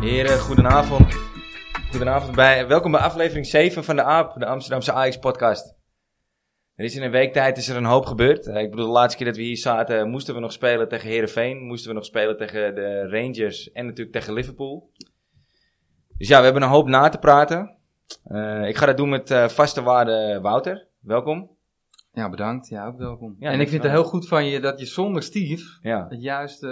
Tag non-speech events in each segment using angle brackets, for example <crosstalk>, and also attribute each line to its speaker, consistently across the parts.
Speaker 1: heren, goedenavond. Goedenavond bij. Welkom bij aflevering 7 van de AAP, de Amsterdamse Ajax-podcast. Er is in een week tijd is er een hoop gebeurd. Eh, Ik bedoel, de laatste keer dat we hier zaten eh, moesten we nog spelen tegen Herenveen, moesten we nog spelen tegen de Rangers en natuurlijk tegen Liverpool. Dus ja, we hebben een hoop na te praten. Eh, ik ga dat doen met eh, vaste waarde Wouter. Welkom.
Speaker 2: Ja, bedankt. Ja, ook welkom.
Speaker 1: Ja,
Speaker 2: en ik vind het
Speaker 1: dankjewel.
Speaker 2: heel goed van je dat je zonder Stief
Speaker 1: Ja.
Speaker 2: het juiste,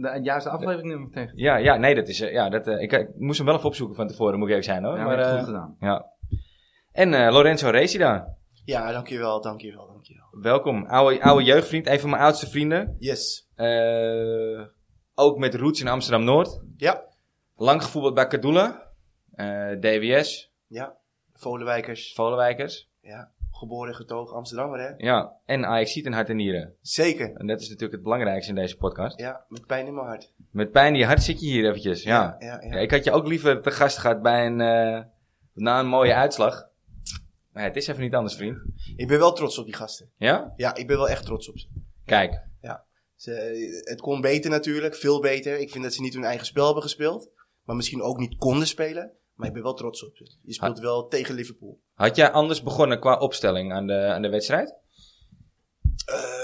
Speaker 2: de, het juiste afleveringnummer tegen.
Speaker 1: Ja, ja, nee, dat is. eh, Ja, dat, eh, ik, ik moest hem wel even opzoeken van tevoren, moet ik even zijn hoor.
Speaker 2: Ja, maar
Speaker 1: maar,
Speaker 2: je hebt het
Speaker 1: eh,
Speaker 2: goed gedaan.
Speaker 1: ja. En eh, Lorenzo Resida,
Speaker 3: Ja, dankjewel, dankjewel, dankjewel.
Speaker 1: welkom. Oude, oude jeugdvriend, een van mijn oudste vrienden.
Speaker 3: Yes.
Speaker 1: Eh, ook met roots in Amsterdam Noord.
Speaker 3: Ja,
Speaker 1: Lang gevoetbald bij Kadoula, eh, DWS,
Speaker 3: ja. Volenwijkers.
Speaker 1: Volenwijkers.
Speaker 3: Ja. Geboren en getogen Amsterdammer, hè?
Speaker 1: Ja, en Ajax ziet in hart en nieren.
Speaker 3: Zeker.
Speaker 1: En dat is natuurlijk het belangrijkste in deze podcast.
Speaker 3: Ja, met pijn in mijn hart.
Speaker 1: Met pijn in je hart zit je hier eventjes. Ja.
Speaker 3: Ja, ja.
Speaker 1: Ja, ik had je ook liever te gast gehad bij een, eh, na een mooie uitslag. Maar ja, het is even niet anders, vriend.
Speaker 3: Ik ben wel trots op die gasten.
Speaker 1: Ja?
Speaker 3: Ja, ik ben wel echt trots op ze.
Speaker 1: Kijk.
Speaker 3: ze het kon beter natuurlijk, veel beter. Ik vind dat ze niet hun eigen spel hebben gespeeld. Maar misschien ook niet konden spelen. Maar ik ben wel trots op ze. Je speelt wel tegen Liverpool.
Speaker 1: Had jij anders begonnen qua opstelling aan de, aan de wedstrijd?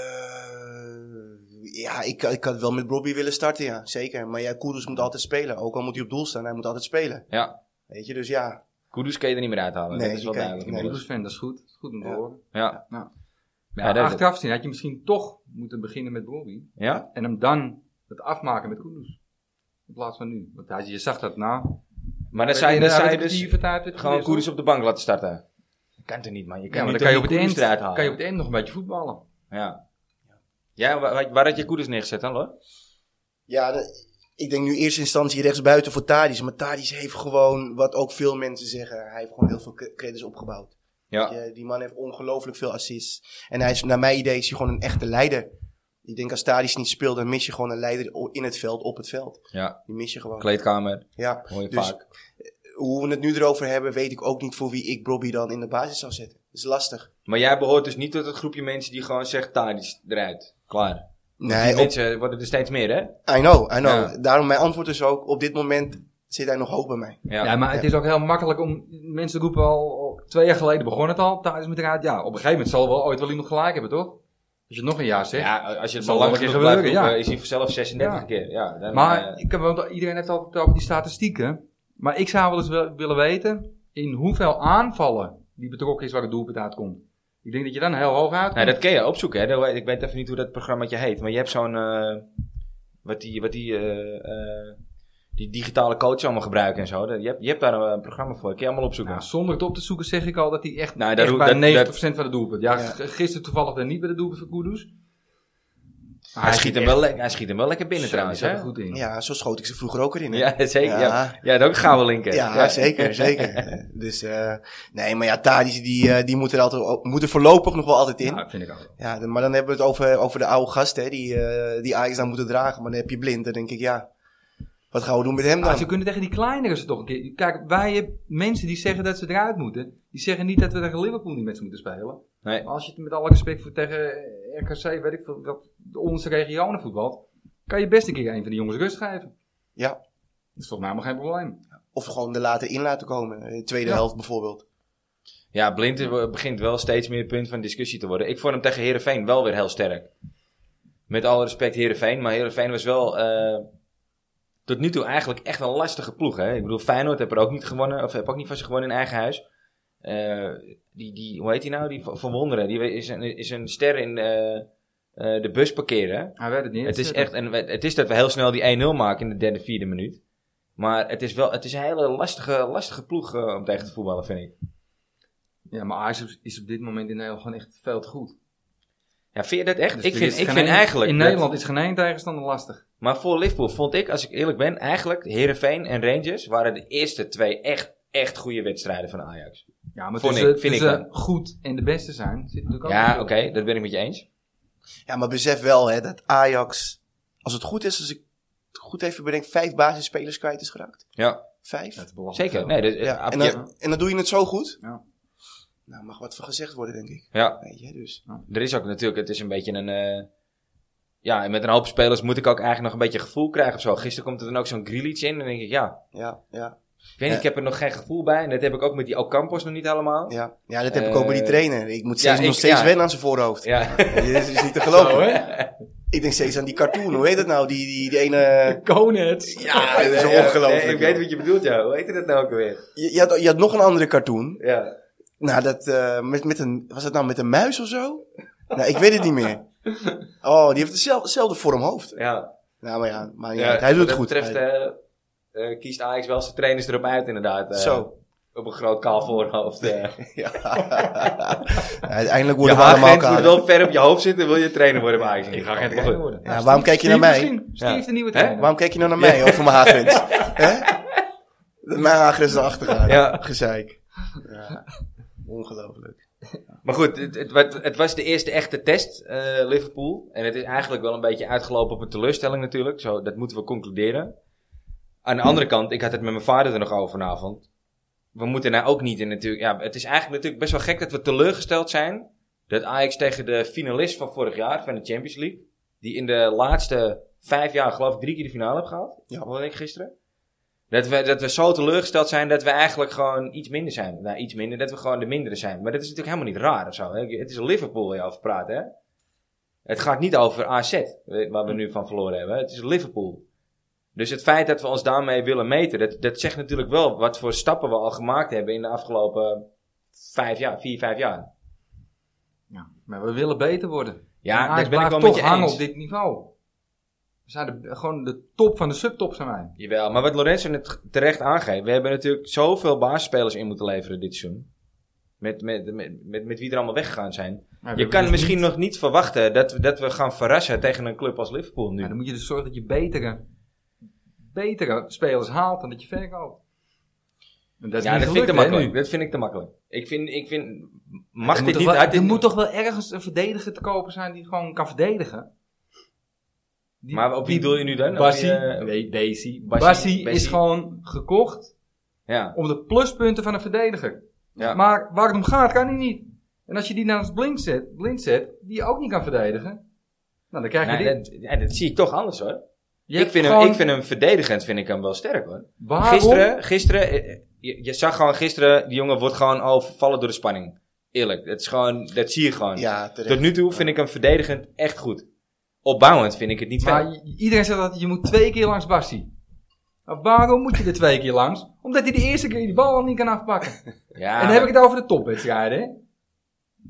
Speaker 3: Eh, ja, ik, ik had wel met Robbie willen starten, ja. Zeker. Maar ja, Kudus moet altijd spelen. Ook al moet hij op doel staan, hij moet altijd spelen.
Speaker 1: Ja.
Speaker 3: Weet je, dus ja.
Speaker 1: Kudus kun je er niet meer uithalen.
Speaker 3: Nee,
Speaker 1: dat is wel
Speaker 3: die kan-
Speaker 1: duidelijk.
Speaker 3: nee.
Speaker 2: Ik
Speaker 1: inmiddels.
Speaker 2: ben fan, dat is goed. Dat is goed om te
Speaker 3: Ja.
Speaker 2: horen.
Speaker 1: Ja.
Speaker 2: Ja.
Speaker 1: Ja,
Speaker 2: Ja,
Speaker 1: dat-
Speaker 2: achteraf zien had je misschien toch moeten beginnen met Bobby.
Speaker 1: ja?
Speaker 2: En hem dan het afmaken met Koenders. In plaats van nu. Want hij, je zag dat nou.
Speaker 1: Maar dan zei, dan zei je
Speaker 2: Die
Speaker 1: dus
Speaker 2: vertaald werd
Speaker 1: gewoon Kudus op de bank laten starten. Dat kan toch niet, man. Je
Speaker 2: Ja,
Speaker 1: kan,
Speaker 2: maar
Speaker 1: niet
Speaker 2: dan kan je,
Speaker 1: toch
Speaker 2: op het
Speaker 1: niet Kudus eruit
Speaker 2: eind,
Speaker 1: halen.
Speaker 2: kan je op het eind nog een beetje voetballen.
Speaker 1: Ja. Ja, waar, waar- waar had je Kudus neergezet dan, hoor?
Speaker 3: Ja, de- ik denk nu eerste instantie rechtsbuiten voor Tadis. Maar Tadis heeft gewoon, wat ook veel mensen zeggen, hij heeft gewoon heel veel cre- credits opgebouwd.
Speaker 1: Ja.
Speaker 3: Je- die man heeft ongelooflijk veel assists. En hij is, naar mijn idee, is hij gewoon een echte leider. Ik denk als Tadis niet speelt, dan mis je gewoon een leider o- in het veld, op het veld.
Speaker 1: Ja.
Speaker 3: Die mis je gewoon.
Speaker 1: Kleedkamer,
Speaker 3: Ja.
Speaker 1: hoor je
Speaker 3: Dus-
Speaker 1: vaak.
Speaker 3: Hoe we het nu erover hebben, weet ik ook niet voor wie ik Bobby dan in de basis zou zetten. Dat is lastig.
Speaker 1: Maar jij behoort dus niet tot het groepje mensen die gewoon zegt, Tadic eruit. Klaar.
Speaker 3: Nee, op,
Speaker 1: mensen worden er steeds meer, hè?
Speaker 3: I know, I know.
Speaker 1: Ja.
Speaker 3: Daarom mijn antwoord is ook, op dit moment zit hij nog hoog bij mij.
Speaker 2: Ja,
Speaker 1: Ja.
Speaker 2: maar het is ook heel makkelijk om mensen roepen al, al twee jaar geleden begon het al, thuis met raad. Ja, op een gegeven moment zal wel ooit wel iemand gelijk hebben, toch? Als je het nog een jaar zegt.
Speaker 1: Ja, als je het
Speaker 2: Zal
Speaker 1: zo lang
Speaker 2: wel een
Speaker 1: genoeg
Speaker 2: keer
Speaker 1: blijft
Speaker 2: gebeuren,
Speaker 1: roepen,
Speaker 2: ja.
Speaker 1: is hij vanzelf 36
Speaker 2: Ja.
Speaker 1: keer. Ja, dan,
Speaker 2: maar
Speaker 1: eh,
Speaker 2: ik heb, wel- iedereen heeft altijd over die statistieken. Maar ik zou wel eens wel- willen weten in hoeveel aanvallen die betrokken is waar het doelpunt uitkomt. Ik denk dat je dan heel hoog uitkomt.
Speaker 1: Nou, dat kun je opzoeken. Hè? Dat- Ik weet even niet hoe dat programmaatje heet. Maar je hebt zo'n... eh, wat die, wat die, eh, eh, die digitale coach allemaal gebruiken en zo. Dat- Je hebt, je hebt daar een programma voor. Kun je allemaal opzoeken.
Speaker 2: Nou, zonder het op te zoeken zeg ik al dat hij echt,
Speaker 1: Nou, dat
Speaker 2: echt
Speaker 1: roe-
Speaker 2: bij
Speaker 1: dat-
Speaker 2: 90% van de doelpunt. Ja,
Speaker 3: Ja.
Speaker 2: g- gisteren toevallig dan niet bij de doelpunt van Kudus. Maar
Speaker 1: hij, schiet hem wel le- hij schiet hem wel lekker binnen
Speaker 2: Zo, die
Speaker 1: trouwens.
Speaker 2: zat
Speaker 1: Hè?
Speaker 2: er goed in.
Speaker 3: Ja, zo schoot ik ze vroeger ook erin. hè.
Speaker 1: Ja, zeker. Ja.
Speaker 3: Ja.
Speaker 1: Ja, dat ook gaan we linken.
Speaker 3: Ja, zeker, zeker. Dus, eh, nee, maar ja, Tadic, die, eh, die moet er, altijd, moet er voorlopig nog wel altijd in.
Speaker 2: Ja,
Speaker 3: Ja,
Speaker 2: dat Nou, vind ik ook.
Speaker 3: de- maar dan hebben we het over, over de oude gasten, hè, die, eh, die Ajax dan moeten dragen. Maar dan heb je blind, dan denk ik, ja, wat gaan we doen met hem
Speaker 2: Maar
Speaker 3: dan?
Speaker 2: Ah, ze kunnen tegen die kleinere ze toch een keer. Kijk, wij hebben mensen die zeggen dat ze eruit moeten. Die zeggen niet dat we tegen Liverpool niet met ze moeten spelen.
Speaker 1: Nee.
Speaker 2: Maar als je het met alle respect voor tegen eh, RKC, weet ik veel, dat de onderste regionen voetbalt. Kan je best een keer een van die jongens rust geven.
Speaker 3: Ja.
Speaker 2: Dat is volgens mij helemaal geen probleem.
Speaker 3: Of gewoon er later in laten komen, in de tweede
Speaker 2: Ja.
Speaker 3: helft bijvoorbeeld.
Speaker 1: Ja, Blind is- begint wel steeds meer punt van discussie te worden. Ik vond hem tegen Herenveen wel weer heel sterk. Met alle respect Herenveen, maar Herenveen was wel eh, tot nu toe eigenlijk echt een lastige ploeg. Hè? Ik bedoel, Feyenoord heb er ook niet gewonnen, of heb ook niet van ze gewonnen in eigen huis. Eh, die, die, hoe heet die nou? Die Van Van Wonderen. Die is een, is een ster in eh, eh, de bus parkeren.
Speaker 2: Hij werd het niet.
Speaker 1: Het is echt, en we- het is dat we heel snel die 1-0 maken in de derde, vierde minuut. Maar het is wel, het is een hele lastige, lastige ploeg eh, om tegen te voetballen, vind ik.
Speaker 2: Ja, maar Ajax is- is op dit moment in Nederland gewoon echt veel te goed.
Speaker 1: Ja, vind je dat echt?
Speaker 2: Dus
Speaker 1: ik
Speaker 2: er
Speaker 1: vind,
Speaker 2: is
Speaker 1: ik
Speaker 2: geen
Speaker 1: vind
Speaker 2: een-
Speaker 1: eigenlijk...
Speaker 2: In
Speaker 1: dat-
Speaker 2: Nederland is geen één tegenstander lastig.
Speaker 1: Maar voor Liverpool vond ik, als ik eerlijk ben, eigenlijk Herenveen en Rangers waren de eerste twee echt, echt goede wedstrijden van Ajax.
Speaker 2: Ja, maar
Speaker 1: Vond
Speaker 2: tussen,
Speaker 1: ik, vind ik
Speaker 2: tussen
Speaker 1: dan.
Speaker 2: goed en de beste zijn zit natuurlijk ook.
Speaker 1: Ja,
Speaker 2: een-
Speaker 1: oké, dat ben ik met je eens.
Speaker 3: Ja, maar besef wel hè, dat Ajax, als het goed is, als ik het goed even bedenk, vijf basisspelers kwijt is geraakt.
Speaker 1: Ja,
Speaker 3: Vijf.
Speaker 2: Ja, het is belachelijk
Speaker 1: zeker.
Speaker 2: veel.
Speaker 1: Nee, dat,
Speaker 3: Ja, en,
Speaker 1: ab- ja.
Speaker 3: dan, en dan doe je het zo goed.
Speaker 2: Ja.
Speaker 3: Nou, mag wat voor gezegd worden, denk ik.
Speaker 1: Ja.
Speaker 3: Weet je, dus.
Speaker 1: er is ook natuurlijk, het is een beetje een... eh, ja, en met een hoop spelers moet ik ook eigenlijk nog een beetje gevoel krijgen of zo. Gisteren komt er dan ook zo'n Grealish in. En dan denk ik, ja,
Speaker 3: Ja, ja,
Speaker 1: ik weet niet, ik heb er nog geen gevoel bij. En dat heb ik ook met die Ocampos nog niet helemaal.
Speaker 3: ja. ja, dat heb ik ook bij die
Speaker 1: Eh,
Speaker 3: trainer. Ik moet steeds,
Speaker 1: ja, ik-
Speaker 3: nog steeds
Speaker 1: ja.
Speaker 3: wennen aan zijn voorhoofd. <laughs>
Speaker 1: Ja,
Speaker 3: Dit is, is niet te geloven.
Speaker 2: Zo, hè?
Speaker 3: Ik denk steeds aan die cartoon. Hoe heet dat nou? Die, die, die ene...
Speaker 2: Konets.
Speaker 3: Ja, dat is
Speaker 1: Nee, <laughs> ja,
Speaker 3: ongelooflijk.
Speaker 1: nee, ik weet wat je bedoelt, ja. Hoe heette dat nou ook weer?
Speaker 3: je, je, had, je had nog een andere cartoon.
Speaker 1: Ja.
Speaker 3: Nou, dat, eh, met, met een, was dat nou met een muis of zo? Nou, ik weet het niet meer. Oh, die heeft dezelfde, dezelfde vorm hoofd.
Speaker 1: ja.
Speaker 3: Nou, maar ja, maar ja,
Speaker 1: Ja,
Speaker 3: hij
Speaker 1: wat
Speaker 3: doet het
Speaker 1: dat
Speaker 3: goed.
Speaker 1: betreft
Speaker 3: Hij-
Speaker 1: eh, eh, kiest Ajax wel zijn trainers erop uit, inderdaad. eh,
Speaker 3: Zo.
Speaker 1: Op een groot kaal voorhoofd. eh.
Speaker 3: <laughs> ja. <laughs> Uiteindelijk
Speaker 1: Je
Speaker 3: worden we allemaal
Speaker 1: agent moet
Speaker 3: kader.
Speaker 1: wel ver op je hoofd zitten, wil je trainer worden bij Ajax.
Speaker 2: Ik
Speaker 1: Ik
Speaker 2: ga geen
Speaker 1: agent
Speaker 2: trainer worden.
Speaker 3: Ja, waarom kijk je naar
Speaker 2: Steve
Speaker 3: mij?
Speaker 2: misschien. Steve
Speaker 1: Ja.
Speaker 2: de nieuwe
Speaker 1: Hè?
Speaker 2: trainer.
Speaker 3: Waarom kijk je nou naar mij over mijn haargrens? Hè? Mijn haargrens is achtergaan.
Speaker 1: Ja.
Speaker 3: Gezeik. Ja. Ongelooflijk.
Speaker 1: Maar goed, het, het, werd- het was de eerste echte test, eh, Liverpool. En het is eigenlijk wel een beetje uitgelopen op een teleurstelling natuurlijk. Zo, dat moeten we concluderen. Aan de andere kant, ik had het met mijn vader er nog over vanavond. We moeten nou ook niet in natuurlijk... Ja, het is eigenlijk natuurlijk best wel gek dat we teleurgesteld zijn... dat Ajax tegen de finalist van vorig jaar, van de Champions League... die in de laatste vijf jaar geloof ik drie keer de finale heeft gehaald.
Speaker 3: Ja.
Speaker 1: Hoorde ik gisteren. Dat we, dat we zo teleurgesteld zijn dat we eigenlijk gewoon iets minder zijn. Nou, iets minder, dat we gewoon de mindere zijn. Maar dat is natuurlijk helemaal niet raar of zo. Hè? Het is Liverpool waar je over praat, hè? Het gaat niet over AZ, eh, waar we nu van verloren hebben. Het is Liverpool. Dus het feit dat we ons daarmee willen meten, dat, dat zegt natuurlijk wel wat voor stappen we al gemaakt hebben in de afgelopen vijf jaar, vier, vijf jaar.
Speaker 2: Ja, maar we willen beter worden. En
Speaker 1: Ja,
Speaker 2: Ajax
Speaker 1: dat ben ik wel
Speaker 2: blijft
Speaker 1: met
Speaker 2: toch
Speaker 1: je
Speaker 2: hangen op
Speaker 1: eens.
Speaker 2: dit niveau. We zijn de, gewoon de top van de subtop zijn wij.
Speaker 1: Jawel, maar wat Lorenzo net terecht aangeeft, we hebben natuurlijk zoveel basisspelers in moeten leveren dit seizoen. Met, met, met, met, met wie er allemaal weggegaan zijn.
Speaker 2: Maar we
Speaker 1: Je
Speaker 2: hebben
Speaker 1: kan
Speaker 2: dus
Speaker 1: misschien
Speaker 2: niet-
Speaker 1: nog niet verwachten dat, we- dat we gaan verrassen tegen een club als Liverpool
Speaker 2: Ja, dan
Speaker 1: nu.
Speaker 2: moet je dus zorgen dat je betere, betere spelers haalt dan dat je verkoopt. En dat is
Speaker 1: Ja, dat vind
Speaker 2: niet
Speaker 1: ik te
Speaker 2: gelukt, hè,
Speaker 1: makkelijk.
Speaker 2: nu.
Speaker 1: Dat vind ik te makkelijk. Ik vind, ik vind
Speaker 2: Er
Speaker 1: mag
Speaker 2: moet
Speaker 1: dit
Speaker 2: toch
Speaker 1: niet
Speaker 2: wel-
Speaker 1: uit
Speaker 2: Er
Speaker 1: dit-
Speaker 2: moet toch wel ergens een verdediger te kopen zijn die gewoon kan verdedigen? Die-
Speaker 1: Maar op wie
Speaker 2: die-
Speaker 1: doe je nu dan? Op
Speaker 2: Bassi,
Speaker 1: die, eh,
Speaker 2: nee, Daisy.
Speaker 1: Bassi-
Speaker 2: Bassi,
Speaker 1: Bassi.
Speaker 2: is gewoon gekocht
Speaker 1: ja,
Speaker 2: om de pluspunten van een verdediger.
Speaker 1: Ja.
Speaker 2: Maar waar het om gaat, kan hij niet. En als je die naast blind zet, blind zet, die je ook niet kan verdedigen, nou dan krijg je
Speaker 1: Nee,
Speaker 2: dit.
Speaker 1: dat, ja, dat zie ik toch anders hoor.
Speaker 2: Je
Speaker 1: Ik
Speaker 2: hebt
Speaker 1: vind,
Speaker 2: gewoon-
Speaker 1: hem, ik vind hem verdedigend, vind ik hem wel sterk hoor.
Speaker 2: waarom?
Speaker 1: Gisteren, gisteren eh, je, je zag gewoon gisteren, die jongen wordt gewoon overvallen door de spanning. Eerlijk, dat, is gewoon, dat zie je gewoon.
Speaker 3: Ja, terecht.
Speaker 1: Tot nu toe vind ik hem verdedigend echt goed. Opbouwend vind ik het niet
Speaker 2: Maar
Speaker 1: veel.
Speaker 2: i- iedereen zegt dat je moet twee keer langs Bassi. Maar waarom moet je er twee keer langs? Omdat hij de eerste keer die bal al niet kan afpakken.
Speaker 1: Ja,
Speaker 2: en dan heb ik het over de topwedstrijden, hè?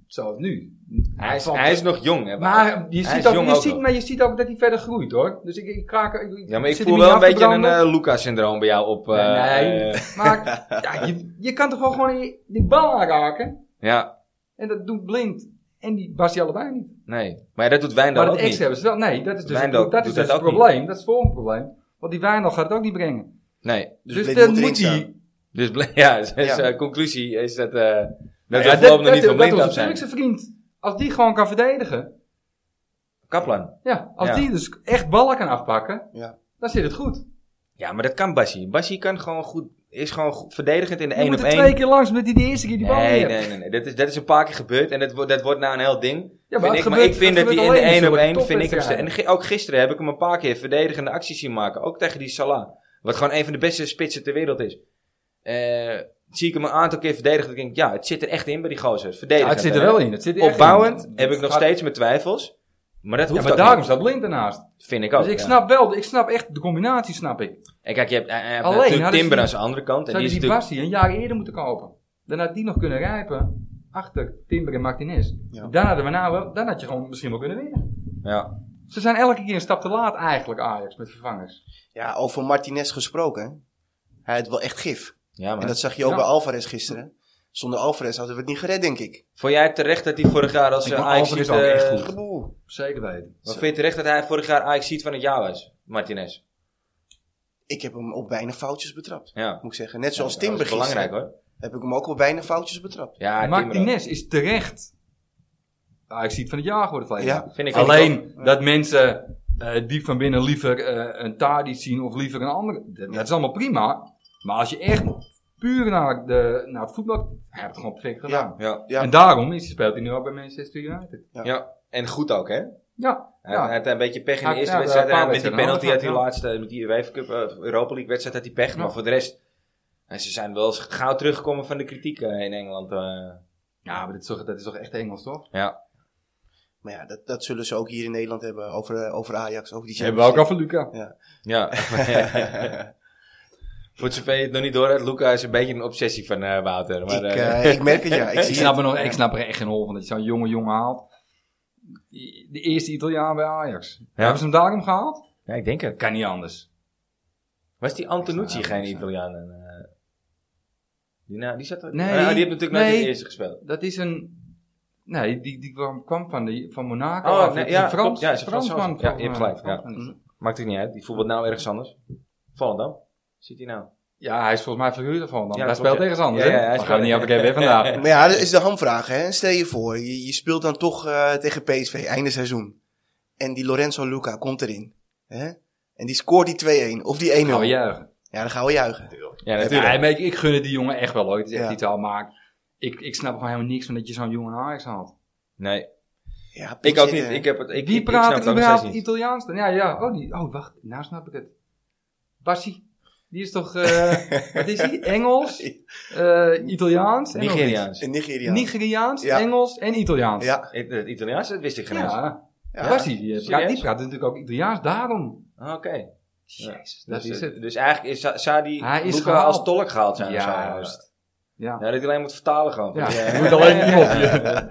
Speaker 2: Zoals nu.
Speaker 1: hij, is,
Speaker 2: Want-
Speaker 1: hij is nog jong. Hè, Wout?
Speaker 2: Maar je
Speaker 1: Hij
Speaker 2: ziet,
Speaker 1: is
Speaker 2: ook,
Speaker 1: jong
Speaker 2: je
Speaker 1: ook
Speaker 2: ziet,
Speaker 1: nog.
Speaker 2: maar je ziet ook dat hij verder groeit, hoor. Dus ik, ik kraak... Ik,
Speaker 1: ja, maar ik
Speaker 2: zit
Speaker 1: voel
Speaker 2: hem
Speaker 1: wel een
Speaker 2: niet af te
Speaker 1: beetje een
Speaker 2: branden.
Speaker 1: eh Lucas-syndroom bij jou op. eh,
Speaker 2: Nee.
Speaker 1: eh, <laughs>
Speaker 2: Maar ja, je, je kan toch wel gewoon die, die bal aanraken?
Speaker 1: ja,
Speaker 2: En dat doet Blind en die Bassi allebei niet.
Speaker 1: nee. Maar dat doet Wijndal
Speaker 2: Maar dat
Speaker 1: ook
Speaker 2: ex
Speaker 1: niet.
Speaker 2: hebben ze wel. Nee, dat is dus,
Speaker 1: Wijndal
Speaker 2: dat
Speaker 1: doet
Speaker 2: is dus
Speaker 1: dat
Speaker 2: het
Speaker 1: ook niet.
Speaker 2: probleem. Dat is het volgende probleem. Want die Wijndal gaat het ook niet brengen.
Speaker 1: Nee.
Speaker 3: Dus,
Speaker 2: Dus,
Speaker 3: Blade
Speaker 2: dan
Speaker 3: moet erin
Speaker 2: moet hij...
Speaker 3: staan.
Speaker 1: Dus bl- <laughs> ja, dus,
Speaker 3: Ja.
Speaker 1: eh, conclusie is dat. eh dat
Speaker 2: Nou Ja,
Speaker 1: we voorlopig nog niet van blind af
Speaker 2: onze
Speaker 1: zijn.
Speaker 2: Turkse vriend, als die gewoon kan verdedigen,
Speaker 1: Kaplan.
Speaker 2: ja, als
Speaker 1: Ja.
Speaker 2: die dus echt ballen kan afpakken,
Speaker 3: Ja.
Speaker 2: dan zit het goed.
Speaker 1: Ja, maar dat kan Bassi. Bassi kan gewoon goed. Is gewoon goed verdedigend in de
Speaker 2: Je
Speaker 1: 1
Speaker 2: moet
Speaker 1: op
Speaker 2: er twee
Speaker 1: 1.
Speaker 2: keer langs met die de eerste keer die bal
Speaker 1: Nee,
Speaker 2: neer.
Speaker 1: nee, nee, nee. Dat, is, dat is een paar keer gebeurd en dat, wordt- dat wordt nou een heel ding.
Speaker 2: Ja,
Speaker 1: Vind
Speaker 2: het
Speaker 1: ik, maar
Speaker 2: gebeurt-
Speaker 1: ik vind
Speaker 2: het
Speaker 1: dat hij in
Speaker 2: gebeurt
Speaker 1: de
Speaker 2: alleen
Speaker 1: één op
Speaker 2: in zulke
Speaker 1: één vind ik hem sterk. En
Speaker 2: topwedstrijden.
Speaker 1: ge- ook gisteren heb ik hem een paar keer verdedigende acties zien maken. Ook tegen die Salah. Wat gewoon een van de beste spitsen ter wereld is. Eh, zie ik hem een aantal keer verdedigen. Dan denk ik, ja, het zit er echt in bij die gozer.
Speaker 2: Ja,
Speaker 1: Verdedigend.
Speaker 2: het zit er
Speaker 1: hè.
Speaker 2: wel in. Het zit er echt in.
Speaker 1: Opbouwend heb ik nog
Speaker 2: Gaat-
Speaker 1: steeds mijn twijfels. Maar dat
Speaker 2: Ja,
Speaker 1: hoeft
Speaker 2: maar
Speaker 1: ook
Speaker 2: daarom
Speaker 1: niet.
Speaker 2: staat blind ernaast.
Speaker 1: Vind ik ook.
Speaker 2: Dus ik
Speaker 1: ja.
Speaker 2: snap wel, ik snap echt de combinatie, snap ik.
Speaker 1: En kijk, je hebt, hij- hij heeft
Speaker 2: Alleen
Speaker 1: natuurlijk
Speaker 2: hadden ze
Speaker 1: Timber
Speaker 2: die-
Speaker 1: aan zijn andere kant. En
Speaker 2: Zou
Speaker 1: die
Speaker 2: je
Speaker 1: is
Speaker 2: die
Speaker 1: natuurlijk...
Speaker 2: Bassi een jaar eerder moeten kopen? Dan had die nog kunnen rijpen achter Timber en Martinez.
Speaker 3: Ja.
Speaker 2: Dan, hadden we nou wel, dan had je gewoon misschien wel kunnen winnen.
Speaker 1: Ja.
Speaker 2: Ze zijn elke keer een stap te laat eigenlijk, Ajax, met vervangers.
Speaker 3: Ja, over Martinez gesproken. hè. Hij had wel echt gif.
Speaker 1: ja, maar
Speaker 3: En dat zag je ook
Speaker 2: Ja.
Speaker 3: bij Alvarez gisteren. Zonder Alvarez hadden we het niet gered, denk ik.
Speaker 1: vond jij het terecht dat hij vorig jaar als
Speaker 2: Ik
Speaker 1: eh,
Speaker 2: vond
Speaker 1: Ajax
Speaker 2: Alvarez
Speaker 1: ziet...
Speaker 2: ook echt goed.
Speaker 3: Geboel.
Speaker 2: Zeker weten.
Speaker 1: Maar vind je terecht dat hij vorig jaar Ajax ziet van het jaar was? Martinez.
Speaker 3: Ik heb hem op weinig foutjes betrapt.
Speaker 1: Ja.
Speaker 3: Moet ik zeggen. Net zoals
Speaker 1: Ja, dat
Speaker 3: Timber
Speaker 1: is belangrijk
Speaker 3: gisteren
Speaker 1: hoor.
Speaker 3: heb ik hem ook op weinig foutjes betrapt.
Speaker 1: Ja, Timber
Speaker 2: Martinez is terecht. Ah, ik zie het van het jaar geworden. Vlees.
Speaker 3: Ja.
Speaker 1: ook. Vind ik ook.
Speaker 2: Alleen dat mensen eh diep van binnen liever eh, een Tadic zien of liever een andere. Dat, dat is allemaal prima. Maar als je echt puur naar, de, naar het voetbal. Hij heeft het gewoon perfect gedaan.
Speaker 1: Ja.
Speaker 3: Ja.
Speaker 2: En daarom is, speelt hij nu ook bij Manchester United.
Speaker 1: Ja.
Speaker 3: Ja.
Speaker 1: En goed ook, hè?
Speaker 2: Ja,
Speaker 1: Hij hij
Speaker 2: ja.
Speaker 1: had een beetje pech in
Speaker 2: Ja,
Speaker 1: de eerste
Speaker 2: ja,
Speaker 1: wedstrijd.
Speaker 2: eh, een paar
Speaker 1: En met die
Speaker 2: wedstrijden
Speaker 1: penalty uit die
Speaker 2: hadden we
Speaker 1: laatste, met die UEFA Cup, eh, Europa League wedstrijd had hij pech. Maar
Speaker 2: Ja.
Speaker 1: voor de rest, en ze zijn wel eens gauw teruggekomen van de kritiek eh, in Engeland. eh.
Speaker 2: ja maar dat is, toch, dat is toch echt Engels, toch?
Speaker 1: ja.
Speaker 3: Maar ja, dat, dat zullen ze ook hier in Nederland hebben over, eh, over Ajax. Over die
Speaker 2: Ze hebben we ook al van Luca.
Speaker 3: <laughs>
Speaker 1: Ja. <laughs> voor het zover je het nog niet door hebt, Luca is een beetje een obsessie van eh, Wouter. Maar,
Speaker 3: Ik,
Speaker 1: eh,
Speaker 3: eh, ik merk het, ja. Ik
Speaker 2: Ik
Speaker 3: zie
Speaker 2: snap,
Speaker 3: het.
Speaker 2: er nog, ik snap er echt geen hol van dat je zo'n jonge jongen haalt. De eerste Italiaan bij Ajax. Hebben ze hem daarom gehaald?
Speaker 1: ja, ik denk het.
Speaker 2: Kan niet anders.
Speaker 1: Was die Antonucci
Speaker 2: Ja,
Speaker 1: geen
Speaker 2: ja.
Speaker 1: Italiaan? En, eh, die, nou, die zat er...
Speaker 2: Nee.
Speaker 1: Ah, die heeft natuurlijk nooit in
Speaker 2: Nee.
Speaker 1: de eerste gespeeld.
Speaker 2: Dat is een... Nee, die, die kwam, kwam van, de, van Monaco.
Speaker 1: Oh,
Speaker 2: af.
Speaker 1: nee,
Speaker 2: Een
Speaker 1: ja, klopt.
Speaker 2: Frans,
Speaker 1: Ja, is een
Speaker 2: Frans
Speaker 1: Fransman.
Speaker 2: man,
Speaker 1: Ja, je hebt
Speaker 2: volgens mij.
Speaker 1: gelijk,
Speaker 2: Fransman is het.
Speaker 1: Maakt het niet uit. Die voetbalt nou ergens anders. Volendam. Zit hij nou?
Speaker 2: Ja, hij is volgens mij verhuurd ervan. Dan.
Speaker 1: Ja,
Speaker 2: hij
Speaker 1: klopt,
Speaker 2: speelt
Speaker 1: ja.
Speaker 2: ergens anders.
Speaker 1: Ja,
Speaker 2: Ja,
Speaker 1: ja, hij
Speaker 2: hij
Speaker 1: speelt-
Speaker 2: gaat niet over hebben
Speaker 1: <laughs>
Speaker 2: vandaag.
Speaker 3: Maar ja, dat is de hamvraag, hè. Stel je voor, je, je speelt dan toch eh, tegen PSV, einde seizoen. En die Lorenzo Luca komt erin. Hè? En die scoort die 2-1 of die 1-0.
Speaker 2: Nou,
Speaker 3: ja.
Speaker 2: juichen.
Speaker 3: dan gaan we juichen.
Speaker 1: Ja,
Speaker 2: Ja, maar ik, ik gun het die jongen echt wel hoor. Het is echt
Speaker 3: Ja.
Speaker 2: iets al, maar ik, ik snap gewoon helemaal niks van dat je zo'n jongen naar Ajax haalt.
Speaker 1: Nee,
Speaker 3: Ja,
Speaker 1: ik ook
Speaker 3: zit,
Speaker 1: niet.
Speaker 3: eh,
Speaker 1: Ik heb het, ik,
Speaker 2: Wie
Speaker 1: ik, ik
Speaker 2: praat
Speaker 1: snap
Speaker 2: er
Speaker 1: het ook nog
Speaker 2: überhaupt
Speaker 1: steeds niet.
Speaker 2: Italiaans dan? Ja, ja. Oh, die, oh, wacht. Nou snap ik het. Bassi. Die is toch, eh, wat is hij? Engels, eh, Italiaans en nog iets.
Speaker 1: Nigeriaans.
Speaker 3: Een Nigeriaan.
Speaker 2: Nigeriaans,
Speaker 3: Ja.
Speaker 2: Engels en Italiaans.
Speaker 3: ja.
Speaker 1: Het het Italiaans, dat wist ik geen eens.
Speaker 2: ja.
Speaker 3: Ja.
Speaker 2: Bassi, die, eh, praat,
Speaker 1: Serieus?
Speaker 2: die praat natuurlijk ook Italiaans, daarom.
Speaker 1: Ah, Oké. Ja.
Speaker 2: Jezus, dat
Speaker 1: Dus,
Speaker 2: is het.
Speaker 1: dus eigenlijk is, zou- zou die
Speaker 2: Hij is
Speaker 1: Luca
Speaker 2: gehaald.
Speaker 1: als tolk gehaald zijn. of zo.
Speaker 2: Juist. Ja.
Speaker 1: Ja, dat hij alleen moet vertalen gewoon.
Speaker 2: Ja,
Speaker 1: Ja.
Speaker 2: je moet alleen iemand
Speaker 1: <laughs>
Speaker 2: hier.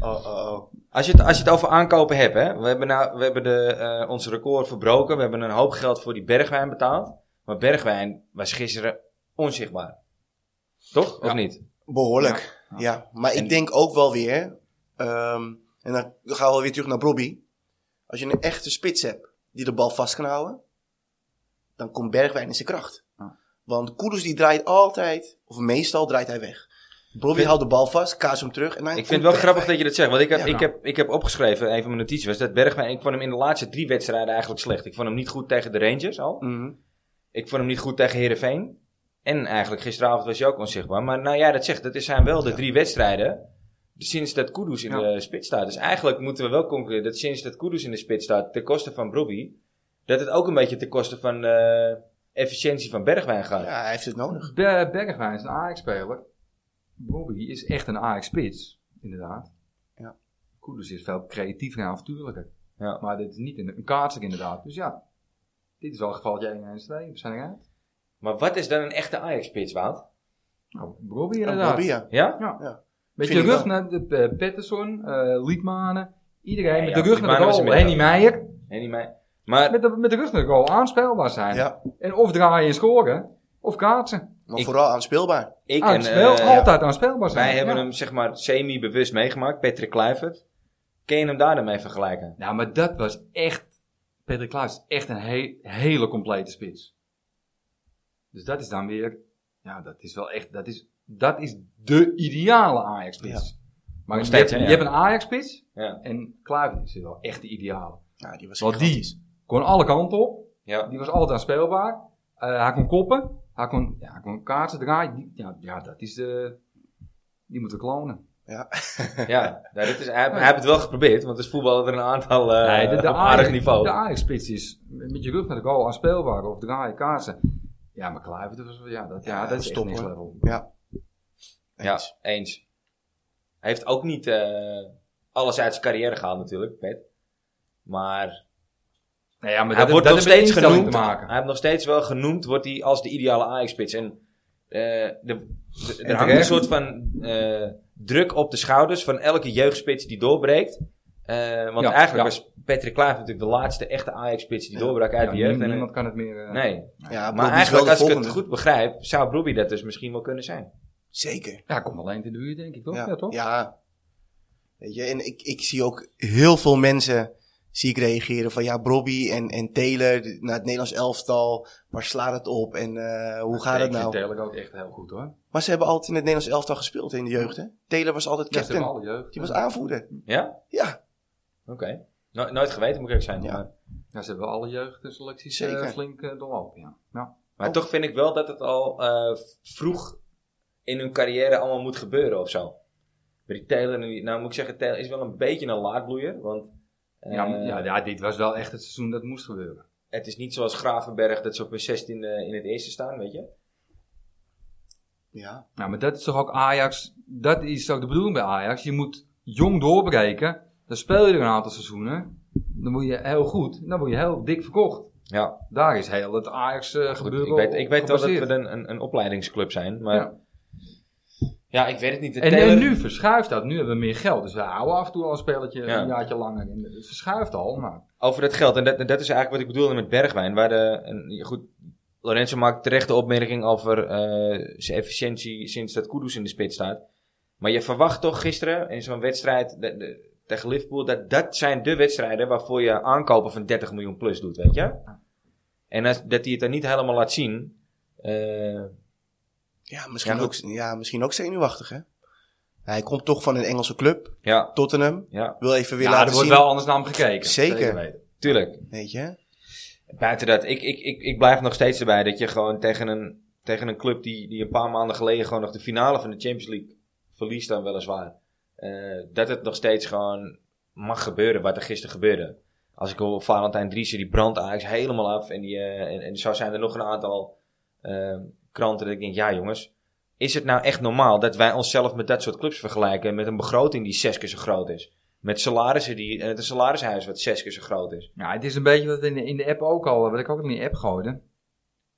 Speaker 3: Oh, oh, oh.
Speaker 1: Als, je het, als je het over aankopen hebt, hè? we hebben, nou, we hebben de, eh, ons record verbroken. We hebben een hoop geld voor die Bergwijn betaald. Maar Bergwijn was gisteren onzichtbaar. Toch? Of
Speaker 2: Ja.
Speaker 1: niet?
Speaker 3: Behoorlijk.
Speaker 2: Ja.
Speaker 3: Ja, maar
Speaker 1: En-
Speaker 3: ik denk ook wel weer. ehm, en dan gaan we weer terug naar Bobby. Als je een echte spits hebt die de bal vast kan houden, dan komt Bergwijn in zijn kracht.
Speaker 2: Ja.
Speaker 3: Want Koeders die draait altijd, of meestal draait hij weg. Bobby
Speaker 1: vind-
Speaker 3: houdt de bal vast, kaas hem terug. En dan
Speaker 1: Ik
Speaker 3: komt
Speaker 1: vind het wel
Speaker 3: Bergwijn.
Speaker 1: grappig dat je dat zegt. Want ik heb,
Speaker 3: Ja.
Speaker 1: ik heb, ik heb opgeschreven, een van mijn notities was dat Bergwijn... Ik vond hem in de laatste drie wedstrijden eigenlijk slecht. Ik vond hem niet goed tegen de Rangers al.
Speaker 3: Mhm.
Speaker 1: Ik vond hem niet goed tegen Heerenveen. En eigenlijk gisteravond was hij ook onzichtbaar. Maar nou ja, dat zegt, dat zijn wel de
Speaker 3: Ja.
Speaker 1: drie wedstrijden sinds dat Kudus in
Speaker 2: Ja.
Speaker 1: de spits staat. Dus eigenlijk moeten we wel concluderen dat sinds dat Kudus in de spits staat... ten koste van Brobbey, dat het ook een beetje ten koste van eh, efficiëntie van Bergwijn gaat.
Speaker 3: Ja, hij heeft het nodig.
Speaker 2: Be- Bergwijn is een Ajax-speler. Bobby is echt een Ajax-spits, inderdaad.
Speaker 3: Ja.
Speaker 2: Koeders is veel creatiever en avontuurlijker.
Speaker 1: Ja.
Speaker 2: Maar dit is niet een, een kaartser, inderdaad. Dus ja, dit is wel een geval 1 en 2. We zijn eruit.
Speaker 1: Maar wat is dan een echte Ajax-spits, Wout?
Speaker 2: Nou, Bobby
Speaker 3: Ja,
Speaker 2: inderdaad.
Speaker 3: Bobby, ja.
Speaker 1: Ja?
Speaker 2: Beetje
Speaker 3: Vind ik
Speaker 2: rug
Speaker 3: wel.
Speaker 2: naar de, eh, Pettersson, eh Liedmanen. Iedereen
Speaker 1: Ja,
Speaker 2: met
Speaker 1: ja,
Speaker 2: de rug naar de
Speaker 1: Liedmanen was
Speaker 2: goal.
Speaker 1: een
Speaker 2: Henny Meijer.
Speaker 1: En niet mij. Maar
Speaker 2: Met de, met de rug naar de goal. Aanspelbaar zijn.
Speaker 3: ja.
Speaker 2: En of draaien en scoren. Of kaartsen.
Speaker 3: Maar
Speaker 1: Ik-
Speaker 3: vooral aanspeelbaar.
Speaker 2: Ah,
Speaker 1: ik en...
Speaker 2: Aanspeel,
Speaker 1: eh,
Speaker 2: altijd aanspelbaar zijn.
Speaker 1: Wij hebben
Speaker 2: ja.
Speaker 1: hem zeg maar semi-bewust meegemaakt, Patrick Kluivert. Kun je hem daar dan mee vergelijken?
Speaker 2: Nou, maar dat was echt. Peter Klaas is echt een he- hele complete spits. Dus dat is dan weer. Ja, dat is wel echt. Dat is, dat is de ideale Ajax-spits. Maar
Speaker 1: Nog
Speaker 2: je,
Speaker 1: steeds,
Speaker 2: hebt,
Speaker 1: hè,
Speaker 2: je
Speaker 1: ja.
Speaker 2: hebt een Ajax-spits.
Speaker 1: Ja.
Speaker 2: En Klaas is wel echt de ideale.
Speaker 3: Ja, die was
Speaker 2: Want
Speaker 3: gigantisch.
Speaker 2: die kon alle kanten op.
Speaker 1: Ja.
Speaker 2: Die was altijd speelbaar. hij kon koppen. Hij kon, ja, hij kon kaarsen draaien. Die- Ja, ja, dat is de. Die moeten we klonen.
Speaker 1: ja. Nou, dit is, hij,
Speaker 2: Oh.
Speaker 1: hij heeft het wel geprobeerd, want als voetballer er een aantal eh
Speaker 2: Nee, de, de
Speaker 1: op aardig
Speaker 2: Ajax-
Speaker 1: niveau.
Speaker 2: De Ajax-spits is met je rug naar de goal aanspeelbaar of draaien kaarsen. Ja, maar Kluivert, dat was wel- ja, dat, ja,
Speaker 3: Ja,
Speaker 2: dat is
Speaker 3: stop,
Speaker 2: echt next
Speaker 3: hoor.
Speaker 2: level.
Speaker 3: Ja.
Speaker 1: Ja, eens. Hij heeft ook niet eh, alles uit zijn carrière gehaald natuurlijk, Pet. Maar
Speaker 2: Nou ja, maar
Speaker 1: hij
Speaker 2: dat,
Speaker 1: wordt
Speaker 2: dat
Speaker 1: nog
Speaker 2: heeft met
Speaker 1: steeds
Speaker 2: instelling
Speaker 1: genoemd.
Speaker 2: te maken.
Speaker 1: Hij heeft nog steeds wel genoemd, wordt hij als de ideale Ajax-spits. En eh, de, de- er hangt een
Speaker 2: terecht.
Speaker 1: soort van eh, druk op de schouders van elke jeugdspits die doorbreekt. Eh, want
Speaker 2: Ja,
Speaker 1: eigenlijk
Speaker 2: ja.
Speaker 1: was Patrick Kluivert natuurlijk de laatste echte Ajax-spits die
Speaker 3: Ja.
Speaker 1: doorbrak uit
Speaker 2: Ja,
Speaker 1: de jeugd. En-
Speaker 2: niemand kan het meer. eh,
Speaker 1: nee,
Speaker 3: ja Bobby is
Speaker 1: maar
Speaker 3: dus wel
Speaker 1: eigenlijk
Speaker 3: de
Speaker 1: als ik het
Speaker 3: volgende.
Speaker 1: goed begrijp, zou Broby dat dus misschien wel kunnen zijn.
Speaker 3: Zeker.
Speaker 2: Ja, komt alleen in de buurt, denk ik toch? Ja, toch?
Speaker 3: Ja. Weet je, en ik, ik zie ook heel veel mensen zie ik reageren van ja, Bobby en, en Taylor de- naar het Nederlands elftal. Waar slaat het op en eh, hoe gaat het
Speaker 2: Ik vind
Speaker 3: nou?
Speaker 2: Taylor ook echt heel goed hoor.
Speaker 3: Maar ze hebben altijd in het Nederlands elftal gespeeld in de jeugd, hè? Taylor was altijd
Speaker 2: Ja, ze hebben
Speaker 3: captain.
Speaker 2: alle jeugd.
Speaker 3: Die was aanvoerder.
Speaker 1: Ja?
Speaker 3: Ja,
Speaker 1: Oké. No- nooit geweten, moet ik eerlijk zijn.
Speaker 3: Ja.
Speaker 1: Maar,
Speaker 2: Ja, ze hebben alle jeugdselecties eh,
Speaker 3: Zeker.
Speaker 2: flink eh, doorlopen. Ja. Ja.
Speaker 1: Maar toch vind ik wel dat het al eh, vroeg in hun carrière allemaal moet gebeuren of zo. Maar die Taylor, nu- nou moet ik zeggen, Taylor is wel een beetje een laadbloeier. Want eh,
Speaker 2: Ja, maar- ja, ja, dit was wel echt het seizoen dat moest gebeuren.
Speaker 1: het is niet zoals Gravenberg dat ze op hun 16 in het eerste staan, weet je.
Speaker 3: Ja.
Speaker 2: Ja, Nou, maar dat is toch ook Ajax. Dat is toch de bedoeling bij Ajax. Je moet jong doorbreken. Dan speel je er een aantal seizoenen. Dan word je heel goed. Dan word je heel dik verkocht.
Speaker 1: Ja,
Speaker 2: Daar is heel het Ajax eh,
Speaker 1: goed,
Speaker 2: gebeuren.
Speaker 1: ik weet, ik weet wel dat we
Speaker 2: gebaseerd.
Speaker 1: een, een, een opleidingsclub zijn, maar... Ja.
Speaker 2: Ja.
Speaker 1: ik weet het niet. De
Speaker 2: En,
Speaker 1: Taylor-
Speaker 2: en nu verschuift dat. Nu hebben we meer geld. Dus we houden af en toe al een spelletje
Speaker 1: Ja.
Speaker 2: een jaartje langer. in. Het verschuift al. Maar
Speaker 1: Over dat geld, en dat, en dat is eigenlijk wat ik bedoelde met Bergwijn. Waar de, en, ja, goed, Lorenzo maakt terecht de opmerking over eh, zijn efficiëntie sinds dat Kudus in de spits staat. Maar je verwacht toch gisteren in zo'n wedstrijd de- de- tegen Liverpool... Dat, dat zijn de wedstrijden waarvoor je aankopen van 30 miljoen plus doet, weet je? En als, dat hij het dan niet helemaal laat zien... eh,
Speaker 3: Ja, misschien
Speaker 1: Ja,
Speaker 3: ook, ja, misschien ook zenuwachtig, hè? Hij komt toch van een Engelse club,
Speaker 1: ja,
Speaker 3: Tottenham.
Speaker 1: ja,
Speaker 3: Wil even weer
Speaker 2: ja, er
Speaker 3: laten
Speaker 2: wordt
Speaker 3: zien.
Speaker 2: wel anders naar hem gekeken.
Speaker 3: Zeker.
Speaker 2: weten.
Speaker 1: tuurlijk.
Speaker 3: Weet je?
Speaker 1: Buiten dat, ik, ik, ik, ik blijf nog steeds erbij dat je gewoon tegen een, tegen een club die, die een paar maanden geleden gewoon nog de finale van de Champions League verliest dan weliswaar. eh, dat het nog steeds gewoon mag gebeuren wat er gisteren gebeurde. Als ik hoor Valentijn Driessen, die brandt Ajax helemaal af. En, die, eh, en, en zo zijn er nog een aantal eh, kranten dat ik denk, ja jongens, is het nou echt normaal dat wij onszelf met dat soort clubs vergelijken? Met een begroting die zes keer zo groot is. Met salarissen die, en het een salarishuis wat zes keer zo groot is.
Speaker 2: Ja, het is een beetje wat we in de, in de app ook al, wat ik ook in de app gooide.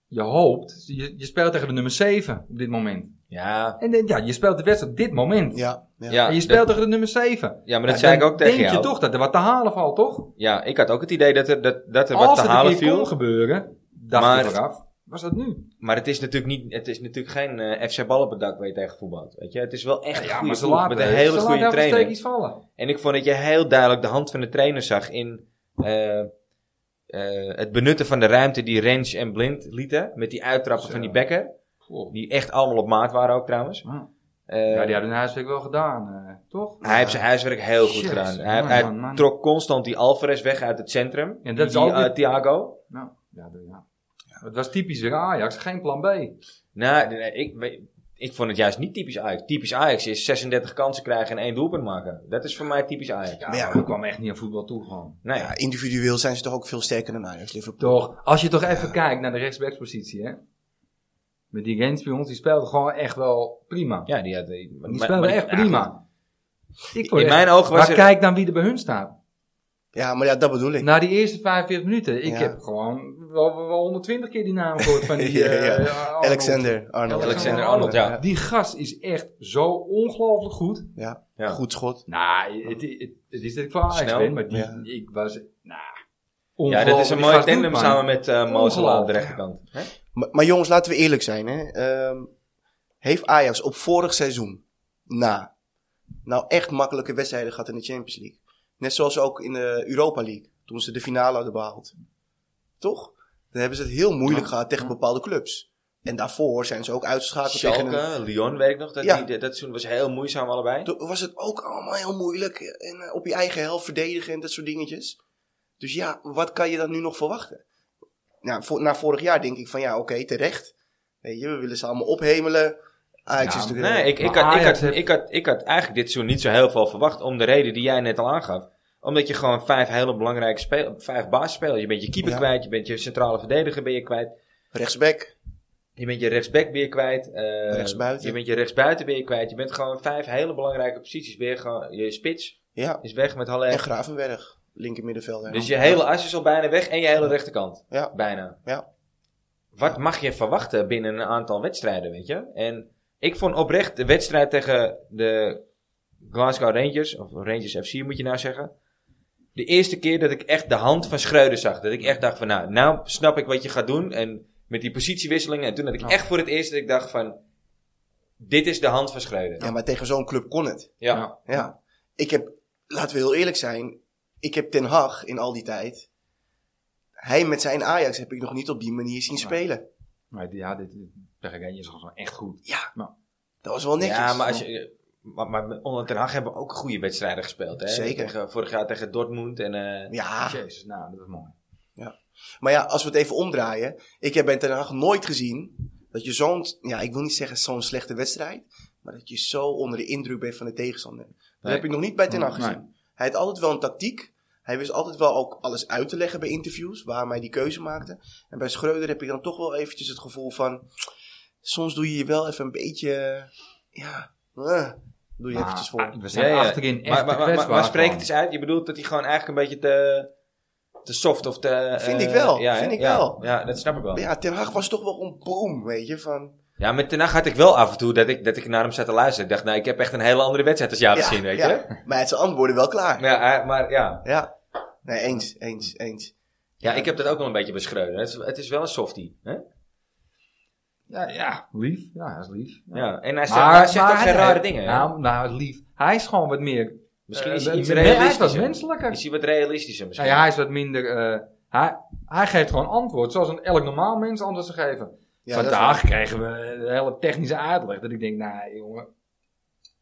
Speaker 2: Je hoopt, je, je speelt tegen de nummer 7 op dit moment.
Speaker 1: Ja,
Speaker 2: En dan- ja, je speelt de wedstrijd op dit moment.
Speaker 3: Ja. ja.
Speaker 1: Ja.
Speaker 2: en je
Speaker 1: dat-
Speaker 2: speelt tegen de nummer 7.
Speaker 1: Ja, maar dat zei ik ook tegen
Speaker 2: denk
Speaker 1: jou.
Speaker 2: je toch dat er wat te halen valt, toch?
Speaker 1: Ja, ik had ook het idee dat er, dat, dat er wat
Speaker 2: Als
Speaker 1: te
Speaker 2: het een
Speaker 1: halen
Speaker 2: keer kon
Speaker 1: viel.
Speaker 2: gebeuren, dacht
Speaker 1: Maar-
Speaker 2: ik vooraf, was dat nu?
Speaker 1: Maar het is natuurlijk, niet, het is natuurlijk geen eh, FC Bal op het dak waar je tegen voetbalt. Weet je? Het is wel echt een
Speaker 2: Ja,
Speaker 1: goede
Speaker 2: maar ze
Speaker 1: ploeg
Speaker 2: laten,
Speaker 1: met een hele
Speaker 2: ze
Speaker 1: goede
Speaker 2: laten
Speaker 1: trainer.
Speaker 2: steekjes vallen.
Speaker 1: En ik vond dat je heel duidelijk de hand van de trainer zag in eh, eh, het benutten van de ruimte die Rens en Blind lieten. Met die uittrappen
Speaker 2: Zo.
Speaker 1: van die bekker.
Speaker 2: Goh.
Speaker 1: Die echt allemaal op maat waren ook trouwens.
Speaker 2: Ja,
Speaker 1: Eh,
Speaker 2: die hebben hun huiswerk wel gedaan, eh, toch?
Speaker 1: hij heeft zijn huiswerk heel goed
Speaker 2: Jezus,
Speaker 1: gedaan. Hij,
Speaker 2: man,
Speaker 1: hij
Speaker 2: man, man.
Speaker 1: trok constant die Alvarez weg uit het centrum.
Speaker 2: Ja, dat is
Speaker 1: die,
Speaker 2: ook weer-
Speaker 1: eh, Thiago.
Speaker 2: Nou, ja, dat- ja. Het was typisch weer Ajax, geen plan B.
Speaker 1: Nou, nee, nee, ik, we- ik vond het juist niet typisch Ajax. Typisch Ajax is 36 kansen krijgen en één doelpunt maken. Dat is voor mij typisch Ajax.
Speaker 2: Ja,
Speaker 3: Maar ja.
Speaker 2: maar ik kwam echt niet aan voetbal toe gewoon.
Speaker 1: Nou
Speaker 3: Ja,
Speaker 1: ja,
Speaker 3: individueel zijn ze toch ook veel sterker dan Ajax Liverpool.
Speaker 2: Toch, als je toch even kijkt naar de rechtsbackspositie, hè. Met die Rens bij ons, die speelde gewoon echt wel prima.
Speaker 1: ja die had... Die, maar-
Speaker 2: die
Speaker 1: maar-
Speaker 2: speelde
Speaker 1: maar-
Speaker 2: echt
Speaker 1: ja, goed.
Speaker 2: prima. Ik word
Speaker 1: In
Speaker 2: echt-
Speaker 1: mijn ogen was
Speaker 2: maar
Speaker 1: er...
Speaker 2: kijk dan wie er bij hun staat.
Speaker 3: Ja, maar ja, dat bedoel ik.
Speaker 2: Na die eerste 45 minuten, ik
Speaker 3: Ja.
Speaker 2: heb gewoon wel, wel 120 keer die naam gehoord
Speaker 3: <laughs>
Speaker 2: van die...
Speaker 3: Ja,
Speaker 2: eh,
Speaker 3: ja.
Speaker 2: eh, Arnold.
Speaker 3: Alexander Arnold.
Speaker 1: Alexander Arnold, ja.
Speaker 2: Die gast is echt zo ongelooflijk goed.
Speaker 3: Ja,
Speaker 1: Ja.
Speaker 3: goed schot.
Speaker 2: Nou, het, het, het is dat ik voor Ajax
Speaker 1: Snel.
Speaker 2: ben, maar die,
Speaker 3: Ja.
Speaker 2: ik was... Nou,
Speaker 1: Ja, dat is een mooie tandem samen met eh Mozela aan de
Speaker 2: Ongelooflijk.
Speaker 1: rechterkant. Hè?
Speaker 3: Maar, maar jongens, laten we eerlijk zijn. Hè. Ehm, heeft Ajax op vorig seizoen, na, nou echt makkelijke wedstrijden gehad in de Champions League? Net zoals ook in de Europa League, toen ze de finale hadden behaald. Toch? Dan hebben ze het heel moeilijk
Speaker 2: Ja.
Speaker 3: gehad tegen
Speaker 2: Ja.
Speaker 3: bepaalde clubs. En daarvoor zijn ze ook uitgeschakeld tegen een...
Speaker 1: Schalke, Lyon weet ik nog. Dat,
Speaker 3: Ja.
Speaker 1: die, dat seizoen was heel moeizaam allebei.
Speaker 3: Toen was het ook allemaal heel moeilijk. En eh, op je eigen helft verdedigen en dat soort dingetjes. Dus ja, wat kan je dan nu nog verwachten? Nou, voor, na vorig jaar denk ik van ja, oké, terecht. Weet je, we willen ze allemaal ophemelen. Ajax
Speaker 2: Ja,
Speaker 3: is natuurlijk...
Speaker 1: Nee, ik, ik,
Speaker 2: Maar
Speaker 1: had, ik, had,
Speaker 2: Ajax heeft-
Speaker 1: ik, had, ik had eigenlijk dit seizoen niet zo heel veel verwacht. Om de reden die jij net al aangaf. Omdat je gewoon vijf hele belangrijke spelers, vijf basisspelers. Je bent je keeper
Speaker 3: Ja.
Speaker 1: kwijt, je bent je centrale verdediger ben je kwijt.
Speaker 3: Rechtsback.
Speaker 1: Je bent je rechtsback weer kwijt. eh,
Speaker 3: Rechtsbuiten.
Speaker 1: Je bent je rechtsbuiten weer kwijt. Je bent gewoon vijf hele belangrijke posities weer. Gewoon, je spits
Speaker 3: Ja,
Speaker 1: is weg met
Speaker 3: en
Speaker 1: Haller.
Speaker 3: Gravenberg. Linker middenvelder.
Speaker 1: Dus je hele as is al bijna weg en je hele rechterkant.
Speaker 3: Ja.
Speaker 1: Bijna.
Speaker 3: Ja.
Speaker 1: Wat mag je verwachten binnen een aantal wedstrijden, weet je? En ik vond oprecht de wedstrijd tegen de Glasgow Rangers, of Rangers FC moet je nou zeggen. De eerste keer dat ik echt de hand van Schreuder zag. Dat ik echt dacht van, nou, nou snap ik wat je gaat doen. En met die positiewisselingen. En toen had ik
Speaker 2: Ja.
Speaker 1: echt voor het eerst dat ik dacht van, dit is de hand van Schreuder.
Speaker 3: Ja, maar tegen zo'n club kon het.
Speaker 1: Ja.
Speaker 2: Ja.
Speaker 3: Ja. Ik heb, laten we heel eerlijk zijn. Ik heb Ten Hag in al die tijd. Hij met zijn Ajax heb ik nog niet op die manier zien
Speaker 2: Nee.
Speaker 3: spelen.
Speaker 2: Maar die- ja, dit, dit Bergenje is gewoon echt goed.
Speaker 3: Dat was wel netjes.
Speaker 1: Nou. Ja, maar, als je, maar, maar onder Ten Hag hebben we ook goede wedstrijden gespeeld. Hè?
Speaker 3: Zeker.
Speaker 1: Tegen, vorig jaar tegen Dortmund. En, eh,
Speaker 3: Ja,
Speaker 2: Jezus, nou, dat is mooi.
Speaker 3: Maar ja, als we het even omdraaien. Ik heb bij Ten Hag nooit gezien dat je zo'n, ja, ik wil niet zeggen zo'n slechte wedstrijd. Maar dat je zo onder de indruk bent van de tegenstander. Dat
Speaker 1: Nee.
Speaker 3: heb ik nog niet bij Ten Hag
Speaker 2: Nee.
Speaker 3: gezien. Hij had altijd wel een tactiek. Hij wist altijd wel ook alles uit te leggen bij interviews. Waarom hij die keuze maakte. En bij Schreuder heb ik dan toch wel eventjes het gevoel van. Soms doe je je wel even een beetje. Ja, eh, doe je eventjes voor.
Speaker 2: Ah, We zijn
Speaker 1: Ja, ja.
Speaker 2: achterin echt
Speaker 1: Maar, maar, maar, maar,
Speaker 2: kwetsbaar
Speaker 1: maar spreek het
Speaker 2: gewoon.
Speaker 1: eens uit. Je bedoelt dat hij gewoon eigenlijk een beetje te, te soft of te...
Speaker 3: Vind
Speaker 1: eh,
Speaker 3: ik wel,
Speaker 1: Ja,
Speaker 3: vind
Speaker 1: hè?
Speaker 3: ik
Speaker 1: Ja,
Speaker 3: wel.
Speaker 1: Ja, dat snap ik wel.
Speaker 3: Maar ja, Ten Hag was toch wel een boom, weet je. Van,
Speaker 1: Ja, met Ten Hag had ik wel af en toe dat ik, dat ik naar hem zat te luisteren. Ik dacht, nou, ik heb echt een hele andere wedstrijd als jou
Speaker 3: ja,
Speaker 1: gezien, weet
Speaker 3: ja.
Speaker 1: je.
Speaker 3: Maar het zijn antwoorden wel klaar.
Speaker 1: Ja, hij- maar ja.
Speaker 3: Ja, nee, eens, eens, eens.
Speaker 1: ja, ik heb dat ook nog een beetje beschreven. Het is, het is wel een softie. Hè?
Speaker 2: Ja, ja, lief. Ja, hij is lief. Ja.
Speaker 1: Ja. En hij zegt, hij zegt ook geen rare dingen. hè?
Speaker 2: Nou, nou, lief. Hij is gewoon wat meer...
Speaker 1: Misschien
Speaker 2: eh,
Speaker 1: is hij
Speaker 2: mens-
Speaker 1: iets
Speaker 2: nee, Hij is wat
Speaker 1: realistischer.
Speaker 2: menselijker.
Speaker 1: Is hij wat realistischer
Speaker 2: Ja,
Speaker 1: misschien?
Speaker 2: ja, hij is wat minder... eh, hij, hij geeft gewoon antwoord. Zoals een elk normaal mens antwoord zou geven.
Speaker 3: Ja, dat is
Speaker 2: Vandaag krijgen we een hele technische uitleg. Dat ik denk, nou jongen...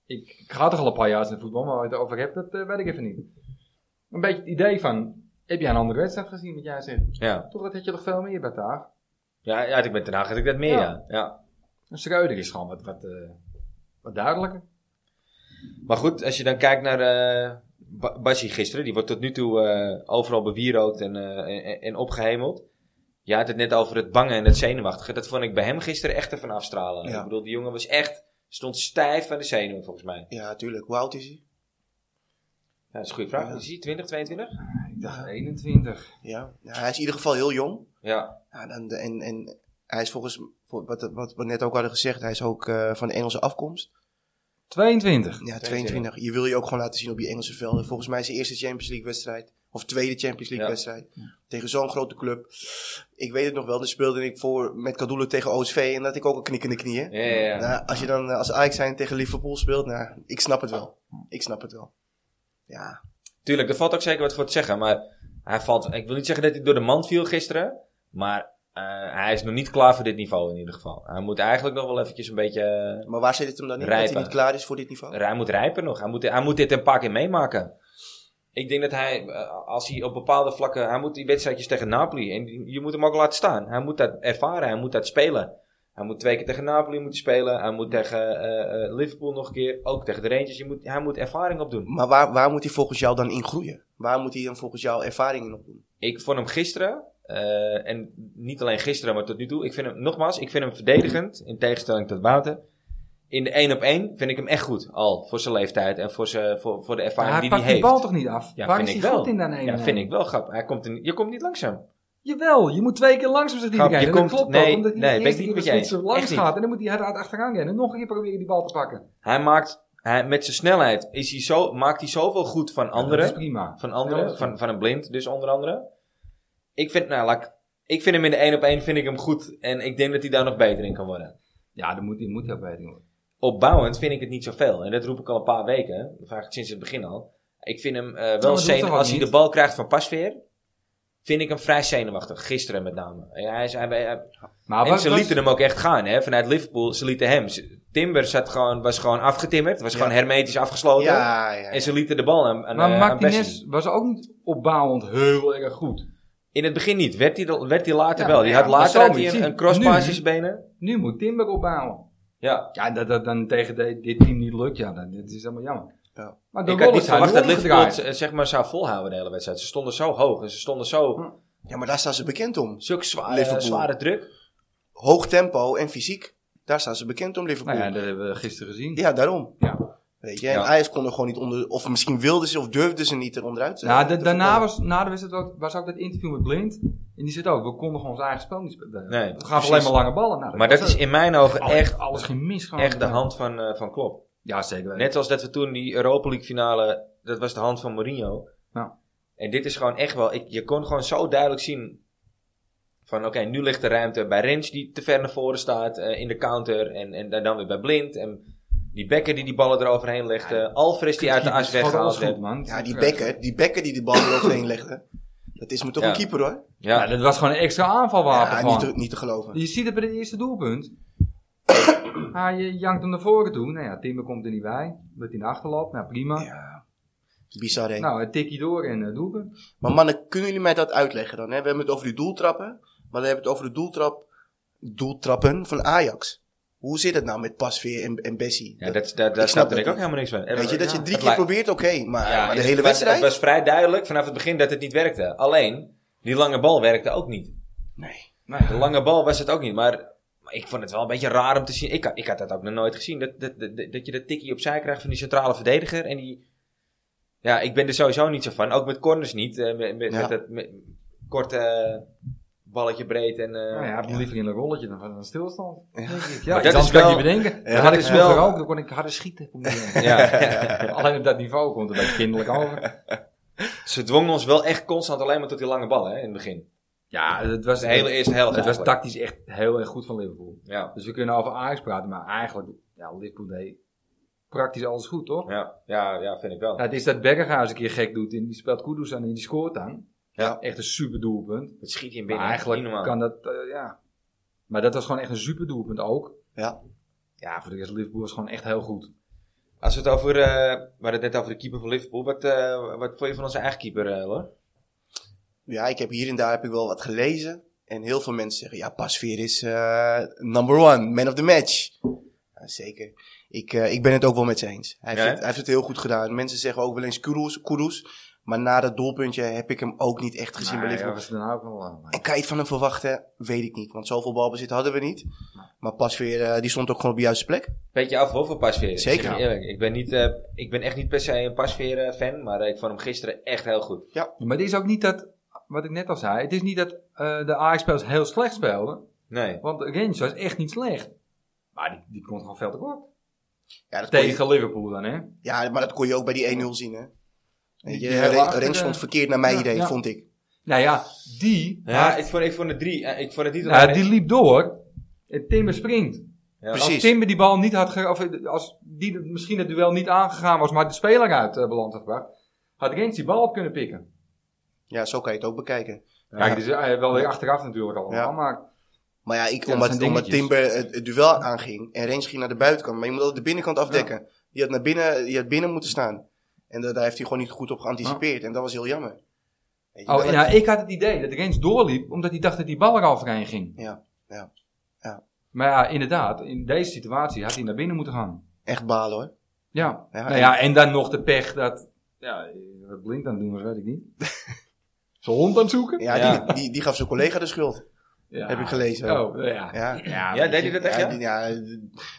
Speaker 2: Ik, ik ga toch al een paar jaar in het voetbal, maar waar je het over hebt, dat eh, weet ik even niet. Een beetje het idee van... Heb jij een andere wedstrijd gezien wat jij zegt?
Speaker 1: Ja.
Speaker 2: Toch, dat had je toch veel meer bij Taag?
Speaker 1: Ja, ja, ik ben Ten Hag had ik dat meer,
Speaker 2: Ja.
Speaker 1: ja. ja.
Speaker 2: Een Schreuder is gewoon wat, wat, eh, wat duidelijker.
Speaker 1: Maar goed, als je dan kijkt naar eh Ba- Bassi gisteren, die wordt tot nu toe eh, overal bewierookt en, eh, en, en opgehemeld. Je had het net over het bangen en het zenuwachtige. Dat vond ik bij hem gisteren echt ervan afstralen.
Speaker 3: Ja.
Speaker 1: Ik bedoel, die jongen was echt, stond stijf aan de zenuwen volgens mij.
Speaker 3: Ja, tuurlijk. Hoe oud is hij?
Speaker 1: Ja, dat is een goede vraag.
Speaker 3: Ja.
Speaker 1: Is hij 20, 22?
Speaker 2: Ik dacht 21.
Speaker 3: Ja. Nou, hij is in ieder geval heel jong.
Speaker 1: Ja.
Speaker 3: Ja, dan, de- en, en hij is volgens, voor- wat, wat we net ook hadden gezegd, hij is ook eh, van de Engelse afkomst.
Speaker 2: 22.
Speaker 3: Ja, 22. Je wil je ook gewoon laten zien op die Engelse velden. Volgens mij zijn eerste Champions League wedstrijd. Of tweede Champions League
Speaker 1: Ja.
Speaker 3: wedstrijd. Tegen zo'n grote club. Ik weet het nog wel, dan speelde ik voor met Kadoelen tegen OSV en dat ik ook een knik in de knieën.
Speaker 1: Ja, ja, ja.
Speaker 3: Nou, als je dan eh, als Ajax zijn tegen Liverpool speelt, nou, ik snap het wel. Ik snap het wel. Ja,
Speaker 1: Tuurlijk, er valt ook zeker wat voor te zeggen. Maar hij valt, ik wil niet zeggen dat hij door de mand viel gisteren. Maar eh, hij is nog niet klaar voor dit niveau in ieder geval. Hij moet eigenlijk nog wel eventjes een beetje... eh,
Speaker 3: Maar waar zit het hem dan in? Dat
Speaker 1: Rijpen.
Speaker 3: hij niet klaar is voor dit niveau?
Speaker 1: Hij moet rijpen nog. Hij moet, hij moet dit een paar keer meemaken. Ik denk dat hij, eh, als hij op bepaalde vlakken... Hij moet die wedstrijdjes tegen Napoli... En je moet hem ook laten staan. Hij moet dat ervaren. Hij moet dat spelen. Hij moet twee keer tegen Napoli moeten spelen. Hij moet tegen eh, eh, Liverpool nog een keer. Ook tegen de Rangers. Je moet, hij moet ervaring opdoen.
Speaker 3: Maar waar, waar moet hij volgens jou dan in groeien? Waar moet hij dan volgens jou ervaring in opdoen?
Speaker 1: Ik vond hem gisteren, eh, en niet alleen gisteren, maar tot nu toe. Ik vind hem, nogmaals, ik vind hem verdedigend, in tegenstelling tot Wouter. In de 1 op 1 vind ik hem echt goed, al, voor zijn leeftijd en voor, zijn, voor, voor de
Speaker 2: Maar
Speaker 1: ervaring
Speaker 2: hij
Speaker 1: die
Speaker 2: pakt
Speaker 1: hij
Speaker 2: die
Speaker 1: heeft.
Speaker 2: bal toch niet af?
Speaker 1: Ja,
Speaker 2: Waar
Speaker 1: vind
Speaker 2: is
Speaker 1: ik
Speaker 2: hij
Speaker 1: wel.
Speaker 2: goed in dan eh? een?
Speaker 1: ja, vind ik wel grappig. Hij komt er niet- je komt niet langzaam.
Speaker 2: Jawel, je moet twee keer langs zitten
Speaker 1: Grap,
Speaker 2: die
Speaker 1: je
Speaker 2: kijken. Dat
Speaker 1: komt-
Speaker 2: klopt
Speaker 1: nee,
Speaker 2: ook, omdat hij
Speaker 1: nee, ben
Speaker 2: de
Speaker 1: ik
Speaker 2: eerste
Speaker 1: niet
Speaker 2: keer
Speaker 1: met
Speaker 2: de
Speaker 1: je
Speaker 2: spits
Speaker 1: eens.
Speaker 2: langs
Speaker 1: Echt niet.
Speaker 2: gaat en dan moet hij hard achteraan gaan en nog een keer proberen die bal te pakken.
Speaker 1: Hij maakt, hij, met zijn snelheid, is hij zo, maakt hij zoveel goed van anderen.
Speaker 2: Dat is prima.
Speaker 1: Van
Speaker 2: Ja,
Speaker 1: anderen,
Speaker 2: dat is
Speaker 1: van, van een blind dus onder andere. Ik vind, nou, laat ik- ik vind hem in de 1 op 1 vind ik hem goed. En ik denk dat hij daar nog beter in kan worden.
Speaker 2: Ja, dat moet, dat moet hij ook weten. jongen.
Speaker 1: opbouwend vind ik het niet zoveel. En dat roep ik al een paar weken, vaak sinds het begin al. Ik vind hem eh,
Speaker 2: Nou, dat
Speaker 1: wel
Speaker 2: hoeft toch
Speaker 1: zenuwachtig.
Speaker 2: ook
Speaker 1: Als hij
Speaker 2: niet?
Speaker 1: de bal krijgt van Pasveer, vind ik hem vrij zenuwachtig. Gisteren met name. Ja, hij is, hij, hij-
Speaker 2: Maar
Speaker 1: en
Speaker 2: Ah, wat-
Speaker 1: ze
Speaker 2: wat-
Speaker 1: lieten hem ook echt gaan, hè. Vanuit Liverpool, ze lieten hem. Ze- Timber zat gewoon, was gewoon afgetimmerd. Was
Speaker 3: Ja.
Speaker 1: gewoon hermetisch
Speaker 2: Oh,
Speaker 1: afgesloten.
Speaker 3: Ja, ja.
Speaker 1: En ze lieten de bal aan, aan,
Speaker 2: maar
Speaker 1: eh, aan Bessie.
Speaker 2: Martinez was ook niet opbouwend heel erg goed.
Speaker 1: In het begin niet. Werd hij, dan- werd hij later
Speaker 2: Ja,
Speaker 1: wel.
Speaker 2: maar
Speaker 1: Die
Speaker 2: ja,
Speaker 1: had
Speaker 2: maar
Speaker 1: later
Speaker 2: zo
Speaker 1: had
Speaker 2: moet je
Speaker 1: hij een,
Speaker 2: zien.
Speaker 1: een crosspass
Speaker 2: Nu-
Speaker 1: in zijn benen.
Speaker 2: Nu moet Timber opbouwen.
Speaker 1: Ja.
Speaker 2: Ja, dat dat dan tegen de- dit team niet lukt, ja, dat, dat is helemaal jammer.
Speaker 3: Ja.
Speaker 2: Maar de
Speaker 1: Ik had
Speaker 2: rol
Speaker 1: niet
Speaker 2: is daar
Speaker 1: verwacht
Speaker 2: nu
Speaker 1: dat Liverpool het,
Speaker 2: omgedraaid.
Speaker 1: eh, zeg maar, zou volhouden de hele wedstrijd. Ze stonden zo hoog en ze stonden zo...
Speaker 2: Hm.
Speaker 3: ja, maar daar staan ze bekend om.
Speaker 1: Zulke zware,
Speaker 3: Liverpool.
Speaker 1: zware druk.
Speaker 3: Hoog tempo en fysiek. Daar staan ze bekend om, Liverpool.
Speaker 2: Nou ja,
Speaker 3: ja,
Speaker 2: dat hebben we gisteren gezien.
Speaker 3: daarom.
Speaker 2: Ja.
Speaker 3: Weet je, en
Speaker 1: Ja.
Speaker 3: Ajax kon er gewoon niet onder... Of misschien wilden ze of durfden ze niet eronder uit. eh,
Speaker 2: Nou, da-
Speaker 3: te
Speaker 2: daarna
Speaker 3: voetballen.
Speaker 2: was, na de wedstrijd ook, was ook dat interview met Blind. En die zit ook, we konden gewoon ons eigen spel niet spelen.
Speaker 1: Nee,
Speaker 2: we
Speaker 1: precies.
Speaker 2: gaven alleen maar lange ballen. Nou,
Speaker 1: Maar dat
Speaker 2: was
Speaker 1: is in mijn ogen
Speaker 2: alles-
Speaker 1: echt,
Speaker 2: Alles geen mis gewoon.
Speaker 1: echt de hand van, eh, van Klopp.
Speaker 2: Ja, zeker. weten.
Speaker 1: Net als dat we toen die Europa League finale, dat was de hand van Mourinho.
Speaker 2: Ja.
Speaker 1: En dit is gewoon echt wel, ik, je kon gewoon zo duidelijk zien van oké, nu ligt de ruimte bij Rens die te ver naar voren staat eh, in de counter. En, en dan weer bij Blind. En die Becker die die ballen eroverheen legt. eh, Alvarez die uit de as
Speaker 2: Schoot alles
Speaker 1: weggehaald
Speaker 2: goed,
Speaker 1: werd.
Speaker 2: man.
Speaker 3: Ja, die bekken, die bekken die de bal eroverheen legde. Dat is me toch
Speaker 1: Ja.
Speaker 3: een keeper, hoor.
Speaker 2: Ja,
Speaker 1: Ja,
Speaker 2: dat was gewoon een extra aanvalwapen.
Speaker 3: Ja,
Speaker 2: gewoon.
Speaker 3: niet te, niet te geloven.
Speaker 2: Je ziet het bij het eerste doelpunt. Ah, Hij eh, jankt hem naar voren toe. Nou ja, Timber komt er niet bij. Wordt hij naar achter loopt. Nou, prima.
Speaker 3: Ja. Bizar heen.
Speaker 2: Nou, een tikkie door en eh doelpunt.
Speaker 3: Maar mannen, kunnen jullie mij dat uitleggen dan? Hè? We hebben het over die doeltrappen. Maar we hebben het over de doeltrap, doeltrappen van Ajax. Hoe zit het nou met Pasveer en, en Bessie?
Speaker 1: Ja, dat, dat,
Speaker 3: snap
Speaker 1: daar snapte
Speaker 3: dat
Speaker 1: ik ook
Speaker 3: niet.
Speaker 1: helemaal niks van.
Speaker 3: Weet je, dat
Speaker 2: ja,
Speaker 3: je drie
Speaker 1: het
Speaker 3: keer
Speaker 1: lijkt-
Speaker 3: probeert, oké. maar,
Speaker 1: Ja,
Speaker 3: maar de
Speaker 1: het
Speaker 3: hele
Speaker 1: was-
Speaker 3: wedstrijd?
Speaker 1: Het was vrij duidelijk vanaf het begin dat het niet werkte. Alleen, die lange bal werkte ook niet.
Speaker 3: Nee.
Speaker 2: Nou ja,
Speaker 1: De lange bal was het ook niet, maar, maar ik vond het wel een beetje raar om te zien. Ik, had- ik had dat ook nog nooit gezien. Dat, dat, dat, dat je dat tikkie opzij krijgt van die centrale verdediger. En die, ja, ik ben er sowieso niet zo van. Ook met corners niet. eh, met, met,
Speaker 3: Ja.
Speaker 1: met dat met- korte eh, balletje breed. En, eh,
Speaker 2: nou ja, heb je liever in een rolletje dan van een stilstand. denk ik. Ja,
Speaker 1: Maar
Speaker 2: dat
Speaker 1: dat
Speaker 2: is
Speaker 1: is wel-
Speaker 2: je bedenken.
Speaker 3: Ja,
Speaker 2: dat
Speaker 3: dat
Speaker 2: had ik
Speaker 3: is
Speaker 2: vroeger
Speaker 1: wel-
Speaker 2: ook, dan kon ik harder schieten. Kon ik-
Speaker 1: Ja.
Speaker 2: <laughs> Alleen op dat niveau komt het een beetje kinderlijk over.
Speaker 1: Ze dwongen ons wel echt constant alleen maar tot die lange bal hè, in het begin.
Speaker 2: Ja, het was,
Speaker 1: De hele eerste helft.
Speaker 2: het was
Speaker 1: eigenlijk.
Speaker 2: tactisch echt heel erg goed van Liverpool.
Speaker 1: Ja,
Speaker 2: Dus we kunnen over Ajax praten, maar eigenlijk, ja, Liverpool deed praktisch alles goed, toch?
Speaker 1: ja, ja, ja, vind ik wel.
Speaker 2: Ja, het is dat Berghuis een keer gek doet en die speelt Kudus aan en die scoort dan.
Speaker 1: Ja.
Speaker 2: Echt een super doelpunt.
Speaker 1: Het schiet je in
Speaker 2: Maar
Speaker 1: binnen.
Speaker 2: eigenlijk
Speaker 1: niet normaal.
Speaker 2: kan dat, eh, ja. Maar dat was gewoon echt een super doelpunt ook.
Speaker 3: Ja.
Speaker 2: Ja, voor de rest Liverpool was gewoon echt heel goed.
Speaker 1: Als we het over, eh, we hadden het net over de keeper van Liverpool. Wat, eh, wat vond je van onze eigen keeper, eh, hoor?
Speaker 3: Ja, ik heb hier en daar heb ik wel wat gelezen. En heel veel mensen zeggen, ja, Pasveer is eh, number one, man of the match. Ja, zeker. Ik, eh, ik ben het ook wel met ze eens. Hij,
Speaker 1: Ja,
Speaker 3: heeft,
Speaker 1: hè?
Speaker 3: het- hij heeft het heel goed gedaan. Mensen zeggen ook wel eens Kudus. Kudus. Maar na dat doelpuntje heb ik hem ook niet echt gezien
Speaker 2: Maar
Speaker 3: bij
Speaker 2: ja,
Speaker 3: Liverpool.
Speaker 2: was er nou ook wel aan.
Speaker 3: En kan je het van hem verwachten? Weet ik niet. Want zoveel balbezit hadden we niet. Maar Pasveer, eh, die stond ook gewoon op de juiste plek.
Speaker 1: Beetje af hoor, voor pasveer.
Speaker 3: Zeker.
Speaker 1: Ik, eerlijk, ik, ben niet, eh, ik ben echt niet per se een pasveer-fan, maar eh, ik vond hem gisteren echt heel goed.
Speaker 2: Maar het is ook niet dat, wat ik net al zei, het is niet dat eh, de Ajax-spelers heel slecht speelden.
Speaker 1: Nee.
Speaker 2: Want Rens was echt niet slecht. Maar die, die komt gewoon veel te kort.
Speaker 3: Ja, dat kon je-
Speaker 2: Tegen Liverpool dan, hè?
Speaker 3: ja, maar dat kon je ook bij die 1-0 zien, hè? Weet je,
Speaker 2: Die hele
Speaker 3: Ren-
Speaker 2: achter
Speaker 3: Rens
Speaker 2: de-
Speaker 3: stond verkeerd naar mijn
Speaker 2: Ja,
Speaker 3: idee,
Speaker 2: ja.
Speaker 3: vond ik.
Speaker 2: Nou ja, die,
Speaker 1: Ja, ik vond, ik vond het drie. eh, ik vond het niet
Speaker 2: nou,
Speaker 1: alleen-
Speaker 2: die liep door. En Timber springt.
Speaker 1: Ja,
Speaker 3: Precies.
Speaker 2: Als Timber die bal niet had ge- of als die misschien het duel niet aangegaan was, maar de speler uit eh, beland had gebracht, had Rens die bal op kunnen pikken.
Speaker 3: Ja, zo kan je het ook bekijken.
Speaker 2: Kijk, dus, eh, wel weer achteraf natuurlijk allemaal,
Speaker 3: Ja.
Speaker 2: maar
Speaker 3: Maar ja, ik,
Speaker 2: Ja, dat
Speaker 3: omdat,
Speaker 2: zijn
Speaker 3: omdat
Speaker 2: dingetjes.
Speaker 3: Timber het, het duel aanging en Rens ging naar de buitenkant. Maar je moet altijd de binnenkant afdekken. Die, had naar binnen, die had binnen moeten staan. En da- daar heeft hij gewoon niet goed op geanticipeerd. En dat was heel jammer. Weet je,
Speaker 2: oh,
Speaker 3: dat-
Speaker 2: ja, ik had het idee dat Rens doorliep, omdat hij dacht dat die bal er al voorheen ging.
Speaker 3: Ja, ja, ja.
Speaker 2: Maar ja, inderdaad, in deze situatie had hij naar binnen moeten gaan.
Speaker 3: Echt balen hoor.
Speaker 2: Ja.
Speaker 3: Ja,
Speaker 2: nou
Speaker 3: en-
Speaker 2: ja, en dan nog de pech dat, ja, wat Blink aan het doen was, weet ik niet. Zijn hond aan het zoeken?
Speaker 3: Ja,
Speaker 1: Ja.
Speaker 3: Die, die, die gaf zijn collega de schuld.
Speaker 2: Ja.
Speaker 3: Heb ik gelezen.
Speaker 2: Oh, ja.
Speaker 3: Ja.
Speaker 1: Ja, deed hij dat echt, ja?
Speaker 3: Ja, die, ja,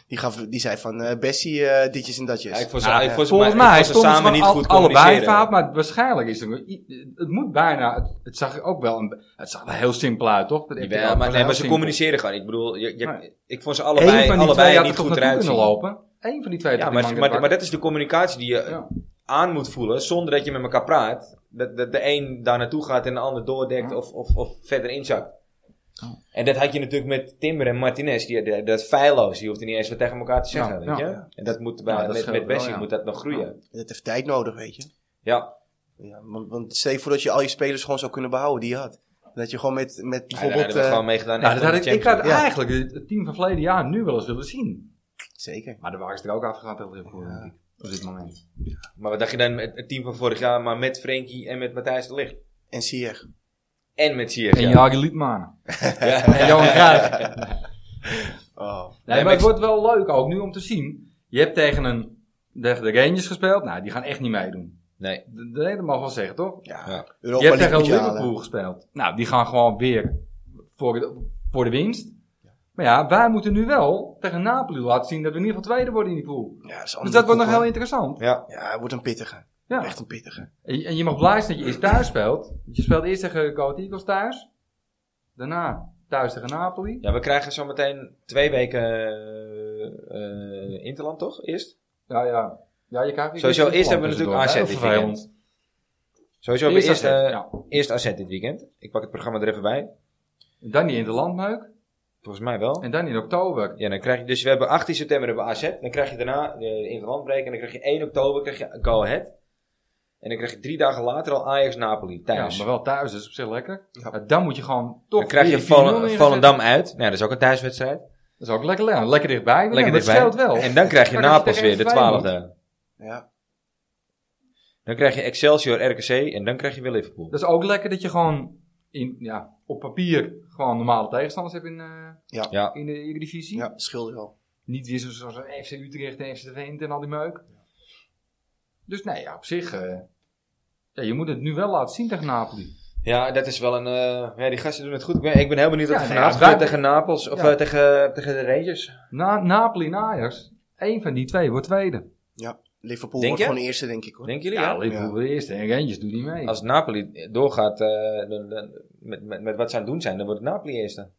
Speaker 3: die, gaf, die zei van eh, Bessie, eh, ditjes en datjes.
Speaker 1: Ja, ik vond ze,
Speaker 2: Nou,
Speaker 1: ik vond ze-
Speaker 2: Volgens
Speaker 1: maar ik
Speaker 2: mij
Speaker 1: vond ze
Speaker 2: stonden ze
Speaker 1: samen
Speaker 2: van
Speaker 1: niet
Speaker 2: al-
Speaker 1: goed
Speaker 2: allebei
Speaker 1: communiceren.
Speaker 2: fout, maar waarschijnlijk is het... nog- i- Het moet bijna... Het, het zag er ook wel... Een, het zag er heel simpel uit, toch? Dat heb je
Speaker 1: Jawel,
Speaker 2: ook wel
Speaker 1: maar, nee,
Speaker 2: heel
Speaker 1: maar ze
Speaker 2: simpel.
Speaker 1: communiceren gewoon. Ik bedoel, je, je-
Speaker 2: Nee.
Speaker 1: ik vond ze
Speaker 2: Eén
Speaker 1: allebei,
Speaker 2: van die twee
Speaker 1: allebei
Speaker 2: had
Speaker 1: niet
Speaker 2: er toch
Speaker 1: goed
Speaker 2: naartoe
Speaker 1: eruit zien.
Speaker 2: kunnen lopen? Eén van die twee had
Speaker 1: Ja,
Speaker 2: er
Speaker 1: maar,
Speaker 2: niet
Speaker 1: maar,
Speaker 2: aan
Speaker 1: maar
Speaker 2: de
Speaker 1: dat is de communicatie die je
Speaker 2: bak. Ja.
Speaker 1: aan moet voelen zonder dat je met elkaar praat. Dat, dat de een daar naartoe gaat en de ander doordekt
Speaker 2: Ja.
Speaker 1: of, of, of verder inzakt.
Speaker 2: Oh.
Speaker 1: En dat had je natuurlijk met Timber en Martinez. Die, die- dat is feilloos. Die hoefde niet eens wat tegen elkaar te zeggen.
Speaker 2: Ja,
Speaker 1: weet
Speaker 2: ja.
Speaker 1: je? En dat moet bij,
Speaker 2: Ja, dat
Speaker 1: met,
Speaker 2: scheelt
Speaker 1: met Bessie
Speaker 2: wel, ja.
Speaker 1: moet dat nog groeien.
Speaker 3: Dat heeft tijd nodig, weet je.
Speaker 1: Ja.
Speaker 3: Ja, want, want stel je voor dat je al je spelers gewoon zou kunnen behouden die je had. Dat je gewoon met, met
Speaker 1: Ja, daar
Speaker 3: bijvoorbeeld...
Speaker 1: hebben we
Speaker 3: eh,
Speaker 1: gewoon meegedaan.
Speaker 2: Nou,
Speaker 1: echt
Speaker 2: dat had
Speaker 1: om
Speaker 2: ik,
Speaker 1: de
Speaker 2: ik
Speaker 1: Champions
Speaker 2: had
Speaker 3: Ja.
Speaker 2: eigenlijk het het team van verleden jaar nu wel eens willen zien.
Speaker 3: zeker.
Speaker 2: Maar de waren ze er ook afgegaan tegen Liverpool,
Speaker 3: Ja.
Speaker 2: denk ik. Op dit moment.
Speaker 1: League. Maar wat dacht je dan met het team van vorig jaar, maar met Frenkie en met Matthijs de Ligt?
Speaker 3: En Sier.
Speaker 1: En met Sierra.
Speaker 2: En Jagi Liedman.
Speaker 1: Ja.
Speaker 2: En Johan Cruijff.
Speaker 3: Oh.
Speaker 2: Nee,
Speaker 1: Nee,
Speaker 2: maar
Speaker 1: maar
Speaker 2: het wordt wel leuk ook nu om te zien. Je hebt tegen, een, tegen de Rangers gespeeld. Nou, die gaan echt niet meedoen.
Speaker 1: Nee.
Speaker 2: De- de- Dat mag wel zeggen, toch?
Speaker 3: Ja,
Speaker 1: Ja.
Speaker 3: Europa
Speaker 2: je hebt
Speaker 3: League
Speaker 2: tegen
Speaker 3: moet je halen.
Speaker 2: Liverpool gespeeld. Nou, die gaan gewoon weer voor de, voor de winst. Maar ja, wij moeten nu wel tegen Napoli laten zien dat we in ieder geval tweede worden in die pool.
Speaker 3: Ja, is
Speaker 2: Dus
Speaker 3: andere
Speaker 2: dat wordt nog
Speaker 3: koek,
Speaker 2: heel
Speaker 3: hoor.
Speaker 2: interessant.
Speaker 1: Ja.
Speaker 3: Ja, het wordt een pittige.
Speaker 2: Ja.
Speaker 3: Echt een pittige.
Speaker 2: En en je mag blij zijn dat je eerst thuis speelt. Je speelt eerst tegen Goat Eagles thuis. Daarna thuis tegen Napoli.
Speaker 1: ja, we krijgen zometeen twee weken eh, eh, Interland, toch? Eerst?
Speaker 2: Ja, ja. Ja, Oh, je krijgt weer
Speaker 1: Sowieso, eerst hebben we
Speaker 2: tussendoor,
Speaker 1: natuurlijk
Speaker 2: hè.
Speaker 1: AZ dit
Speaker 2: Vervelend.
Speaker 1: Sowieso hebben we
Speaker 2: Eerst
Speaker 1: eerst,
Speaker 2: AZ,
Speaker 1: eh,
Speaker 2: ja.
Speaker 1: eerst AZ dit weekend. Ik pak het programma er even bij.
Speaker 2: Dan die in de landmeuk.
Speaker 1: Volgens mij wel.
Speaker 2: En dan in oktober.
Speaker 1: Ja, dan krijg je, dus we hebben 18 september hebben we AZ. Dan krijg je daarna de interlandbreken. En dan krijg je 1 oktober krijg je Go Ahead. En dan krijg je drie dagen later al Ajax-Napoli thuis.
Speaker 2: Ja, maar wel thuis, dus op zich lekker.
Speaker 3: Ja.
Speaker 2: Ja, dan moet je gewoon toch.
Speaker 1: dan krijg je
Speaker 2: weer 4-0
Speaker 1: Vallen,
Speaker 2: neerzetten.
Speaker 1: Volendam uit. Nou, dat is ook een thuiswedstrijd.
Speaker 2: Dat is ook lekker, lekker, lekker dichtbij.
Speaker 1: Lekker
Speaker 2: Lekker
Speaker 1: dichtbij.
Speaker 2: dichtbij. Dat scheelt wel.
Speaker 1: En dan krijg je
Speaker 2: Maar dat is
Speaker 1: Napels
Speaker 2: tegen
Speaker 1: weer, de
Speaker 2: Feyenoord.
Speaker 1: 12e.
Speaker 3: Ja.
Speaker 1: Dan krijg je Excelsior, RKC en dan krijg je weer Liverpool.
Speaker 2: Dat is ook lekker dat je gewoon in, ja, op papier gewoon normale tegenstanders hebt in, eh,
Speaker 1: Ja.
Speaker 2: in de Eredivisie.
Speaker 3: Ja, scheelt wel.
Speaker 2: Niet weer zo- zoals FC Utrecht en FC Twente en al die meuk. Dus nee, ja, op zich. eh, ja, je moet het nu wel laten zien tegen Napoli.
Speaker 1: Ja, dat is wel een. eh, ja, die gasten doen het goed. Ik ben, ik ben heel benieuwd wat
Speaker 2: Ja,
Speaker 1: er
Speaker 2: nee,
Speaker 1: vanavond
Speaker 2: ja,
Speaker 1: gebeurt
Speaker 2: wij-
Speaker 1: tegen Napels of
Speaker 2: Ja.
Speaker 1: eh, tegen, tegen de Rangers.
Speaker 2: Na, Napoli en Ajax, één van die twee wordt tweede.
Speaker 3: Liverpool
Speaker 1: Denk
Speaker 3: wordt
Speaker 1: je?
Speaker 3: gewoon eerste, denk ik hoor.
Speaker 1: Denken jullie? Ja,
Speaker 2: Liverpool wordt eerste en Rangers doet niet mee.
Speaker 1: Als Napoli doorgaat eh, dan- dan- met, met, met wat ze aan het doen zijn, dan wordt Napoli eerste.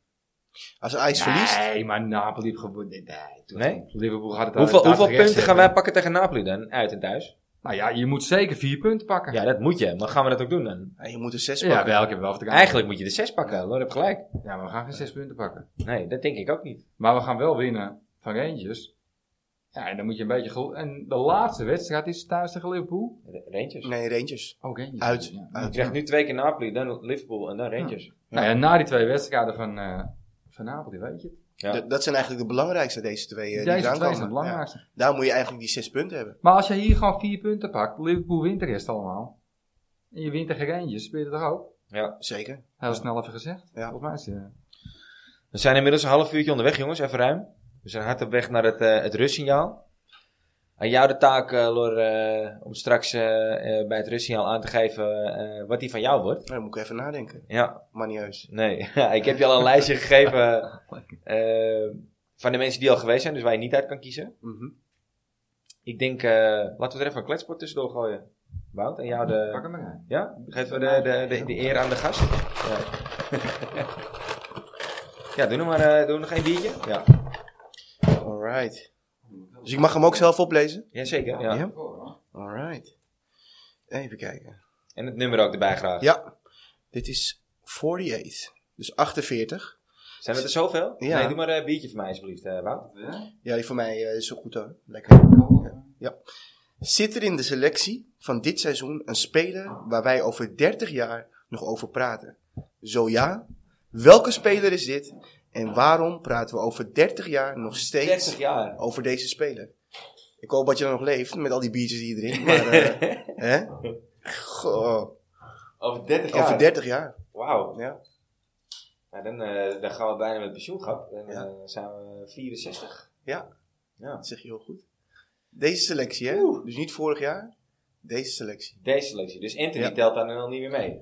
Speaker 3: Als Ajax verliest,
Speaker 2: Nee, maar Napoli heeft gewonnen. Nee, nee, toch.
Speaker 1: Nee?
Speaker 2: Liverpool gaat het
Speaker 1: Hoeveel,
Speaker 2: uit- uit
Speaker 1: hoeveel
Speaker 2: de rest
Speaker 1: punten gaan wij
Speaker 2: zetten.
Speaker 1: pakken tegen Napoli dan? Uit en thuis?
Speaker 2: Nou ja, je moet zeker vier punten pakken.
Speaker 1: Ja, dat moet je. Maar gaan we dat ook doen dan?
Speaker 3: ja, je moet er zes
Speaker 2: Ja,
Speaker 3: pakken.
Speaker 2: bij elke wel vertrouwen.
Speaker 1: Eigenlijk moet je de zes pakken. Lord heb gelijk.
Speaker 2: Ja, maar we gaan geen zes punten pakken.
Speaker 1: Nee, dat denk ik ook niet.
Speaker 2: Maar we gaan wel winnen van Rangers. Ja, en dan moet je een beetje... gel- En de laatste wedstrijd is thuis tegen Liverpool.
Speaker 1: R- Rangers.
Speaker 3: nee, Rangers.
Speaker 2: Ook Rangers.
Speaker 3: Uit.
Speaker 2: Ja.
Speaker 1: Je
Speaker 3: Uit.
Speaker 1: krijgt nu twee keer Napoli, dan Liverpool en dan Rangers.
Speaker 2: Nou ja, na die twee wedstrijden van, eh van Napoli, weet je. het.
Speaker 1: Ja.
Speaker 3: D- Dat zijn eigenlijk de belangrijkste, deze twee. eh, die
Speaker 2: Deze
Speaker 3: eraan
Speaker 2: twee zijn
Speaker 3: komen.
Speaker 2: het belangrijkste.
Speaker 3: Ja. Daar moet je eigenlijk die zes punten hebben.
Speaker 2: Maar als je hier gewoon vier punten pakt, Liverpool wint de rest allemaal. En je wint tegen Rangers, speel je toch ook?
Speaker 3: Zeker.
Speaker 2: Heel snel even gezegd.
Speaker 3: Ja.
Speaker 2: Volgens mij is het...
Speaker 1: We zijn inmiddels een half uurtje onderweg, jongens. Even ruim. We zijn hard op weg naar het, eh, het rustsignaal. Aan jou de taak, eh, Lor, eh, om straks eh, eh, bij het rustsignaal aan te geven eh, wat die van jou wordt.
Speaker 3: Nou, dan moet ik even nadenken.
Speaker 1: Ja,
Speaker 3: Manieus.
Speaker 1: nee. <laughs> ik heb je al een lijstje gegeven <laughs> eh, van de mensen die al geweest zijn, dus waar je niet uit kan kiezen.
Speaker 3: Mhm.
Speaker 1: Ik denk, eh, laten we er even een kletsport tussendoor gooien. Wout, en jou
Speaker 2: eh, Pak
Speaker 1: de...
Speaker 2: hem maar uit.
Speaker 1: Ja? Geef we de, de, de, de eer aan de gast. Ja, <laughs> ja doe nog maar eh, doe nog een biertje. Ja,
Speaker 3: Alright. Dus ik mag hem ook zelf oplezen?
Speaker 1: Jazeker. Ja.
Speaker 3: Ja. Alright. Even kijken.
Speaker 1: En het nummer ook erbij graag.
Speaker 3: Ja, dit is 48. Dus 48.
Speaker 1: Zijn het er zoveel?
Speaker 3: Ja.
Speaker 1: Nee, doe maar een biertje voor mij alsjeblieft, eh, Wout.
Speaker 3: Ja, die voor mij eh, is zo goed hoor. Lekker. Zit er in de selectie van dit seizoen een speler waar wij over 30 jaar nog over praten? Zo ja, welke speler is dit? En waarom praten we over 30 jaar nog steeds
Speaker 1: 30 jaar.
Speaker 3: over deze speler? Ik hoop dat je dan nog leeft met al die biertjes die je drinkt. Maar, eh, hè? Goh,
Speaker 1: Over 30 jaar.
Speaker 3: over 30 jaar.
Speaker 1: Wauw.
Speaker 3: Ja.
Speaker 1: Nou, dan, eh, dan gaan we bijna met pensioen gaan. Dan
Speaker 3: Ja.
Speaker 1: eh, zijn we 64.
Speaker 3: Ja.
Speaker 1: Ja.
Speaker 3: Dat zeg je heel goed. Deze selectie, hè? Dus niet vorig jaar. Deze selectie.
Speaker 1: Deze selectie. Dus Anthony
Speaker 3: Ja.
Speaker 1: telt daar dan al niet meer mee.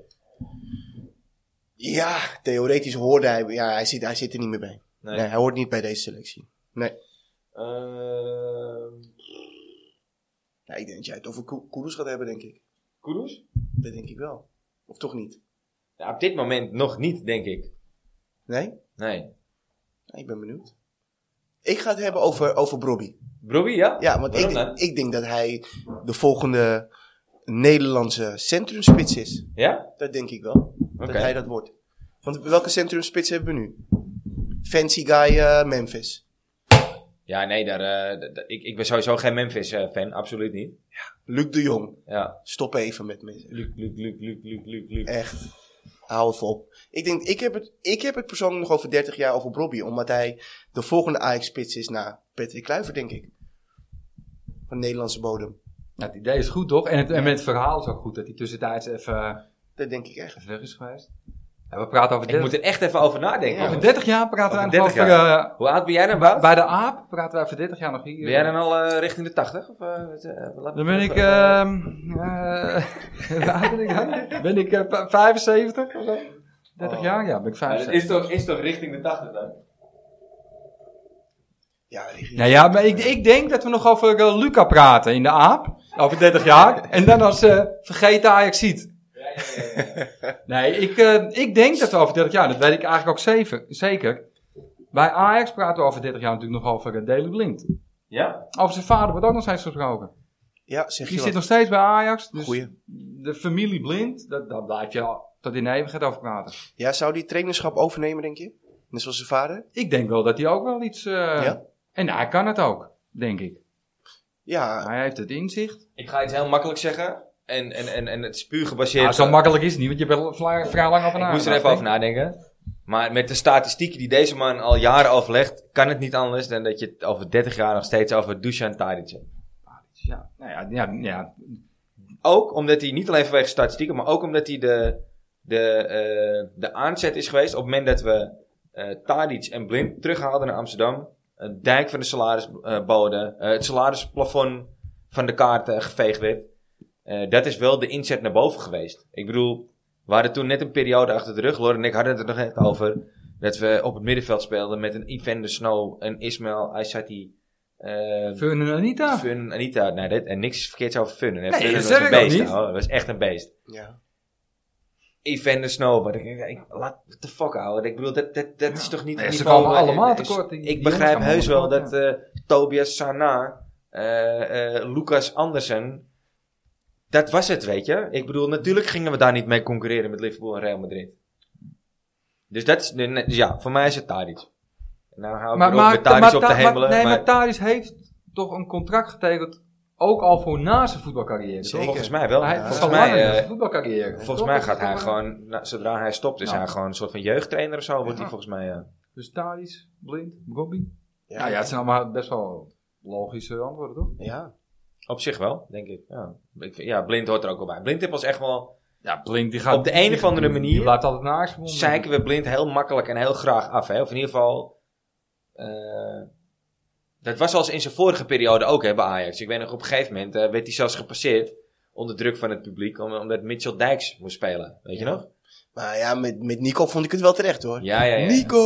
Speaker 3: Ja, theoretisch hoorde hij. Ja, hij zit, hij zit er niet meer bij.
Speaker 1: Nee.
Speaker 3: Nee, hij hoort niet bij deze selectie.
Speaker 1: Ehm,
Speaker 3: Ja, ik denk dat jij het over Ko- Kudus gaat hebben, denk ik.
Speaker 1: Kudus?
Speaker 3: Dat denk ik wel. Of toch niet?
Speaker 1: Ja, op dit moment nog niet, denk ik.
Speaker 3: Nee?
Speaker 1: Nee.
Speaker 3: Ja, ik ben benieuwd. Ik ga het hebben over, over Brobby.
Speaker 1: Broby, ja?
Speaker 3: Ja, want
Speaker 1: Waarom
Speaker 3: ik,
Speaker 1: dan?
Speaker 3: ik denk dat hij de volgende Nederlandse centrumspits is.
Speaker 1: Ja?
Speaker 3: Dat denk ik wel.
Speaker 1: Oké.
Speaker 3: Dat hij dat wordt. Want welke centrumspits hebben we nu? Fancy guy eh, Memphis.
Speaker 1: Ja, nee, daar, eh, d- d- ik, ik ben sowieso geen Memphis-fan. absoluut niet.
Speaker 3: Luc de Jong.
Speaker 1: Ja.
Speaker 3: Stop even met me.
Speaker 1: Luc, Luc, Luc, Luc, Luc, Luc, Luc.
Speaker 3: Echt. Hou het op. Ik denk, ik heb het, ik heb het persoonlijk nog over 30 jaar over Bobby. Omdat hij de volgende Ajax-spits is na Patrick Kluivert, denk ik. Van Nederlandse bodem.
Speaker 2: Nou, het idee is goed, toch? En, het, en met het verhaal is ook goed dat hij tussentijds even,
Speaker 3: Dat denk ik echt.
Speaker 2: even weg is geweest. En we praten over
Speaker 1: Ik
Speaker 2: 30,
Speaker 1: moet er echt even over nadenken.
Speaker 3: Ja.
Speaker 2: over 30 jaar. Praten
Speaker 1: Over
Speaker 2: we eigenlijk
Speaker 1: 30
Speaker 2: over... eh,
Speaker 1: Hoe oud ben jij dan, Wout?
Speaker 2: bij de AAP praten we over 30 jaar nog hier.
Speaker 1: Ben jij dan al eh, richting de 80? Of, eh, wat, eh, laat-
Speaker 2: Dan ben ik...
Speaker 1: eh,
Speaker 2: ehm eh, <laughs> waar ben ik dan? Ben ik eh, v- 75 of zo? 30
Speaker 3: Oh.
Speaker 2: jaar? Ja, ben ik
Speaker 1: ja, dat
Speaker 2: 75.
Speaker 1: is toch, is toch richting de 80 dan?
Speaker 3: Ja, Ricky.
Speaker 2: Nou ja, maar ik, ik denk dat we nog over eh, Luca praten in de AAP. Over 30 jaar. En dan als eh vergeten Ajax ziet.
Speaker 1: Ja, ja, ja, ja.
Speaker 2: <laughs> Nee, ik, eh, ik denk dat we over 30 jaar, dat weet ik eigenlijk ook zeven- zeker. Bij Ajax praten we over 30 jaar natuurlijk nog over uh, Daley Blind.
Speaker 1: ja?
Speaker 2: Over zijn vader wordt ook nog steeds gesproken.
Speaker 3: Ja, zeg
Speaker 2: Die zit
Speaker 3: je wat.
Speaker 2: nog steeds bij Ajax. Dus
Speaker 3: Goeie.
Speaker 2: de familie Blind, dat- daar blijf je al tot in de eeuwigheid over praten.
Speaker 3: Ja, zou die trainerschap overnemen, denk je? Net zoals zijn vader?
Speaker 2: Ik denk wel dat hij ook wel iets... eh,
Speaker 3: Ja.
Speaker 2: En hij kan het ook, denk ik.
Speaker 3: Ja,
Speaker 2: Hij heeft het inzicht.
Speaker 1: Ik ga iets heel makkelijk zeggen. En, en, en, en het is puur gebaseerd...
Speaker 2: Nou, zo makkelijk is het niet, want je bent al vla- vrij lang over
Speaker 1: eh, ik moest er
Speaker 2: nagedacht,
Speaker 1: even over
Speaker 2: hè?
Speaker 1: nadenken. Maar met de statistieken die deze man al jaren overlegt... kan het niet anders dan dat je het over 30 jaar nog steeds over Dusan Tadic hebt.
Speaker 2: Ja, nou ja, ja, ja.
Speaker 1: Ook omdat hij niet alleen vanwege statistieken, maar ook omdat hij de, de, eh, de aanzet is geweest. Op het moment dat we eh Tadic en Blind terughaalden naar Amsterdam. Een dijk van de salarisboden. eh, het salarisplafond van de kaarten geveegd werd. Eh, dat is wel de inzet naar boven geweest. Ik bedoel, we hadden toen net een periode achter de rug. Lor en ik hadden het er nog echt over. Dat we op het middenveld speelden met een Ivan de Snow, een Ismail Aysati. eh
Speaker 2: Fun en Anita.
Speaker 1: Fun en Anita. Nee, dit- en niks verkeerds over Fun. Nee,
Speaker 2: Nee,
Speaker 1: Fun
Speaker 2: dat
Speaker 1: was
Speaker 2: zeg
Speaker 1: een
Speaker 2: ik ook
Speaker 1: beest.
Speaker 2: niet.
Speaker 1: ouwe. Dat was echt een beest.
Speaker 3: Ja.
Speaker 1: Even de Snow. Maar ik, denk, ik, laat de fuck houden. Ik bedoel, dat, dat, dat is toch niet...
Speaker 2: Nee, ze
Speaker 1: niveau,
Speaker 2: komen
Speaker 1: eh,
Speaker 2: allemaal
Speaker 1: eh,
Speaker 2: tekort. Die-
Speaker 1: Ik
Speaker 2: die
Speaker 1: begrijp
Speaker 2: jongens
Speaker 1: heus wel
Speaker 2: komen allemaal
Speaker 1: dat eh, Tobias Sana, eh, eh, Lucas Andersen... Dat was het, weet je. Ik bedoel, natuurlijk gingen we daar niet mee concurreren met Liverpool en Real Madrid. Dus dat is... nee, nee, dus ja, voor mij is het Tadic. Nou hou ik maar, met Tadic op te
Speaker 2: Ta-
Speaker 1: hemelen.
Speaker 2: nee, maar
Speaker 1: maar
Speaker 2: Tadic heeft toch een contract getekend, ook al voor na zijn voetbalcarrière.
Speaker 3: Zeker.
Speaker 2: Zeker.
Speaker 1: volgens mij wel.
Speaker 2: Hij,
Speaker 1: Ja.
Speaker 2: volgens
Speaker 1: Volgens mij... eh,
Speaker 2: zijn voetbalcarrière.
Speaker 1: Volgens
Speaker 2: Toch?
Speaker 1: mij
Speaker 2: Dat
Speaker 1: gaat
Speaker 2: is
Speaker 1: hij
Speaker 2: toch-
Speaker 1: gewoon, nou, zodra hij stopt, is
Speaker 2: Nou.
Speaker 1: hij gewoon een soort van jeugdtrainer of zo. Wordt
Speaker 2: Ja.
Speaker 1: hij volgens mij. eh,
Speaker 2: Dus Tadic, Blind, Bobby. Ja,
Speaker 3: Ja.
Speaker 2: Nou ja, het zijn allemaal best wel logische antwoorden, toch?
Speaker 3: Ja.
Speaker 1: op zich wel, denk ik. Ja. ik. vind- ja, Blind hoort er ook al bij. Blind heeft ons echt wel.
Speaker 2: Ja, Blind die gaat...
Speaker 1: Op de een
Speaker 2: die-
Speaker 1: of andere
Speaker 2: die-
Speaker 1: manier
Speaker 2: Die laat altijd naar Axel.
Speaker 1: zeiken we Blind heel makkelijk en heel graag af. Hè? Of in ieder geval. eh, dat was als in zijn vorige periode ook hè, bij Ajax. Ik weet nog, op een gegeven moment eh, werd hij zelfs gepasseerd. onder druk van het publiek. om- omdat Mitchell Dijks moest spelen. Weet je
Speaker 3: Ja.
Speaker 1: nog?
Speaker 3: Maar ja, met, met Nico vond ik het wel terecht hoor.
Speaker 1: Ja, ja, ja.
Speaker 3: Nico!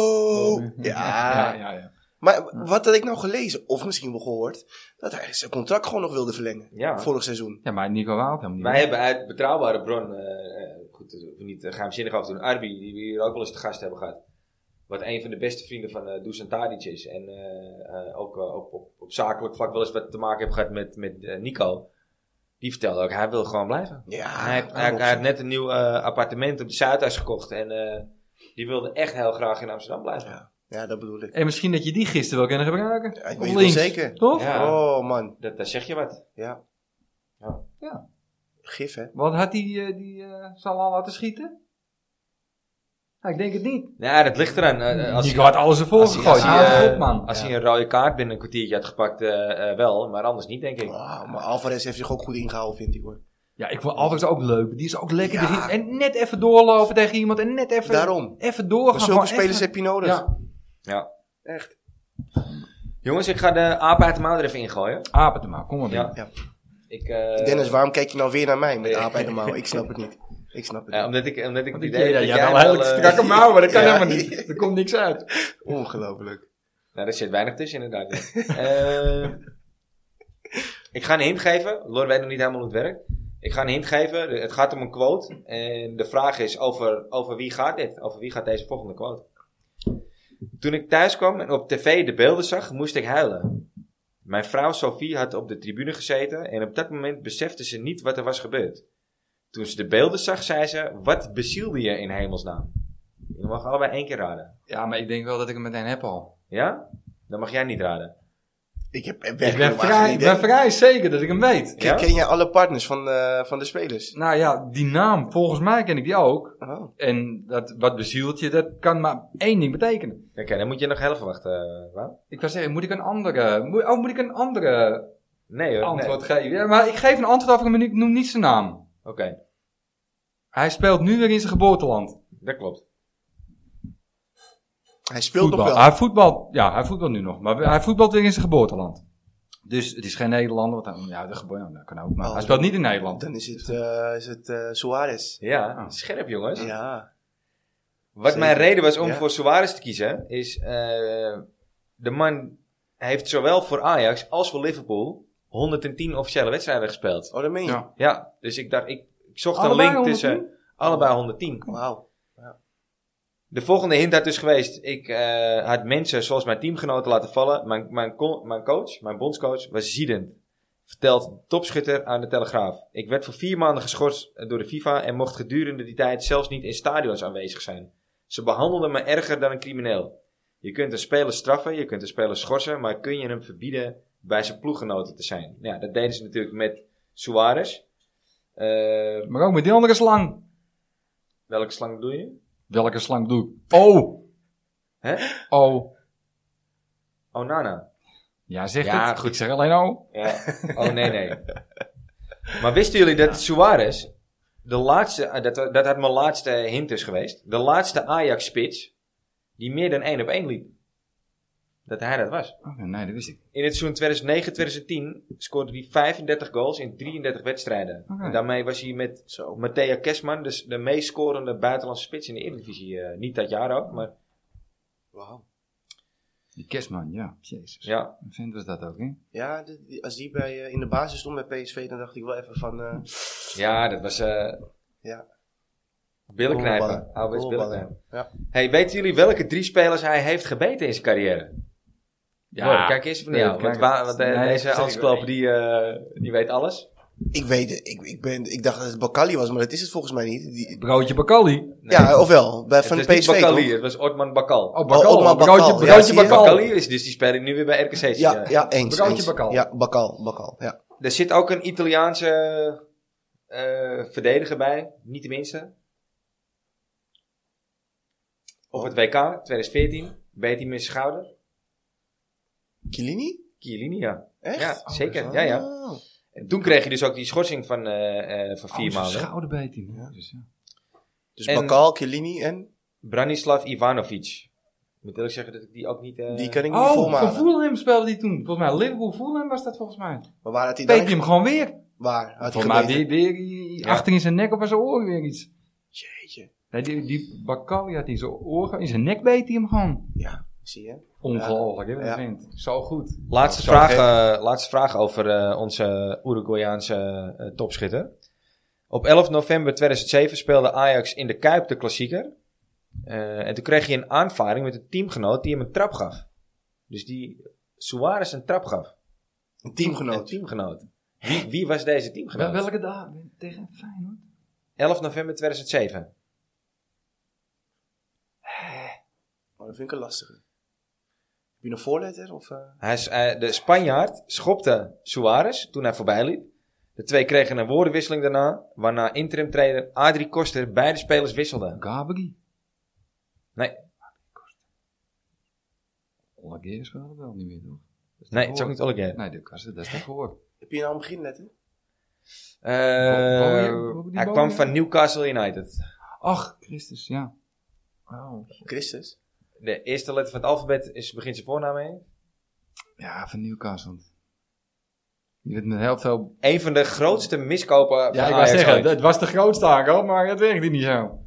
Speaker 3: Ja.
Speaker 2: Ja, ja, ja.
Speaker 3: Maar wat had ik nou gelezen, of misschien wel gehoord, dat hij zijn contract gewoon nog wilde verlengen.
Speaker 1: Ja.
Speaker 3: Vorig seizoen.
Speaker 2: Ja, maar Nico Wout helemaal niet.
Speaker 1: Wij hebben uit betrouwbare bron, eh, eh, goed, daar hoeven we niet eh, geheimzinnig over te doen, Arbi, die we hier ook wel eens te gast hebben gehad. Wat een van de beste vrienden van eh Dusan Tadic is. En eh, eh, ook eh, op, op, op zakelijk vlak wel eens wat te maken heeft gehad met, met eh, Nico. Die vertelde ook, hij wil gewoon blijven.
Speaker 3: Ja,
Speaker 2: Ah,
Speaker 3: nou,
Speaker 1: hij, heeft- hij,
Speaker 3: daarom.
Speaker 1: hij heeft net een nieuw eh, appartement op de Zuidas gekocht. En eh, die wilde echt heel graag in Amsterdam blijven.
Speaker 3: Ja. ja, dat bedoel ik.
Speaker 2: En misschien dat je die gisteren wel kunnen gebruiken.
Speaker 3: Ja, ik
Speaker 2: Op
Speaker 3: weet het
Speaker 2: links.
Speaker 3: wel zeker.
Speaker 2: Toch?
Speaker 1: Ja.
Speaker 3: Oh man,
Speaker 1: Dat, daar zeg je wat.
Speaker 3: ja.
Speaker 1: Ja.
Speaker 2: Ja.
Speaker 3: Gif hè.
Speaker 2: Want had hij die, eh, die eh, Salah laten schieten? Nou, ik denk het niet.
Speaker 1: Nou, dat ligt eraan. eh, eh, als
Speaker 2: Nico
Speaker 1: hij-
Speaker 2: had alles ervoor
Speaker 1: als hij-
Speaker 2: gegooid.
Speaker 1: als hij,
Speaker 2: Hou
Speaker 1: eh,
Speaker 2: op, Ah, man.
Speaker 1: Als hij een rode kaart binnen een kwartiertje had gepakt, eh, eh, wel. Maar anders niet, denk ik.
Speaker 3: Oh, maar Alvarez heeft zich ook goed ingehouden, vind ik hoor.
Speaker 2: Ja, ik vond Alvarez ook leuk. Die is ook lekker.
Speaker 3: Ja.
Speaker 2: erin. En net even doorlopen tegen iemand. En net even,
Speaker 3: Daarom.
Speaker 2: even
Speaker 3: Maar
Speaker 2: doorgaan.
Speaker 3: zulke
Speaker 2: gewoon
Speaker 3: spelers
Speaker 2: even-
Speaker 3: heb je nodig.
Speaker 2: Ja.
Speaker 1: Ja.
Speaker 3: Echt.
Speaker 1: Jongens, ik ga de aap uit de mouw er even ingooien.
Speaker 2: Apen te maken. Kom maar
Speaker 1: Ja.
Speaker 2: binnen.
Speaker 3: Ja.
Speaker 1: Ik, eh,
Speaker 3: Dennis, waarom kijk je nou weer naar mij met
Speaker 1: Ja.
Speaker 3: aap bij de mouw? Ik snap het niet. Ik snap het
Speaker 1: eh,
Speaker 3: niet.
Speaker 1: omdat ik, omdat ik
Speaker 2: Want
Speaker 1: het
Speaker 2: ik
Speaker 1: idee
Speaker 2: denk,
Speaker 1: heb dat
Speaker 2: ja, jij
Speaker 1: jij
Speaker 2: wel
Speaker 1: wel,
Speaker 2: heel
Speaker 1: eh,
Speaker 2: strakke mouwen, maar dat kan
Speaker 3: Ja.
Speaker 2: helemaal niet. Er komt niks uit.
Speaker 3: Ongelooflijk.
Speaker 1: Nou, daar zit weinig tussen inderdaad. ja. Eh, ik ga een hint geven. Lor weet nog niet helemaal hoe het werkt. Ik ga een hint geven. Het gaat om een quote. En de vraag is over, over wie gaat dit? Over wie gaat deze volgende quote? Toen ik thuis kwam en op tv de beelden zag, moest ik huilen. Mijn vrouw Sophie had op de tribune gezeten en op dat moment besefte ze niet wat er was gebeurd. Toen ze de beelden zag, zei ze, wat bezielde je in hemelsnaam? Je mag allebei één keer raden.
Speaker 2: Ja, maar ik denk wel dat ik hem meteen heb al.
Speaker 1: Ja? Dan mag jij niet raden.
Speaker 3: Ik heb
Speaker 2: Ik ben
Speaker 3: werkelijk
Speaker 2: vrij,
Speaker 3: geen
Speaker 2: ik ben
Speaker 3: idee.
Speaker 2: vrij zeker dat ik hem weet.
Speaker 1: Ja?
Speaker 3: Ken, ken jij alle partners van, eh, van de spelers?
Speaker 2: Nou ja, die naam, volgens mij ken ik die ook.
Speaker 3: Oh.
Speaker 2: En dat, wat bezielt je, dat kan maar één ding betekenen.
Speaker 1: Oké, dan moet je nog heel even wachten. eh, Wout.
Speaker 2: Ik wou zeggen, moet ik een andere, moet, oh, moet ik een andere
Speaker 1: Nee hoor.
Speaker 2: antwoord
Speaker 1: nee.
Speaker 2: geven? Ja, maar ik geef een antwoord af, maar ik noem niet zijn naam.
Speaker 1: Oké,
Speaker 2: Hij speelt nu weer in zijn geboorteland.
Speaker 1: dat klopt.
Speaker 3: Hij speelt nog
Speaker 2: Voetbal.
Speaker 3: wel.
Speaker 2: Hij voetbalt, ja, hij voetbalt nu nog, maar hij voetbalt weer in zijn geboorteland. Dus het is geen Nederlander, want hij, ja, de geboorte, nou, dat kan ook, maar
Speaker 3: Oh.
Speaker 2: hij speelt niet in
Speaker 1: Ah.
Speaker 2: Nederland.
Speaker 3: Dan is het, eh, is het eh, Suarez.
Speaker 1: Ja,
Speaker 2: Ah.
Speaker 1: scherp jongens.
Speaker 3: Ja.
Speaker 1: Wat
Speaker 3: Zeker.
Speaker 1: mijn reden was om
Speaker 3: Ja.
Speaker 1: voor Suarez te kiezen, is eh, de man heeft zowel voor Ajax als voor Liverpool 110 officiële wedstrijden gespeeld.
Speaker 3: Oh, dat meen je.
Speaker 2: Ja.
Speaker 1: Ja, dus ik dacht, ik, ik zocht
Speaker 2: Allebei
Speaker 1: een link
Speaker 2: 110?
Speaker 1: tussen allebei 110.
Speaker 3: Wauw.
Speaker 1: De volgende hint had dus geweest, ik eh, had mensen zoals mijn teamgenoten laten vallen. Mijn, mijn, co- mijn coach, mijn bondscoach, was ziedend. Vertelt topschutter aan de Telegraaf. Ik werd voor vier maanden geschorst door de FIFA en mocht gedurende die tijd zelfs niet in stadions aanwezig zijn. Ze behandelden me erger dan een crimineel. Je kunt een speler straffen, je kunt een speler schorsen, maar kun je hem verbieden bij zijn ploeggenoten te zijn? Nou Ja, dat deden ze natuurlijk met Suarez. Eh,
Speaker 2: Maar ook met die andere slang.
Speaker 1: welke slang bedoel je?
Speaker 2: Welke slang bedoel ik? Oh!
Speaker 1: Hè?
Speaker 2: Oh.
Speaker 1: Onana.
Speaker 2: Ja, zeg
Speaker 1: Ja,
Speaker 2: het.
Speaker 1: goed.
Speaker 2: Ik zeg alleen oh.
Speaker 1: Ja. Oh, nee, nee. Maar wisten jullie dat Suarez, de laatste, eh, dat, dat had mijn laatste hint is geweest, de laatste Ajax-spits die meer dan één op één liep. Dat hij dat was.
Speaker 2: Oké, Oh, nee, dat wist ik.
Speaker 1: In het seizoen 2009-2010 scoorde hij 35 goals in 33 wedstrijden.
Speaker 2: Oké.
Speaker 1: En daarmee was hij met Matthea Kesman, dus de meest scorende buitenlandse spits in de Eredivisie. eh, niet dat jaar ook, maar
Speaker 3: Wauw.
Speaker 2: Die kerstman, ja. Jezus.
Speaker 1: ja.
Speaker 2: Een vent was dat ook, hè?
Speaker 3: Ja, de- die- als die bij, eh, in de basis stond bij PSV, dan dacht ik wel even van... eh,
Speaker 1: Ja, dat was... eh
Speaker 3: Ja.
Speaker 1: Billenknijpen.
Speaker 3: Rollenballen.
Speaker 1: Ouderwets
Speaker 3: Rollenballen.
Speaker 1: billenknijpen.
Speaker 3: Ja.
Speaker 1: Hey, weten jullie welke drie spelers hij heeft gebeten in zijn carrière? Mooi, kijk eens van
Speaker 2: Nou Nee,
Speaker 1: jou. Want,
Speaker 2: kijk-
Speaker 1: wa- want, eh,
Speaker 2: Nee, dat zeg
Speaker 1: deze
Speaker 2: ik wel.
Speaker 1: Ansklop, die, eh, die weet alles.
Speaker 3: ik weet het, ik, ik, ben, ik dacht dat het Bakali was, maar dat is het volgens mij niet. Die-
Speaker 2: Broodje Bakali.
Speaker 1: Nee.
Speaker 3: Ja, ofwel, bij, van de
Speaker 1: het is
Speaker 3: PSV
Speaker 1: niet Bakali,
Speaker 3: toch?
Speaker 1: het was Otman Bakal.
Speaker 2: Oh,
Speaker 3: Oh,
Speaker 2: Bakal.
Speaker 3: Otmar Bakal.
Speaker 2: Broodje,
Speaker 3: Ja,
Speaker 2: broodje
Speaker 3: zie je?
Speaker 2: Bakal.
Speaker 1: Bakali is dus, die speler nu weer bij RKC. zit,
Speaker 3: Ja, ja, eens.
Speaker 2: Broodje
Speaker 3: eens.
Speaker 2: Bakal.
Speaker 3: Ja, Bakal, Bakal, ja.
Speaker 1: Eh, Er zit ook een Italiaanse eh, verdediger bij, niet de minste. Op
Speaker 3: Oh,
Speaker 1: het WK 2014 beet hij met zijn schouder.
Speaker 3: Chiellini?
Speaker 1: Chiellini, ja.
Speaker 3: Echt?
Speaker 1: Ja,
Speaker 3: Oh,
Speaker 1: zeker.
Speaker 3: zo.
Speaker 1: Ja, ja. En toen kreeg je dus ook die schorsing van, eh,
Speaker 2: Oh,
Speaker 1: eh, van vier maanden.
Speaker 2: Schouderbeet in.
Speaker 3: Ja.
Speaker 2: Dus, ja.
Speaker 3: Dus
Speaker 1: En-
Speaker 3: Bakal, Chiellini en...
Speaker 1: Branislav Ivanovic. Ik moet eerlijk zeggen dat ik die ook niet... eh,
Speaker 3: Die kan ik niet
Speaker 2: Oh, van
Speaker 3: volmaken.
Speaker 2: Fulham speelde die toen. Volgens mij Liverpool Fulham was dat volgens mij.
Speaker 3: Maar waar had hij
Speaker 2: Peet hij
Speaker 3: dan...
Speaker 2: hem gewoon weer.
Speaker 3: Waar had hij
Speaker 2: Volgens mij
Speaker 3: gebeten?
Speaker 2: weer, weer
Speaker 1: Ja.
Speaker 2: achter in zijn nek of in zijn oor weer iets.
Speaker 3: Jeetje.
Speaker 2: Nee, die, die Bakali had in zijn oor, ge- in zijn nek beet hij hem gewoon.
Speaker 3: Ja, zie je.
Speaker 2: Ongelooflijk, hè, wat
Speaker 3: Ja.
Speaker 2: een vent. Zo goed.
Speaker 1: Laatste,
Speaker 2: Zo
Speaker 1: vraag,
Speaker 2: gek.
Speaker 1: eh, laatste vraag over eh, onze Uruguayaanse eh, topschutter. Op 11 november 2007 speelde Ajax in de Kuip de klassieker. Eh, en toen kreeg je een aanvaring met een teamgenoot die hem een trap gaf. Dus die Suarez een trap gaf.
Speaker 3: Een
Speaker 1: Een
Speaker 3: teamgenoot.
Speaker 1: teamgenoot. Wie, wie was deze
Speaker 2: Wel,
Speaker 1: teamgenoot?
Speaker 2: welke dag? Tegen Feyenoord?
Speaker 1: 11 november 2007.
Speaker 3: Oh, dat vind ik een lastige. Heb je een voorletter? Of, eh?
Speaker 1: Hij, is, eh, de Spanjaard schopte Suarez toen hij voorbij liep. De twee kregen een woordenwisseling daarna, waarna interimtrainer Adrie Koster beide spelers wisselde.
Speaker 2: Gabri.
Speaker 1: Nee.
Speaker 2: Ollageer speelde wel niet meer, toch? Dat is
Speaker 1: Nee,
Speaker 2: toch
Speaker 1: het is ook
Speaker 2: gehoord?
Speaker 1: niet Olivier.
Speaker 2: Nee, dat, was, dat is toch gehoord.
Speaker 3: Heb je nou een beginletter?
Speaker 1: Eh,
Speaker 2: Bo- Bo- Bo- die
Speaker 1: hij
Speaker 2: Bo-
Speaker 1: kwam
Speaker 2: ja.
Speaker 1: van Newcastle United.
Speaker 2: Ach, Christus, ja. Oh. Wow.
Speaker 3: Christus?
Speaker 1: De eerste letter van het alfabet is, begint zijn voornaam mee.
Speaker 2: Ja, van Newcastle. Je bent met heel veel...
Speaker 1: Een van de grootste miskopen van
Speaker 2: Ja, ik wou
Speaker 1: Ajax
Speaker 2: zeggen,
Speaker 1: ooit.
Speaker 2: dat was de grootste aankoop, maar dat werkte niet zo.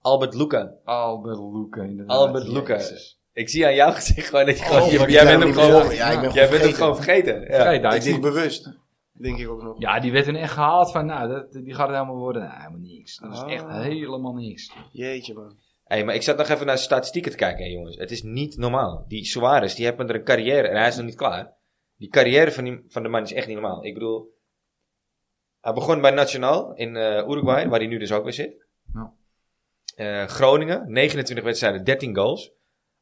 Speaker 1: Albert Luca.
Speaker 2: Albert Luca, inderdaad.
Speaker 1: Albert Luca.
Speaker 2: Jezus.
Speaker 1: Ik zie aan jouw <laughs> gezicht gewoon dat je gewoon...
Speaker 2: Oh,
Speaker 1: je-
Speaker 2: maar
Speaker 1: jij
Speaker 2: ik
Speaker 1: bent
Speaker 2: ben
Speaker 1: hem
Speaker 2: niet
Speaker 1: gewoon,
Speaker 2: meer
Speaker 3: Ja, ik ben
Speaker 1: jij bent hem
Speaker 3: vergeten.
Speaker 1: gewoon vergeten. Ja.
Speaker 2: Kijk, daar
Speaker 3: Ik
Speaker 2: is die-
Speaker 3: denk bewust. Denk ik ook nog.
Speaker 2: Ja, die werd toen echt gehaald van, nou, dat, die gaat het helemaal worden. Nou, helemaal niks. Dat is
Speaker 3: Oh.
Speaker 2: echt helemaal niks.
Speaker 3: Jeetje man.
Speaker 1: Hey, maar ik zat nog even naar statistieken te kijken, hè, jongens. Het is niet normaal. Die Suarez, die heeft met er een carrière en hij is nog niet klaar. Die carrière van, die, van de man is echt niet normaal. Ik bedoel, hij begon bij Nacional in eh, Uruguay, waar hij nu dus ook weer zit.
Speaker 2: Ja.
Speaker 1: Eh, Groningen, 29 wedstrijden, 13 goals.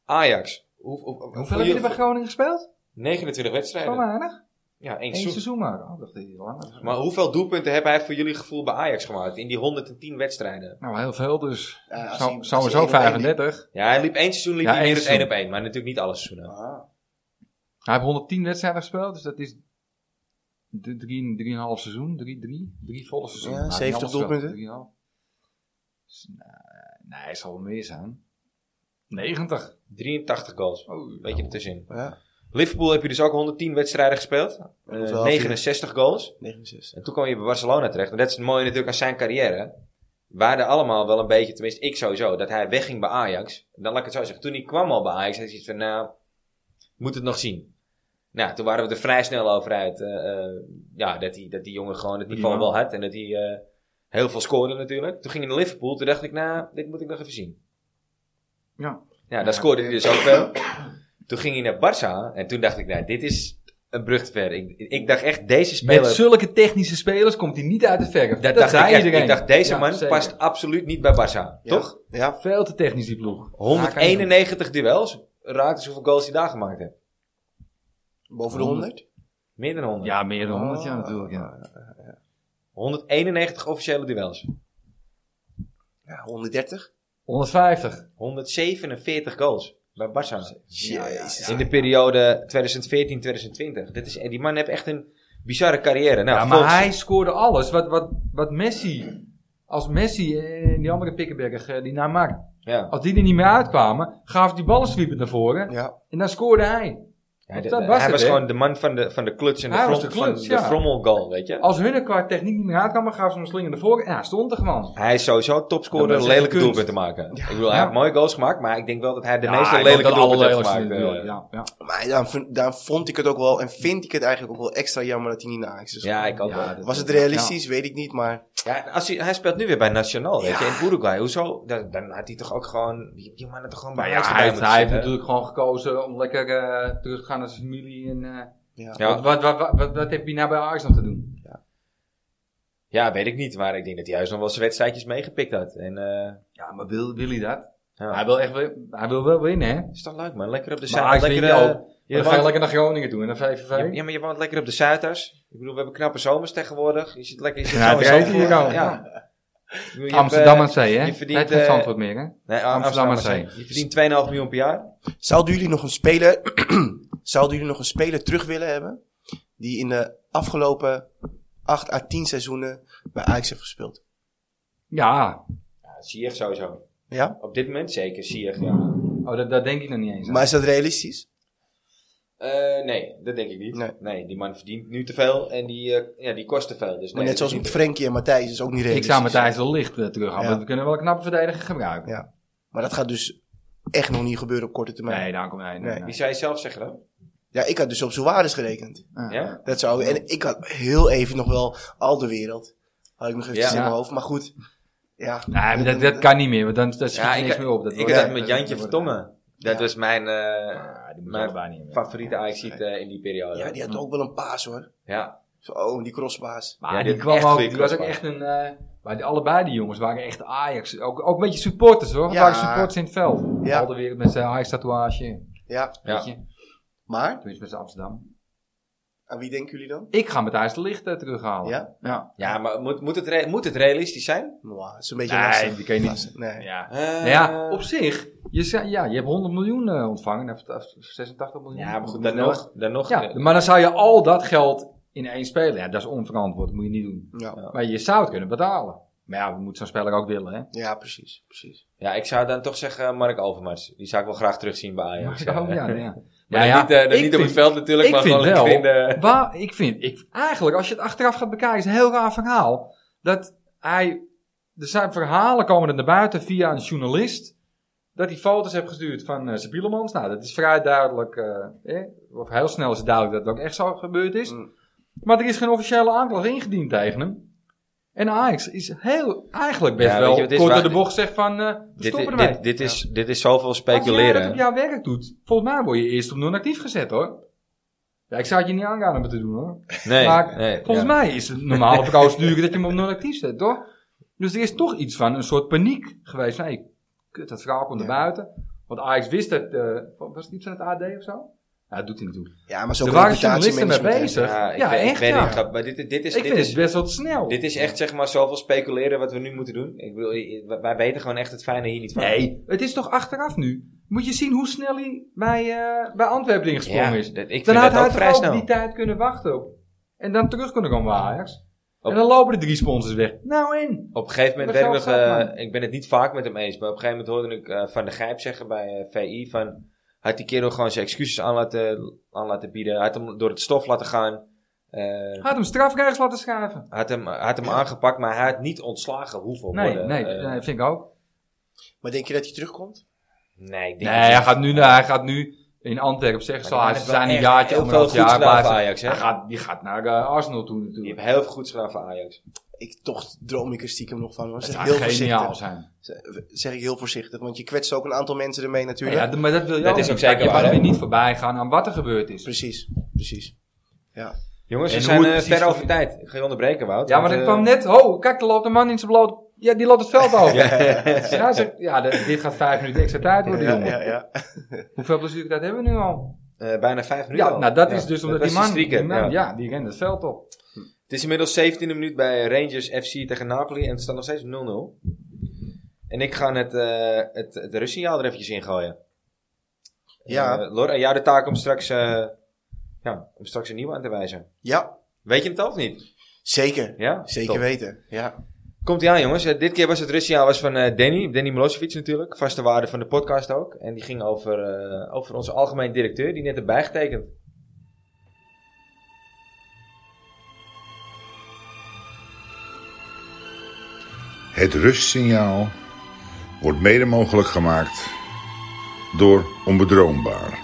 Speaker 1: Ajax. Hoe, hoe- hoe-
Speaker 2: Hoeveel heb je er bij Groningen gespeeld?
Speaker 1: 29
Speaker 2: Zo
Speaker 1: wedstrijden.
Speaker 2: weinig?
Speaker 1: ja, één
Speaker 2: Eén
Speaker 1: seizoen.
Speaker 2: seizoen maar. Oh, dat is langer.
Speaker 1: Maar hoeveel doelpunten heeft hij voor jullie gevoel bij Ajax gemaakt in die 110 wedstrijden?
Speaker 2: Nou, heel veel dus.
Speaker 3: Ja, als
Speaker 2: Zo-
Speaker 3: hij- als
Speaker 2: Sowieso
Speaker 3: hij één op één liep.
Speaker 2: 35.
Speaker 1: Ja, hij liep één seizoen liep
Speaker 2: Ja,
Speaker 1: hij
Speaker 2: één
Speaker 1: meer dan één
Speaker 2: seizoen.
Speaker 1: op één, maar natuurlijk niet alle seizoenen.
Speaker 3: Ah,
Speaker 2: Hij heeft 110 wedstrijden gespeeld, dus dat is 3,5 seizoen. 3, 3, 3 volle seizoen.
Speaker 3: Ja,
Speaker 2: Maar
Speaker 3: 70
Speaker 2: niet alles wel,
Speaker 3: doelpunten.
Speaker 2: 3,5. Dus, nee, Nee, het zal wel meer zijn. 90.
Speaker 1: 83 goals.
Speaker 2: Oh,
Speaker 1: Weet je, ertussenin.
Speaker 3: ja.
Speaker 1: Liverpool heb je dus ook 110 wedstrijden gespeeld. Eh,
Speaker 3: Hoeveel had je?
Speaker 1: 69 goals.
Speaker 3: 69.
Speaker 1: En toen kwam je bij Barcelona terecht. En dat is het mooie natuurlijk aan zijn carrière. Waarde allemaal wel een beetje, tenminste ik sowieso, dat hij wegging bij Ajax. Dan laat ik het zo zeggen. Toen hij kwam al bij Ajax, hij zoiets van, nou, moet het nog zien. Nou, toen waren we er vrij snel over uit. eh, eh, ja, dat die, dat die jongen gewoon het niveau
Speaker 2: Prima.
Speaker 1: wel had. En dat hij eh, heel veel scoorde natuurlijk. Toen ging hij naar Liverpool. Toen dacht ik, nou, dit moet ik nog even zien.
Speaker 2: Ja.
Speaker 1: Ja, daar scoorde hij dus ook wel. Toen ging hij naar Barça. En toen dacht ik, nou, dit is een brug te ver. Ik, ik dacht echt, deze
Speaker 2: Met
Speaker 1: speler...
Speaker 2: zulke technische spelers komt hij niet uit de verf.
Speaker 1: Dat,
Speaker 2: Dat,
Speaker 1: dacht
Speaker 2: zei
Speaker 1: ik, echt.
Speaker 2: iedereen.
Speaker 1: ik dacht, deze
Speaker 2: Ja,
Speaker 1: man
Speaker 2: zeker.
Speaker 1: past absoluut niet bij Barça.
Speaker 3: Ja.
Speaker 1: Toch?
Speaker 3: Ja.
Speaker 2: Veel te technisch die ploeg.
Speaker 1: 191 duels. Raakt eens hoeveel goals hij daar gemaakt heeft.
Speaker 3: Boven de 100?
Speaker 1: Meer dan 100.
Speaker 2: Ja, meer dan 100
Speaker 1: Ah.
Speaker 2: jaar
Speaker 3: Oh.
Speaker 2: natuurlijk. Ja.
Speaker 1: 191 officiële duels.
Speaker 3: Ja, 130.
Speaker 2: 150.
Speaker 1: 147 goals bij Barça.
Speaker 3: Jezus.
Speaker 1: In de periode 2014-2020. Dit is- Die man heeft echt een Bizarre carrière. Nou,
Speaker 2: ja, maar
Speaker 1: Fox-
Speaker 2: hij scoorde alles. Wat, wat, wat Messi, als Messi en die andere pikkenberger eh, die naar maakt,
Speaker 1: ja.
Speaker 2: als die er niet meer uitkwamen, gaf die ballen sweepend naar voren
Speaker 3: Ja.
Speaker 2: en dan scoorde hij.
Speaker 1: Ja, de-
Speaker 2: dat
Speaker 1: de-
Speaker 2: was
Speaker 1: hij
Speaker 2: het,
Speaker 1: was
Speaker 2: hè?
Speaker 1: gewoon de man van de, van de kluts en de,
Speaker 2: Hij was
Speaker 1: vrom-
Speaker 2: de kluts,
Speaker 1: van
Speaker 2: ja.
Speaker 1: de frommelgoal, weet je.
Speaker 2: Als hun er qua techniek niet meer uitkwamen, gaf ze hem een slinger naar voren en hij stond er gewoon.
Speaker 1: Hij is sowieso
Speaker 2: Ja, maar
Speaker 1: topscorer
Speaker 2: dat is
Speaker 1: lelijke
Speaker 2: kunst.
Speaker 1: doelpunten maken. Ik bedoel, hij
Speaker 2: Ja.
Speaker 1: heeft mooie goals gemaakt, maar ik denk wel dat hij de
Speaker 2: Ja, ik
Speaker 1: meeste
Speaker 2: denk
Speaker 1: lelijke
Speaker 2: dat alle
Speaker 1: doelpunten heeft
Speaker 2: lelijkste
Speaker 1: gemaakt.
Speaker 2: natuurlijk,
Speaker 1: eh.
Speaker 2: ja, ja.
Speaker 3: Maar daar, vind- daar vond ik het ook wel en vind ik het eigenlijk ook wel extra jammer dat hij niet naar Ajax is.
Speaker 1: eh. Ja, ik ook
Speaker 2: Ja,
Speaker 1: wel.
Speaker 2: dat-
Speaker 3: Was het realistisch? Weet ik niet, maar
Speaker 1: Ja, als hij, hij speelt nu weer bij Nacional, weet je, in Uruguay. Hoezo? Dan, dan had hij toch ook gewoon... Die, die man had toch gewoon bij
Speaker 2: Maar
Speaker 1: Ajax
Speaker 2: ja,
Speaker 1: erbij
Speaker 2: hij, heeft,
Speaker 1: moeten
Speaker 2: hij heeft
Speaker 1: zitten?
Speaker 2: natuurlijk gewoon gekozen om lekker eh, terug te gaan naar zijn familie. En, eh,
Speaker 3: ja.
Speaker 1: Ja.
Speaker 2: wat, wat, wat, wat, wat, wat heb je nou bij Ajax nog te doen?
Speaker 1: Ja, weet ik niet. Maar ik denk dat hij juist nog wel zijn wedstrijdjes meegepikt had. En eh,
Speaker 2: Ja, maar wil, wil hij dat?
Speaker 1: ja,
Speaker 2: Hij, wil echt, wel- hij wil wel winnen, hè?
Speaker 1: is toch leuk man. Lekker op de
Speaker 2: Maar Ajax
Speaker 1: Zuiders. Lekker,
Speaker 2: wint
Speaker 1: eh,
Speaker 2: ook.
Speaker 1: je
Speaker 2: dan ga
Speaker 1: woont-
Speaker 2: je lekker naar Groningen toe en naar VVV.
Speaker 1: je- ja, maar je woont lekker op de Zuiders. Ik bedoel, we hebben knappe zomers tegenwoordig. Je zit lekker... Je zit
Speaker 2: Ja,
Speaker 1: gewoon
Speaker 2: het regent
Speaker 1: zo-
Speaker 2: hier ook.
Speaker 1: Ja. Ik bedoel, je hebt,
Speaker 2: Amsterdam
Speaker 1: eh,
Speaker 2: aan zee, hè?
Speaker 1: je verdient,
Speaker 2: Nee, het is
Speaker 1: eh,
Speaker 2: geen antwoord meer, hè?
Speaker 1: Nee,
Speaker 2: Amsterdam
Speaker 1: Amsterdam
Speaker 2: aan
Speaker 1: AC.
Speaker 2: Zee.
Speaker 1: Je verdient 2,5 miljoen per jaar.
Speaker 3: zouden jullie nog een speler, <clears throat> zouden jullie nog een speler terug willen hebben die in de afgelopen 8 à 10 seizoenen bij Ajax heeft gespeeld?
Speaker 2: Ja.
Speaker 1: Ja, Ziyech sowieso.
Speaker 3: Ja?
Speaker 1: Op dit moment zeker Ziyech, ja.
Speaker 2: Oh, dat, dat denk ik nog niet eens. aan.
Speaker 3: Maar is dat realistisch?
Speaker 1: Eh, nee, dat denk ik niet.
Speaker 3: Nee.
Speaker 1: Nee. die man verdient nu te veel en die, eh, ja, die kost te veel. Dus
Speaker 3: Maar
Speaker 1: nee,
Speaker 3: net
Speaker 1: dat
Speaker 3: zoals
Speaker 1: is
Speaker 3: met
Speaker 1: niet-
Speaker 3: Frenkie en Matthijs is ook niet
Speaker 2: ik
Speaker 3: realistisch.
Speaker 2: zou Matthijs wel licht eh, terughalen.
Speaker 3: Ja.
Speaker 2: want We kunnen wel een knappe verdediger gebruiken.
Speaker 3: Ja. Maar dat gaat dus echt nog niet gebeuren op korte termijn.
Speaker 2: Nee, daar komt hij. Nee,
Speaker 3: Nee.
Speaker 1: Wie zou je zelf zeggen dan?
Speaker 3: Ja, ik had dus op Suarez gerekend.
Speaker 2: nee.
Speaker 1: Ja?
Speaker 3: Dat zou, en ik had heel even nog wel al de wereld. Had ik nog even
Speaker 1: Ja.
Speaker 3: in mijn
Speaker 2: Ja.
Speaker 3: hoofd. Maar goed. Ja.
Speaker 2: Nee, maar dat, dat kan niet meer, want dan daar schiet
Speaker 1: Ja,
Speaker 2: je
Speaker 1: ik-
Speaker 2: niks meer op. Dat
Speaker 1: Ik
Speaker 2: wordt-
Speaker 1: had dat
Speaker 2: dat-
Speaker 1: met
Speaker 2: dat
Speaker 1: Jantje
Speaker 2: wordt-
Speaker 1: Vertongen. Dat
Speaker 3: Ja.
Speaker 1: was mijn eh,
Speaker 2: Ah, die moet je
Speaker 1: Maar-
Speaker 2: allebei niet meer.
Speaker 1: favoriete ajax in die periode.
Speaker 3: ja, die had ook wel een paas hoor.
Speaker 1: Ja.
Speaker 3: Zo, oh, die crosspaas.
Speaker 2: Maar
Speaker 1: Ja,
Speaker 2: die
Speaker 1: dit
Speaker 2: kwam
Speaker 1: echt
Speaker 2: ook,
Speaker 1: goede
Speaker 2: die was ook
Speaker 1: crossbar.
Speaker 2: echt een... eh, maar die, allebei die jongens waren echt Ajax. Ook, ook een beetje supporters hoor.
Speaker 3: Ja.
Speaker 2: Waren supporters in het veld.
Speaker 3: Ja.
Speaker 2: Al de wereld met zijn Ajax tatoeage.
Speaker 3: Ja.
Speaker 1: Ja.
Speaker 2: Weet je.
Speaker 3: Maar,
Speaker 2: Tenminste met zijn Amsterdam.
Speaker 3: aan wie denken jullie dan?
Speaker 2: Ik ga Matthijs de Licht eh, terughalen.
Speaker 3: Ja?
Speaker 2: Ja.
Speaker 1: ja, maar moet, moet, het re- moet het realistisch zijn?
Speaker 3: Nou, dat is een beetje
Speaker 2: Nee,
Speaker 3: lastig.
Speaker 2: die kan je niet-
Speaker 3: Lastig, Nee.
Speaker 2: ja.
Speaker 1: Eh,
Speaker 2: Nou ja, op zich. Je, zei- ja, je hebt 100 miljoen eh, ontvangen. of- of 86 miljoen.
Speaker 1: ja, maar goed, eh, dan nog. Dan nog
Speaker 2: Ja, maar dan zou je al dat geld in één spelen. Ja, dat is onverantwoord. Dat moet je niet doen.
Speaker 3: Ja.
Speaker 2: Maar je zou het kunnen betalen. Maar ja, we moeten zo'n speler ook willen, hè.
Speaker 3: ja, precies. precies.
Speaker 1: Ja, ik zou dan toch zeggen eh, Mark Overmars. Die zou ik wel graag terugzien bij
Speaker 2: Maar
Speaker 1: Ajax.
Speaker 2: <laughs> ja,
Speaker 1: Eh, <laughs>
Speaker 2: ja, ja.
Speaker 1: Maar
Speaker 2: Ja,
Speaker 1: dan
Speaker 2: ja,
Speaker 1: niet, eh, dan
Speaker 2: ik
Speaker 1: niet op het
Speaker 2: vind-
Speaker 1: veld natuurlijk,
Speaker 2: ik
Speaker 1: maar
Speaker 2: vind
Speaker 1: gewoon lekker
Speaker 2: wel-
Speaker 1: in de...
Speaker 2: Waar, ik vind, ik, eigenlijk, als je het achteraf gaat bekijken, is het een heel raar verhaal. Dat hij, er zijn verhalen komen er naar buiten via een journalist. Dat hij foto's heeft gestuurd van eh zijn Bielemans. Nou, dat is vrij duidelijk, eh, eh, of heel snel is het duidelijk dat het ook echt zo gebeurd is.
Speaker 3: Mm.
Speaker 2: Maar er is geen officiële aanklacht ingediend tegen hem. En Ajax is heel, eigenlijk best
Speaker 1: Ja, weet
Speaker 2: wel
Speaker 1: je wat het
Speaker 2: kort
Speaker 1: is?
Speaker 2: door
Speaker 1: Waar-
Speaker 2: de bocht zegt van, eh we
Speaker 1: Dit,
Speaker 2: stoppen
Speaker 1: dit,
Speaker 2: ermee.
Speaker 1: dit, is, dit is zoveel
Speaker 2: Als jij dat
Speaker 1: speculeren.
Speaker 2: op jouw werk doet, volgens mij word je eerst op non-actief gezet hoor. Ja, ik zou het je niet aanraden om het te doen hoor.
Speaker 1: Nee,
Speaker 2: Maar
Speaker 1: nee,
Speaker 2: Volgens
Speaker 1: ja.
Speaker 2: mij is het normale procedure dat je hem op non-actief zet, toch? Dus er is toch iets van een soort paniek geweest. van, hey, kut, dat verhaal komt
Speaker 3: Ja.
Speaker 2: naar buiten. Want Ajax wist dat, eh, was het iets van het AD of zo? Ja, dat doet hij natuurlijk.
Speaker 3: Ja, maar
Speaker 2: Er
Speaker 3: zo'n
Speaker 2: waren journalisten mee
Speaker 3: reputatiemanagement, hè.
Speaker 2: bezig.
Speaker 1: Ja, ik
Speaker 2: Ja,
Speaker 1: weet, ik
Speaker 2: echt,
Speaker 1: weet
Speaker 2: ja.
Speaker 1: niet, grap, maar dit, dit is,
Speaker 2: ik
Speaker 1: Dus dit
Speaker 2: vind
Speaker 1: is,
Speaker 2: het best wel snel.
Speaker 1: dit is echt zeg maar zoveel speculeren wat we nu moeten doen. Ik bedoel, i- wij- wij weten gewoon echt het fijne hier niet van.
Speaker 2: Nee, het is toch achteraf nu? Moet je zien hoe snel hij bij, eh, bij Antwerpen ingesprongen
Speaker 1: Ja,
Speaker 2: is.
Speaker 1: dat- ik
Speaker 2: Dan
Speaker 1: vind
Speaker 2: had
Speaker 1: dat
Speaker 2: hij
Speaker 1: ook
Speaker 2: toch
Speaker 1: vrij
Speaker 2: ook
Speaker 1: snel.
Speaker 2: die tijd kunnen wachten op. En dan terug kunnen komen bij Ajax.
Speaker 1: Op-
Speaker 2: En dan lopen de drie sponsors weg. Nou in.
Speaker 1: Op een gegeven moment
Speaker 2: Maar
Speaker 1: werd ik
Speaker 2: zo
Speaker 1: nog,
Speaker 2: gaat het,
Speaker 1: eh, ik ben het niet vaak met hem eens, maar op een gegeven moment hoorde ik eh, Van de Gijp zeggen bij eh, VI van, had die kerel gewoon zijn excuses aan laten, aan laten bieden, had hem door het stof laten gaan, eh,
Speaker 2: Had hem strafrechts laten schuiven.
Speaker 1: had hem, had hem aangepakt, maar hij had niet ontslagen hoeveel
Speaker 2: Nee,
Speaker 1: worden.
Speaker 2: nee,
Speaker 1: eh,
Speaker 2: nee, vind ik ook.
Speaker 3: Maar denk je dat hij terugkomt?
Speaker 1: nee, ik denk
Speaker 2: Nee,
Speaker 1: dat
Speaker 2: hij gaat nu, naar- hij gaat nu in Antwerpen op zich.
Speaker 1: Maar
Speaker 2: zal
Speaker 1: die
Speaker 2: Hij
Speaker 1: man heeft
Speaker 2: zijn
Speaker 1: wel
Speaker 2: een
Speaker 1: echt
Speaker 2: jaartje,
Speaker 1: heel
Speaker 2: anderhalf
Speaker 1: veel goeds
Speaker 2: jaar
Speaker 1: gedaan
Speaker 2: bij
Speaker 1: voor
Speaker 2: zijn-
Speaker 1: Ajax, hè?
Speaker 2: Hij gaat, die gaat naar eh, Arsenal toe
Speaker 1: Je hebt
Speaker 2: natuurlijk.
Speaker 1: heel veel goeds gedaan voor Ajax.
Speaker 3: Ik, toch droom ik er stiekem nog van. Hoor.
Speaker 2: Dat
Speaker 3: Zeg,
Speaker 2: zou
Speaker 3: heel
Speaker 2: geniaal
Speaker 3: voorzichtig.
Speaker 2: zijn.
Speaker 3: Zeg- zeg ik heel voorzichtig. Want je kwetst ook een aantal mensen ermee natuurlijk.
Speaker 2: Ja, maar dat wil je
Speaker 1: Dat
Speaker 2: ook
Speaker 1: is ook
Speaker 2: niet.
Speaker 1: zeker
Speaker 2: Je
Speaker 1: waar,
Speaker 2: mag
Speaker 1: hè?
Speaker 2: er niet voorbij gaan aan wat er gebeurd is.
Speaker 3: Precies, precies.
Speaker 1: Jongens, we
Speaker 2: En
Speaker 1: zijn
Speaker 2: hoe het
Speaker 1: eh,
Speaker 2: precies
Speaker 1: ver
Speaker 2: ging-
Speaker 1: over tijd. Ik ga je onderbreken, Wout.
Speaker 2: Ja, maar
Speaker 1: want,
Speaker 2: dat
Speaker 1: eh,
Speaker 2: kwam net. Oh, kijk, er loopt een man in zijn bloot. Ja, die loopt het veld
Speaker 1: <laughs>
Speaker 2: over. ja, zegt, ja dat- dit gaat vijf minuten extra tijd worden,
Speaker 3: Ja,
Speaker 2: jongen.
Speaker 3: ja, ja.
Speaker 2: Hoeveel plezier dat hebben we nu al?
Speaker 1: eh, bijna vijf minuten
Speaker 2: Ja,
Speaker 1: al.
Speaker 2: nou dat
Speaker 1: Ja,
Speaker 2: is dus omdat
Speaker 1: was
Speaker 2: die man,
Speaker 1: streaker,
Speaker 2: die man- ja.
Speaker 1: ja.
Speaker 2: die rent het veld op.
Speaker 1: Het is inmiddels 17e minuut bij Rangers FC tegen Napoli en het staat nog steeds 0-0. En ik ga het, eh het, het rustsignaal er eventjes in gooien.
Speaker 3: Ja.
Speaker 1: Eh, Lor, aan jou de taak om straks, eh, ja, om straks een nieuwe aan te wijzen.
Speaker 3: Ja,
Speaker 1: Weet je het al of niet?
Speaker 3: Zeker.
Speaker 1: Ja?
Speaker 3: Zeker
Speaker 1: Top.
Speaker 3: weten. Ja.
Speaker 1: Komt ie aan, jongens. Eh, dit keer was het Russia was van eh, Danny. Danny Milosevic natuurlijk. Vaste waarde van de podcast ook. En die ging over, eh, over onze algemeen directeur, die net erbij getekend.
Speaker 4: Het rustsignaal wordt mede mogelijk gemaakt door onbedroombaar.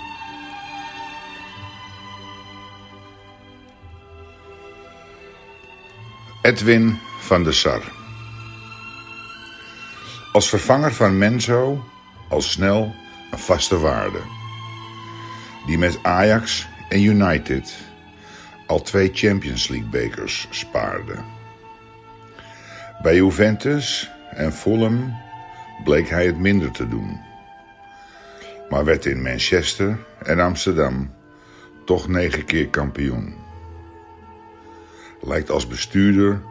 Speaker 4: Edwin van der Sar. Als vervanger van Menzo al snel een vaste waarde. Die met Ajax en United al twee Champions League bekers spaarde. Bij Juventus en Fulham bleek hij het minder te doen. Maar werd in Manchester en Amsterdam toch negen keer kampioen. Lijkt als bestuurder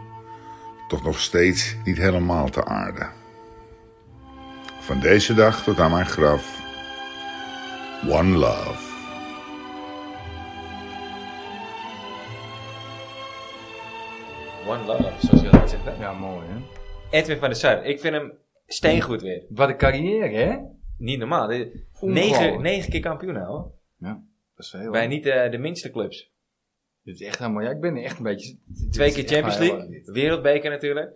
Speaker 4: toch nog steeds niet helemaal te aarden. Van deze dag tot aan mijn graf. One love.
Speaker 1: One love, zoals je dat zegt. hè?
Speaker 2: Ja, mooi hè.
Speaker 1: Edwin van der Sar. Ik vind hem steengoed weer.
Speaker 2: Wat een carrière hè.
Speaker 1: Niet normaal. Dit-
Speaker 2: Ongelooflijk.
Speaker 1: Negen, negen keer kampioen nou. hoor.
Speaker 2: Dat is veel.
Speaker 1: Bij niet eh, de minste clubs.
Speaker 2: Dit is echt helemaal, ja, ik ben echt een beetje... dit
Speaker 1: Twee
Speaker 2: is
Speaker 1: keer
Speaker 2: echt
Speaker 1: Champions
Speaker 2: waar,
Speaker 1: League. Wereldbeker natuurlijk.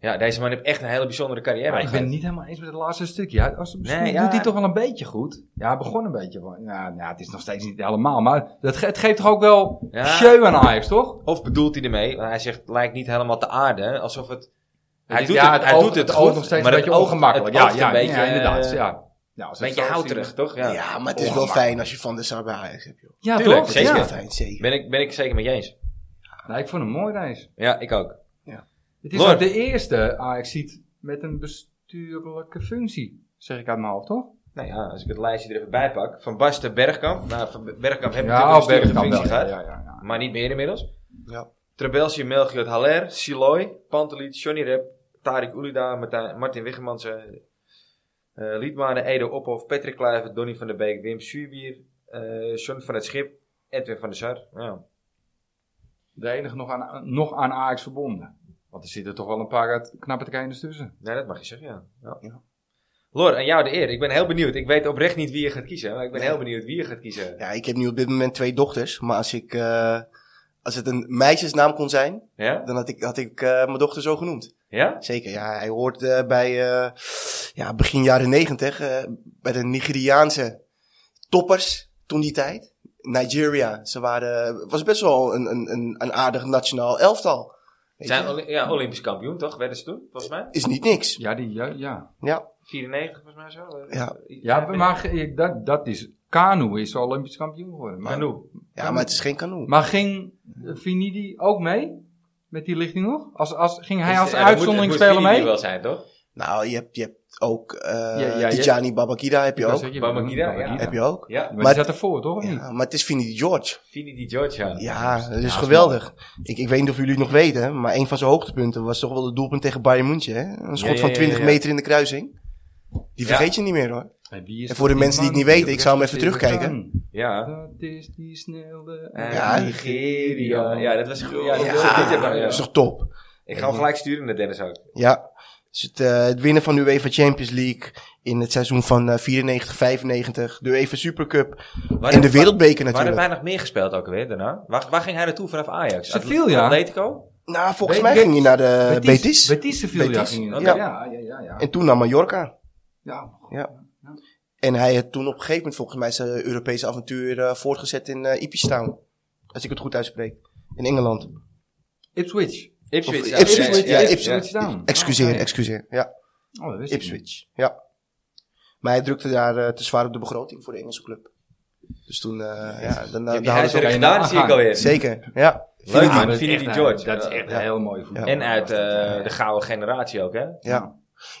Speaker 1: Ja, deze man heeft echt een hele bijzondere carrière
Speaker 2: Maar ik ben
Speaker 1: gehad.
Speaker 2: het niet helemaal eens met het laatste stukje. Hij- Als, misschien
Speaker 1: Nee, ja.
Speaker 2: doet hij toch wel een beetje goed. Ja, hij begon een beetje. van- Ja, nou, het is nog steeds niet helemaal. Maar dat ge- het geeft toch ook wel
Speaker 1: Ja.
Speaker 2: show aan Ajax, toch?
Speaker 1: Of bedoelt hij ermee? want Hij zegt, lijkt niet helemaal te aarden. Alsof het... Hij,
Speaker 2: Het-
Speaker 1: doet,
Speaker 2: ja,
Speaker 1: het, hij
Speaker 2: oogt-
Speaker 1: doet het
Speaker 2: oogt
Speaker 1: goed,
Speaker 2: nog steeds
Speaker 1: maar
Speaker 2: een
Speaker 1: het
Speaker 2: beetje
Speaker 1: oogt-
Speaker 2: ongemakkelijk.
Speaker 1: het
Speaker 2: Ja,
Speaker 1: oogt
Speaker 2: ja,
Speaker 1: een beetje,
Speaker 2: ja, inderdaad.
Speaker 1: eh,
Speaker 2: Ja. Nou, als
Speaker 1: Een
Speaker 2: het
Speaker 1: beetje
Speaker 2: zo zien-
Speaker 1: houterig, toch?
Speaker 3: Ja,
Speaker 1: Ja,
Speaker 3: maar het is wel
Speaker 2: Ongemakkelijk.
Speaker 3: fijn als je Van der Sar bij Ajax hebt. Joh.
Speaker 2: Ja,
Speaker 1: Tuurlijk,
Speaker 2: toch?
Speaker 3: Het is
Speaker 1: zeker.
Speaker 2: Oh, Ja.
Speaker 3: wel fijn, zeker.
Speaker 1: Ben ik, ben ik zeker met je eens.
Speaker 2: Nou, ik vond hem mooi, deze.
Speaker 1: Ja, ik ook.
Speaker 2: Het is
Speaker 1: Lord.
Speaker 2: ook de eerste Ah, Ajax ziet met een bestuurlijke functie. Zeg ik uit mijn hoofd, toch?
Speaker 1: Nou ja, als ik het lijstje er even bij pak. Van Basten, Bergkamp. Nou, van Bergkamp heeft
Speaker 2: Ja,
Speaker 1: natuurlijk
Speaker 2: op
Speaker 1: een bestuurlijke
Speaker 2: Bergkamp
Speaker 1: functie
Speaker 2: wel. Ja,
Speaker 1: gehad.
Speaker 2: ja, ja, ja.
Speaker 1: Maar niet meer inmiddels.
Speaker 3: Ja.
Speaker 1: Trebelsi, Melchior, Haller, Siloy, Panteliet, Johnny Rep, Tariq Ulida, Martijn- Martin Wiggemansen, eh Liedmanen, Edo Ophof, Patrick Kluivert, Donny van der Beek, Wim Suurbier, eh John van het Schip, Edwin van der Sar. Ja.
Speaker 2: De enige nog aan, nog aan Ajax verbonden. Want er zitten toch wel een paar uit- knappe trainers tussen.
Speaker 1: Nee, dat mag je zeggen, ja. ja.
Speaker 3: Ja.
Speaker 1: Lor, aan jou de eer. Ik ben heel benieuwd. Ik weet oprecht niet wie je gaat kiezen, maar ik ben heel benieuwd wie je gaat kiezen.
Speaker 3: Ja, ik heb nu op dit moment twee dochters. Maar als, ik, eh, als het een meisjesnaam kon zijn,
Speaker 1: Ja?
Speaker 3: dan had ik, had ik eh, mijn dochter zo genoemd.
Speaker 1: Ja?
Speaker 3: Zeker, ja. Hij hoort eh, bij eh, ja, begin jaren negentig eh, bij de Nigeriaanse toppers toen die tijd. Nigeria, ze waren, was best wel een, een, een, een aardig nationaal elftal. Weet
Speaker 1: Zijn
Speaker 3: je.
Speaker 1: Oli- ja, Olympisch kampioen, toch? Werden ze toen, volgens mij?
Speaker 3: Is niet niks.
Speaker 2: Ja, die, ja, ja.
Speaker 3: Ja,
Speaker 1: 94, volgens mij zo. eh,
Speaker 3: Ja.
Speaker 2: ja maar ge- dat, dat is... Kanu is Olympisch kampioen geworden. Maar,
Speaker 1: Manu.
Speaker 3: ja maar het is geen kanoe.
Speaker 2: maar ging eh, Vinidi ook mee? Met die lichting nog? Als, als, ging hij
Speaker 1: Dus,
Speaker 2: als
Speaker 1: ja, dat moet-
Speaker 2: uitzondering
Speaker 1: het
Speaker 2: spelen
Speaker 1: moest
Speaker 2: mee?
Speaker 1: Vini wel zijn, toch?
Speaker 3: Nou, je hebt, je hebt ook eh
Speaker 2: ja, je-
Speaker 3: Tijani Babakida, heb je
Speaker 2: Dat
Speaker 3: ook.
Speaker 2: zeg je,
Speaker 1: Babangida, ja.
Speaker 2: Babangida.
Speaker 3: Heb je ook.
Speaker 1: Ja,
Speaker 2: Maar, die
Speaker 3: Maar-
Speaker 2: zat ervoor, toch? Of niet?
Speaker 3: Ja, maar het is Vinnie George.
Speaker 1: Vini Di Giorgia.
Speaker 3: Ja, dat
Speaker 2: Ja,
Speaker 3: is
Speaker 2: is
Speaker 3: geweldig. Ik, ik weet niet of jullie het nog weten, maar een van zijn hoogtepunten was toch wel het doelpunt tegen Bayern München. Hè? Een schot
Speaker 1: ja, ja,
Speaker 3: van
Speaker 1: ja,
Speaker 3: 20
Speaker 1: ja.
Speaker 3: meter in de kruising. Die
Speaker 1: Ja.
Speaker 3: vergeet je niet meer hoor.
Speaker 2: En, wie is
Speaker 3: En voor de
Speaker 2: die
Speaker 3: mensen die het
Speaker 2: man?
Speaker 3: niet weten, ik zou hem even
Speaker 2: Dat is
Speaker 3: terugkijken.
Speaker 2: Zidane.
Speaker 1: Ja.
Speaker 2: Dat is die snelle...
Speaker 1: Eh,
Speaker 3: Ja.
Speaker 1: Nigeria. Ja, dat was goed. Ja, dat
Speaker 3: Ja,
Speaker 1: was goed, ja, ja.
Speaker 3: dat is toch top.
Speaker 1: Ik ga hem gelijk sturen naar Dennis ook.
Speaker 3: Ja. Dus het, eh, het winnen van de UEFA Champions League in het seizoen van eh, 94, 95. De UEFA Supercup en de Wereldbeker
Speaker 1: Waar hebben
Speaker 3: natuurlijk.
Speaker 1: wij nog meer gespeeld ook weer daarna? Waar, waar ging hij naartoe vanaf Ajax?
Speaker 2: Sevilla.
Speaker 1: Atletico?
Speaker 3: Nou, volgens
Speaker 2: Be-
Speaker 3: mij
Speaker 2: Be-
Speaker 3: ging hij naar de Eh, Betis.
Speaker 2: Betis Sevilla
Speaker 3: Betis,
Speaker 2: ging hij.
Speaker 3: ja.
Speaker 2: Ja, ja, ja. ja, ja.
Speaker 3: En toen naar Mallorca.
Speaker 2: ja.
Speaker 3: En hij had toen op een gegeven moment volgens mij zijn Europese avontuur eh, voortgezet in eh Ipswich Als ik het goed uitspreek. In Engeland.
Speaker 2: Ipswich.
Speaker 1: Ipswich.
Speaker 3: Of Ipswich, ja, Ipswich.
Speaker 2: Town.
Speaker 3: Excuseer,
Speaker 2: Ah,
Speaker 3: excuseer. Ja,
Speaker 2: ja. Oh, dat wist ik niet.
Speaker 3: Ipswich. Ja. Maar hij drukte daar eh, te zwaar op de begroting voor de Engelse club. Dus toen, eh, ja,
Speaker 1: Ja,
Speaker 3: dan, dan
Speaker 1: die
Speaker 3: hadden ze...
Speaker 1: huiswerk
Speaker 2: ook-
Speaker 1: gedaan zie ik alweer.
Speaker 3: Zeker, ja.
Speaker 1: Leuk
Speaker 2: Ja,
Speaker 1: man,
Speaker 2: dat is
Speaker 1: Vini
Speaker 2: echt
Speaker 1: Di
Speaker 2: een-
Speaker 1: Giorgio.
Speaker 2: Dat is echt
Speaker 1: Ja.
Speaker 2: een heel mooi voetbal.
Speaker 1: En uit eh, de gouden generatie ook, hè?
Speaker 3: ja.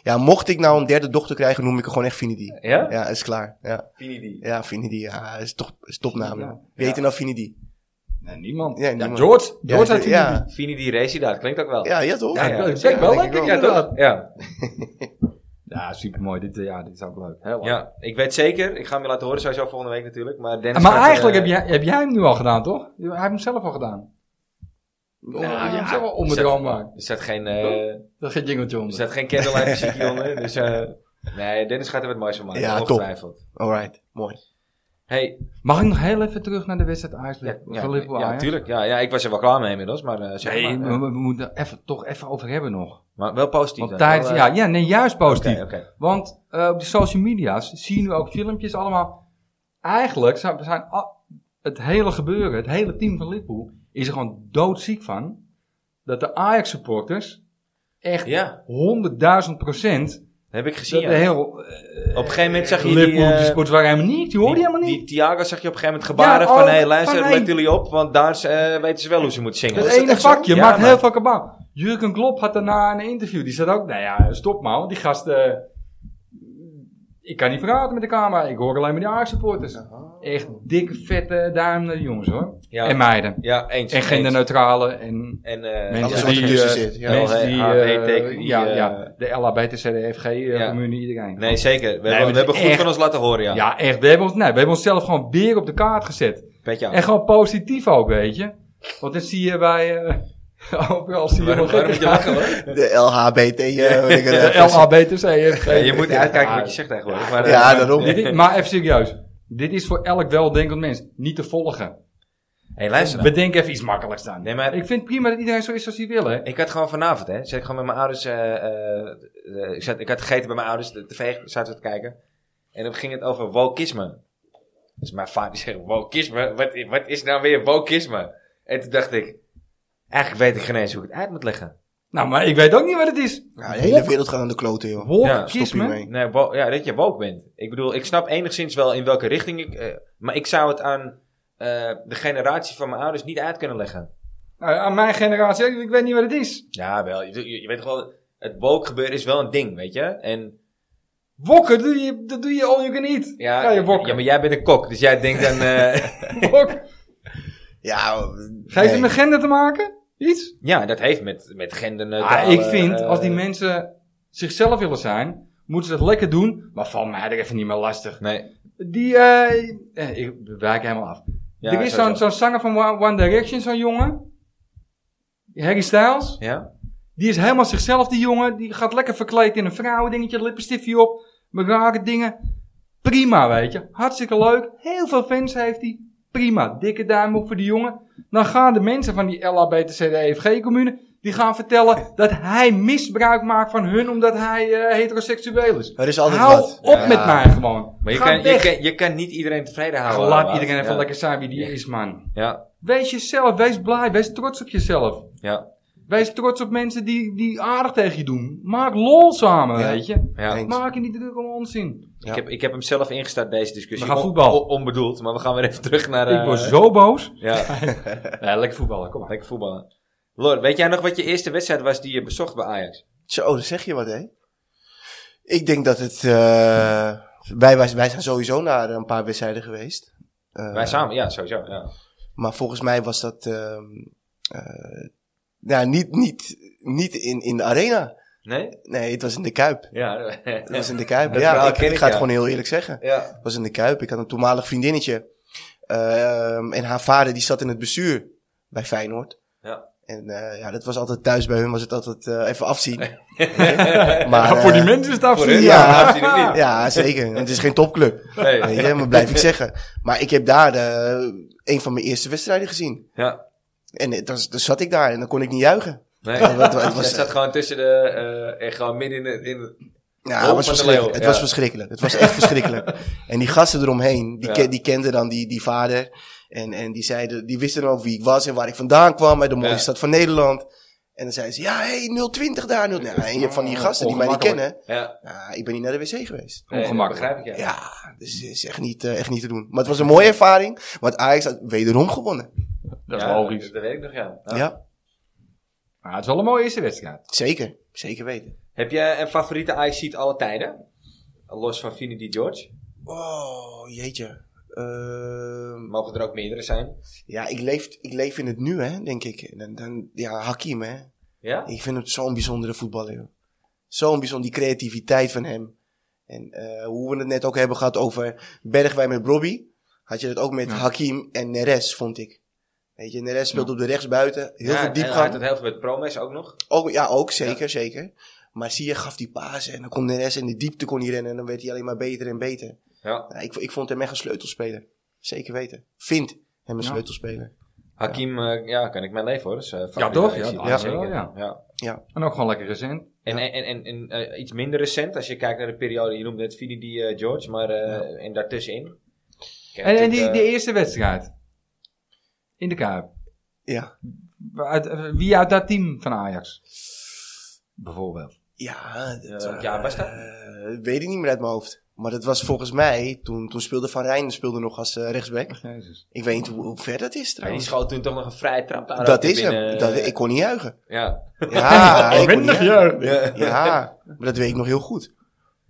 Speaker 3: Ja, mocht ik nou een derde dochter krijgen, noem ik er gewoon echt Finidi.
Speaker 1: Ja?
Speaker 3: Ja, is klaar. Ja,
Speaker 1: Vini Di.
Speaker 3: ja Finidi, ja, is toch is topnaam.
Speaker 2: Ja.
Speaker 3: Wie heet er nou Finidi?
Speaker 2: Nee, niemand.
Speaker 3: Ja,
Speaker 2: Ja,
Speaker 3: niemand.
Speaker 2: George. George
Speaker 3: ja,
Speaker 2: had Vini Di.
Speaker 3: ja,
Speaker 1: Vini Di Racing, dat klinkt ook wel.
Speaker 3: ja, ja, toch?
Speaker 1: Ja, ja.
Speaker 2: dat klinkt wel
Speaker 3: denk
Speaker 2: lekker,
Speaker 3: ik
Speaker 1: Ja, toch? Ja.
Speaker 2: Ja, Ja, supermooi. Dit, eh, ja, dit is ook leuk. Heel leuk.
Speaker 1: Ja, ik weet zeker. Ik ga hem je laten horen sowieso volgende week natuurlijk. Maar, Dennis
Speaker 2: Maar
Speaker 1: gaat,
Speaker 2: eigenlijk
Speaker 1: eh,
Speaker 2: heb jij, heb jij hem nu al gedaan, toch? Hij heeft hem zelf al gedaan.
Speaker 3: Nou,
Speaker 2: ja,
Speaker 1: ja,
Speaker 2: hij heeft hem zelf al
Speaker 1: er zat-
Speaker 2: omgedroomd.
Speaker 1: Er staat geen, eh
Speaker 2: Dat geen jingeltje
Speaker 1: er
Speaker 2: onder.
Speaker 1: staat geen candlelight muziekje onder. Dus eh, nee, Dennis gaat er wat moois van maken.
Speaker 3: Ja, top.
Speaker 1: ongetwijfeld.
Speaker 3: Alright, mooi.
Speaker 1: Hey,
Speaker 2: Mag ik nog heel even terug naar de wedstrijd
Speaker 1: ja,
Speaker 2: Ajax?
Speaker 1: ja,
Speaker 2: van Liverpool
Speaker 1: ja,
Speaker 2: Ajax?
Speaker 1: natuurlijk. Ja, ja, ik was er wel klaar mee inmiddels, maar eh, zeg
Speaker 2: Nee,
Speaker 1: maar,
Speaker 2: we,
Speaker 1: eh,
Speaker 2: we moeten er even, toch even over hebben nog.
Speaker 1: maar wel positief.
Speaker 2: Want
Speaker 1: dan.
Speaker 2: tijdens,
Speaker 1: Wel, eh,
Speaker 2: ja, ja, nee, juist positief.
Speaker 1: Oké, oké.
Speaker 2: Want eh, op de social media's zie je nu ook filmpjes allemaal. Eigenlijk zijn, zijn al- het hele gebeuren, het hele team van Liverpool is er gewoon doodziek van. Dat de Ajax supporters echt
Speaker 1: Ja,
Speaker 2: 100.000 procent.
Speaker 1: heb ik gezien.
Speaker 2: Dat
Speaker 1: ja.
Speaker 2: heel
Speaker 1: Op een gegeven moment zag je die,
Speaker 2: Liverpool
Speaker 1: eh,
Speaker 2: supporters waren helemaal niet. Die hoorde je helemaal
Speaker 1: die,
Speaker 2: niet.
Speaker 1: die Thiago zag je op een gegeven moment gebaren
Speaker 2: Ja,
Speaker 1: van...
Speaker 2: oh,
Speaker 1: Hé, hey,
Speaker 2: van,
Speaker 1: luister,
Speaker 2: hey.
Speaker 1: let jullie op, want daar eh, weten ze wel hoe ze moeten zingen.
Speaker 2: Het
Speaker 3: is dat
Speaker 2: ene
Speaker 3: echt zo?
Speaker 2: vakje
Speaker 1: Ja,
Speaker 2: maakt
Speaker 1: maar-
Speaker 2: heel veel kabaal. Jurgen Klopp had daarna een interview. Die zei ook, nou ja, stop maar. want Die gast, eh, ik kan niet praten met de camera. Ik hoor alleen maar die Ajax supporters. Echt dikke, vette duim naar die jongens hoor.
Speaker 1: Ja.
Speaker 2: En meiden.
Speaker 1: Ja, eens.
Speaker 2: En geen de
Speaker 1: eens.
Speaker 2: neutrale. En
Speaker 1: En eh,
Speaker 2: mensen
Speaker 1: alles
Speaker 3: alles wat
Speaker 2: die,
Speaker 3: ertussen
Speaker 2: eh,
Speaker 3: zit, ja.
Speaker 2: mensen die eh,
Speaker 1: LHBTQI,
Speaker 2: ja,
Speaker 1: eh,
Speaker 2: ja, de
Speaker 1: ja.
Speaker 2: LHBTCDFG-communie, iedereen.
Speaker 1: Nee, zeker. We
Speaker 2: Nee,
Speaker 1: hebben,
Speaker 2: maar
Speaker 1: we hebben
Speaker 2: het is
Speaker 1: goed
Speaker 2: echt-
Speaker 1: van ons laten horen, ja.
Speaker 2: Ja, echt. We hebben, ons, nee, we hebben onszelf gewoon weer op de kaart gezet.
Speaker 1: Petje af.
Speaker 2: En gewoon positief ook, weet je. Want dan zie je bij... eh <laughs> overal zie je
Speaker 1: Waarom, waarom
Speaker 2: wel
Speaker 1: moet
Speaker 2: gekke
Speaker 1: je lachen, hoor?
Speaker 3: De LHBT. eh, weet ik het,
Speaker 2: De
Speaker 3: eh,
Speaker 2: LHBTC.
Speaker 1: Ja, je moet uitkijken wat je zegt tegenwoordig. Maar, eh,
Speaker 3: Ja, daarom.
Speaker 2: Dit is- maar even serieus. Dit is voor elk weldenkend mens niet te volgen.
Speaker 1: hey, luister nou.
Speaker 2: Bedenk even iets makkelijks dan.
Speaker 1: Nee, maar-
Speaker 2: Ik vind het prima dat iedereen zo is als hij wil, hè.
Speaker 1: Ik had gewoon vanavond, hè. Zat ik gewoon met mijn ouders... eh, eh, eh, ik, zat, ik had gegeten bij mijn ouders. De tv zaten we te kijken. En dan ging het over wokisme. Dus mijn vader die zegt, wokisme? Wat, i- wat is nou weer wokisme? En toen dacht ik... Eigenlijk weet ik geen eens hoe ik het uit moet leggen.
Speaker 2: Nou, maar ik weet ook niet wat het is.
Speaker 3: Ja, de hele wereld gaat aan de kloten, joh.
Speaker 1: Ja,
Speaker 2: Wokisme.
Speaker 1: stop
Speaker 3: Stop hiermee.
Speaker 1: Nee, wo- ja, dat je woke bent. Ik bedoel, ik snap enigszins wel in welke richting ik... eh, maar ik zou het aan eh, de generatie van mijn ouders niet uit kunnen leggen.
Speaker 2: Nou, aan mijn generatie, ik ik weet niet wat het is.
Speaker 1: Ja, wel. Je, je- je weet toch wel, het woke gebeuren is wel een ding, weet je? En
Speaker 2: Wokken, doe je, dat doe je all you can eat.
Speaker 1: ja,
Speaker 2: Ga je wokken.
Speaker 1: ja, maar jij bent een kok, dus jij denkt dan... eh, <laughs>
Speaker 2: Wok.
Speaker 3: Ja,
Speaker 2: Geeft
Speaker 3: nee.
Speaker 2: het met gender te maken? Iets?
Speaker 1: ja, dat heeft met, met gender...
Speaker 2: Ah, ik
Speaker 1: eh,
Speaker 2: vind, als die mensen zichzelf willen zijn, moeten ze dat lekker doen. Maar val mij er even niet meer lastig.
Speaker 1: Nee.
Speaker 2: Die, eh, eh, ik wijk helemaal af.
Speaker 1: Ja,
Speaker 2: er is
Speaker 1: sowieso.
Speaker 2: zo'n zo'n zanger van One One Direction, zo'n jongen. Harry Styles.
Speaker 1: Ja?
Speaker 2: Die is helemaal zichzelf, die jongen. Die gaat lekker verkleed in een vrouwendingetje, lippenstiftje op. Met rare dingen. Prima, weet je. Hartstikke leuk. Heel veel fans heeft hij. Prima. Dikke duim op voor die jongen. Dan gaan de mensen van die LHBTCDFG-commune... E Die gaan vertellen dat hij misbruik maakt van hun omdat hij eh, heteroseksueel is.
Speaker 3: Er is altijd
Speaker 2: Hou
Speaker 3: wat.
Speaker 2: op
Speaker 1: Ja.
Speaker 2: met mij gewoon.
Speaker 1: Maar je
Speaker 2: Ga
Speaker 1: kan, je,
Speaker 2: weg.
Speaker 1: kan, je kan niet iedereen tevreden houden.
Speaker 2: Laat
Speaker 1: allemaal.
Speaker 2: iedereen even
Speaker 1: ja.
Speaker 2: lekker zijn wie die
Speaker 1: Ja.
Speaker 2: is, man.
Speaker 1: Ja,
Speaker 2: Wees jezelf, wees blij, wees trots op jezelf.
Speaker 1: ja,
Speaker 2: Wees trots op mensen die, die aardig tegen je doen. Maak lol samen,
Speaker 3: Ja.
Speaker 2: weet je.
Speaker 1: ja.
Speaker 3: Eens.
Speaker 2: Maak je niet druk om onzin.
Speaker 1: Ik, heb, ik heb hem zelf ingestart, deze discussie.
Speaker 2: We gaan voetbal.
Speaker 1: On- on- onbedoeld, maar we gaan weer even terug naar... eh,
Speaker 2: ik word zo boos.
Speaker 1: Ja,
Speaker 2: <laughs> Ja, lekker voetballen, kom maar.
Speaker 1: lekker voetballen. Lord, weet jij nog wat je eerste wedstrijd was die je bezocht bij Ajax?
Speaker 3: Zo, dan zeg je wat, hè? Ik denk dat het... eh, wij, wij, wij zijn sowieso naar een paar wedstrijden geweest. Eh,
Speaker 1: Wij samen, ja, sowieso. Ja.
Speaker 3: Maar volgens mij was dat... ehm eh, ja, niet, niet, niet in, in de arena.
Speaker 1: Nee?
Speaker 3: Nee, het was in de Kuip.
Speaker 1: Ja.
Speaker 3: Het was in de Kuip.
Speaker 1: Dat
Speaker 3: ja,
Speaker 1: verhaal
Speaker 3: ik,
Speaker 1: ken
Speaker 3: ik
Speaker 1: ik,
Speaker 3: ga het
Speaker 1: ja.
Speaker 3: gewoon heel eerlijk zeggen.
Speaker 1: ja. <laughs>
Speaker 3: was in de Kuip. Ik had een toenmalig vriendinnetje. Ehm, en haar vader die zat in het bestuur bij Feyenoord.
Speaker 1: Ja.
Speaker 3: En eh, ja, dat was altijd thuis bij hun, was het altijd eh, even afzien.
Speaker 2: Ja,
Speaker 3: <laughs> maar,
Speaker 2: voor die
Speaker 3: eh,
Speaker 2: mensen is het
Speaker 1: Voor hun,
Speaker 2: afzien.
Speaker 3: ja,
Speaker 1: maar absoluut niet.
Speaker 3: Ja, zeker. Het is geen topclub.
Speaker 1: Nee.
Speaker 3: Weet je, maar blijf ik zeggen. Maar ik heb daar eh, een van mijn eerste wedstrijden gezien.
Speaker 1: Ja.
Speaker 3: En eh, dan, dan zat ik daar en dan kon ik niet juichen.
Speaker 1: Nee.
Speaker 3: Ja, wat- wat-
Speaker 1: Hij
Speaker 3: was-
Speaker 1: zat gewoon tussen de... eh en gewoon midden in het... In het-
Speaker 3: Ja,
Speaker 1: Hoop
Speaker 3: het
Speaker 1: van
Speaker 3: was
Speaker 1: de
Speaker 3: verschrikkelijk.
Speaker 1: leeuw,
Speaker 3: Het
Speaker 1: ja.
Speaker 3: was verschrikkelijk. Het was echt
Speaker 1: <laughs>
Speaker 3: verschrikkelijk. En die gasten eromheen, die,
Speaker 1: Ja.
Speaker 3: ken- die kenden dan die, die vader. En, en die, zeiden, die wisten dan ook wie ik was en waar ik vandaan kwam. Uit de mooie
Speaker 1: Ja.
Speaker 3: stad van Nederland. En dan zeiden ze, ja, hé, 020 daar. 0. Nou, en je hebt van die
Speaker 1: Ah,
Speaker 3: gasten die mij niet
Speaker 2: Ongemakkelijk.
Speaker 3: kennen.
Speaker 1: ja.
Speaker 3: Nou, ik ben niet naar de wc geweest.
Speaker 1: Nee,
Speaker 2: Ongemakkelijk.
Speaker 1: dat Begrijp ik, ja.
Speaker 3: Ja, dus het is echt niet, eh, echt niet te doen. Maar het was een mooie ervaring. Want Ajax had wederom gewonnen.
Speaker 2: Dat is
Speaker 1: Ja,
Speaker 2: logisch.
Speaker 1: Dat weet ik nog, ja.
Speaker 3: Ja,
Speaker 1: Ja.
Speaker 2: Maar het is wel een mooie eerste wedstrijd.
Speaker 3: zeker. Zeker weten.
Speaker 1: Heb jij een favoriete Ajax-seat alle tijden? Los van Fini Di George.
Speaker 3: Oh, jeetje. Ehm,
Speaker 1: Mogen er ook meerdere zijn.
Speaker 3: ja, ik leef, ik leef in het nu, hè, denk ik. En dan, dan, ja, Hakim, hè.
Speaker 1: Ja?
Speaker 3: Ik vind hem zo'n bijzondere voetballer. joh. Zo'n bijzonder, die creativiteit van hem. En eh, hoe we het net ook hebben gehad over Bergwijn met Robbie. Had je dat ook met
Speaker 2: Ja.
Speaker 3: Hakim en Neres, vond ik. Weet je, Neres speelt
Speaker 2: Ja.
Speaker 3: op de rechtsbuiten.
Speaker 1: Ja,
Speaker 3: Heel veel
Speaker 1: en hij had
Speaker 3: diepgang.
Speaker 1: het heel veel met Promes ook nog.
Speaker 3: Ook, ja, ook, zeker, zeker. Maar zie je, gaf die paas en dan kon Neres in de diepte kon hij rennen en dan werd hij alleen maar beter en beter.
Speaker 1: Ja.
Speaker 3: Ja, ik, ik vond hem echt een sleutelspeler. Zeker weten. Vind hem een
Speaker 2: Ja.
Speaker 3: sleutelspeler.
Speaker 1: Hakim, eh, ja, kan ik mijn leven hoor. Dus, eh, favoriet
Speaker 2: toch?
Speaker 1: bij
Speaker 2: Ja,
Speaker 1: City.
Speaker 2: dat is
Speaker 1: zeker.
Speaker 2: wel, ja.
Speaker 1: Ja.
Speaker 2: En ook gewoon lekker recent.
Speaker 1: En, en, en, en eh, iets minder recent, als je kijkt naar de periode, je noemde net Vini die eh, George, maar eh, en daartussenin. Ik heb
Speaker 2: En, en
Speaker 1: natuurlijk,
Speaker 2: die,
Speaker 1: eh,
Speaker 2: die eerste wedstrijd. In de Kuip.
Speaker 3: Ja.
Speaker 2: Uit- eh, wie uit dat team van Ajax? Bijvoorbeeld.
Speaker 3: Ja, dat,
Speaker 1: welk jaar was dat?
Speaker 3: eh, weet ik niet meer uit mijn hoofd. Maar dat was volgens mij, toen, toen speelde Van Rijn speelde nog als eh, rechtsback.
Speaker 2: Jezus.
Speaker 3: Ik weet niet hoe, hoe ver dat is
Speaker 1: Ja, die
Speaker 3: trouwens.
Speaker 1: schoot toen toch nog een vrije trap aan.
Speaker 3: dat is hem. Dat, ik kon niet <laughs> juichen.
Speaker 1: eh, Ja.
Speaker 3: Ja, ik kon niet juichen.
Speaker 1: Ja.
Speaker 3: Ja, maar dat weet ik nog heel goed.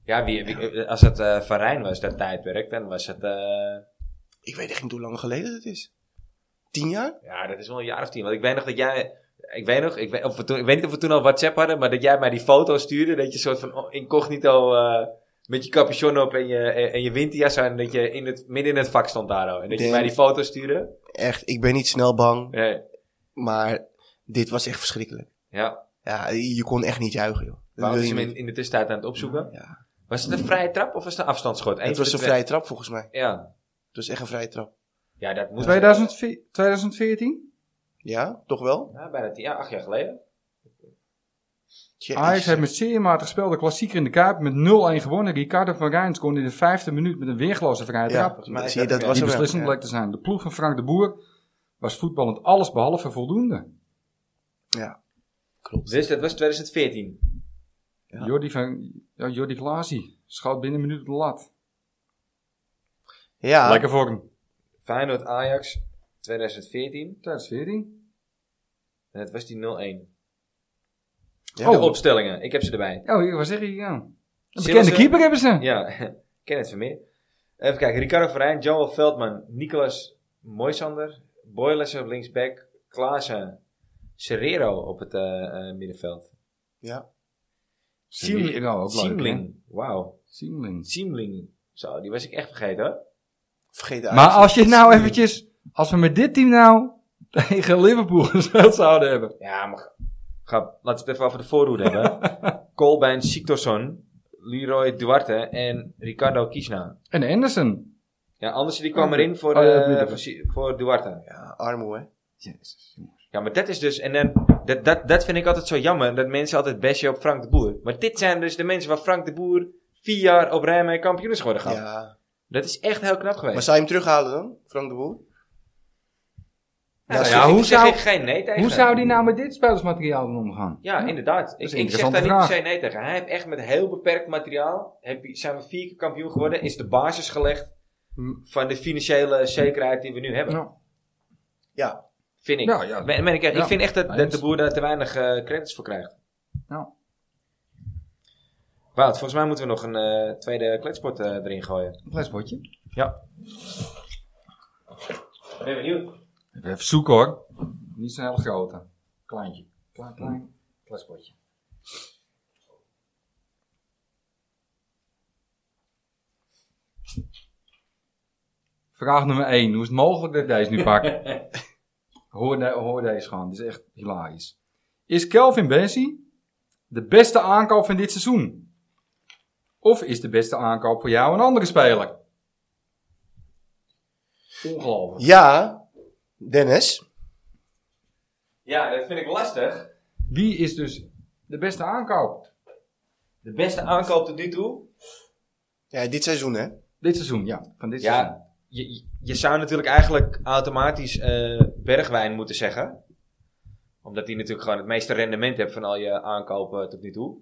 Speaker 1: Ja, wie, wie- als het eh Van Rijn was, dat tijdperk, dan was het... eh,
Speaker 3: Ik weet echt niet hoe lang geleden dat is. Tien jaar?
Speaker 1: ja, dat is wel een jaar of tien. Want ik weet nog dat jij... Ik weet nog, ik weet, of we toen, ik weet niet of we toen al WhatsApp hadden, maar dat jij mij die foto stuurde. Dat je een soort van oh, incognito eh, met je capuchon op en je, en, en je winterjas aan. Dat je in het, midden in het vak stond daar al. En dat je
Speaker 3: Damn.
Speaker 1: mij die foto stuurde.
Speaker 3: Echt, ik ben niet snel bang.
Speaker 1: Nee,
Speaker 3: Maar dit was echt verschrikkelijk.
Speaker 1: ja.
Speaker 3: Ja, je kon echt niet juichen, joh. Dat
Speaker 1: Wout
Speaker 3: wil
Speaker 1: is
Speaker 3: je
Speaker 1: hem in,
Speaker 3: niet.
Speaker 1: in de tussentijd aan het opzoeken.
Speaker 3: Ja.
Speaker 1: Was het een vrije trap of was het een afstandsschot? Eén
Speaker 3: Het
Speaker 1: van
Speaker 3: was
Speaker 1: de
Speaker 3: een
Speaker 1: twee.
Speaker 3: vrije trap volgens mij.
Speaker 1: Ja.
Speaker 3: Het was echt een vrije trap.
Speaker 1: ja, dat moest...
Speaker 2: 2004 2014?
Speaker 3: Ja, toch wel?
Speaker 1: Ja, bijna tien, ja, acht jaar geleden.
Speaker 3: Jezus.
Speaker 2: Ajax heeft met zeer matig gespeeld de klassieker in de Kuip met 0-1 gewonnen. Ricardo van Rijn scoorde in de vijfde minuut met een weergeloze vrije
Speaker 3: Ja,
Speaker 2: trap.
Speaker 3: maar
Speaker 1: Maar
Speaker 3: zie je,
Speaker 1: dat-
Speaker 3: dat
Speaker 1: ja,
Speaker 3: was
Speaker 2: die
Speaker 3: hem wel.
Speaker 2: beslissend
Speaker 3: Ja.
Speaker 2: bleek te zijn. De ploeg van Frank de Boer was voetballend alles behalve voldoende.
Speaker 1: Dus dat was 2014.
Speaker 3: Ja.
Speaker 2: Jordi, van, ja, Jordi Klaasie schoot binnen een minuut op de lat.
Speaker 3: Ja,
Speaker 2: Lekker voor hem.
Speaker 1: Feyenoord Ajax 2014.
Speaker 2: 2014?
Speaker 1: En het was die 0-1.
Speaker 3: Ja. Oh.
Speaker 1: De opstellingen, ik heb ze erbij.
Speaker 2: Oh, hier, waar zeg je? Ja. Een bekende
Speaker 1: Sillissen.
Speaker 2: keeper hebben ze.
Speaker 1: Ja, <laughs> Kenneth Vermeer. Even kijken, Ricardo Verijn, Joel Veldman, Nicolas Moisander, Boyles op linksback, Klaassen, Serrero op het eh, eh, middenveld.
Speaker 3: ja.
Speaker 2: Siemling. Ja, ook leuk, hè?
Speaker 1: Siemling, wauw.
Speaker 2: Siemling.
Speaker 1: Siemling, zo, die was ik echt vergeten hoor.
Speaker 3: Vergeet de
Speaker 2: Maar
Speaker 3: Ajax
Speaker 2: als je
Speaker 3: niet.
Speaker 2: nou eventjes, als we met dit team nou <laughs> tegen Liverpool <laughs> gespeeld zouden hebben.
Speaker 1: Ja, maar ga, laten we het even over de voorhoede hebben.
Speaker 2: <laughs>
Speaker 1: Colbein, Siktorsson, Leroy Duarte en Ricardo Kiesna.
Speaker 2: En Anderson.
Speaker 1: Ja, Andersen die kwam erin voor,
Speaker 2: Oh, ja,
Speaker 1: eh,
Speaker 2: op middenveld.
Speaker 1: voor, Si- voor Duarte.
Speaker 3: Ja, armoe, hè?
Speaker 2: Jezus, jongens.
Speaker 1: Ja, maar dat is dus. En dan, dat, dat, dat vind ik altijd zo jammer. Dat mensen altijd bestje op Frank de Boer. Maar dit zijn dus de mensen waar Frank de Boer vier jaar op rij mee kampioen is geworden. gehad.
Speaker 3: Ja.
Speaker 1: Dat is echt heel knap geweest.
Speaker 3: Maar zou je hem terughalen dan, Frank de Boer?
Speaker 1: Nou,
Speaker 2: ja,
Speaker 1: daar zeg
Speaker 2: hoe
Speaker 1: ik- zeg
Speaker 2: zou-
Speaker 1: ik geen nee tegen.
Speaker 2: Hoe zou die nou met dit spelersmateriaal dan omgaan?
Speaker 1: Ja, inderdaad. Ik,
Speaker 2: is een
Speaker 1: ik zeg daar niet
Speaker 2: interessante
Speaker 1: per se
Speaker 2: vraag.
Speaker 1: nee tegen. Hij heeft echt met heel beperkt materiaal. Heb, zijn we vier keer kampioen geworden. Is de basis gelegd
Speaker 3: Hm.
Speaker 1: van de financiële zekerheid die we nu hebben.
Speaker 2: Nou,
Speaker 3: Ja.
Speaker 1: Vind ik.
Speaker 2: Ja, ja.
Speaker 1: Ben- ben ik, echt- ik
Speaker 2: Ja.
Speaker 1: vind echt dat, dat
Speaker 2: Eens.
Speaker 1: de boer daar te weinig eh, credits voor krijgt.
Speaker 2: nou.
Speaker 1: Wout, volgens mij moeten we nog een eh, tweede kletsport eh, erin gooien.
Speaker 2: Een flesbotje.
Speaker 1: Ja. Ben benieuwd.
Speaker 2: Even zoeken hoor. Niet zo'n hele grote. Kleintje. Klein, klein. Flesbotje. Vraag nummer 1. Hoe is het mogelijk dat ik deze nu pak? hoor, de- hoor deze gewoon. Dit is echt hilarisch. Is Kelvin Bessie de beste aankoop van dit seizoen? Of is de beste aankoop voor jou een andere speler? Ongelooflijk.
Speaker 3: Ja, Dennis.
Speaker 1: Ja, dat vind ik lastig.
Speaker 2: Wie is dus de beste aankoop?
Speaker 1: De beste aankoop tot nu toe.
Speaker 3: Ja, dit seizoen, hè?
Speaker 2: Dit seizoen, ja. Van dit seizoen.
Speaker 1: Ja, je, je- je zou natuurlijk eigenlijk automatisch eh, Bergwijn moeten zeggen. Omdat hij natuurlijk gewoon het meeste rendement heeft van al je aankopen tot nu toe.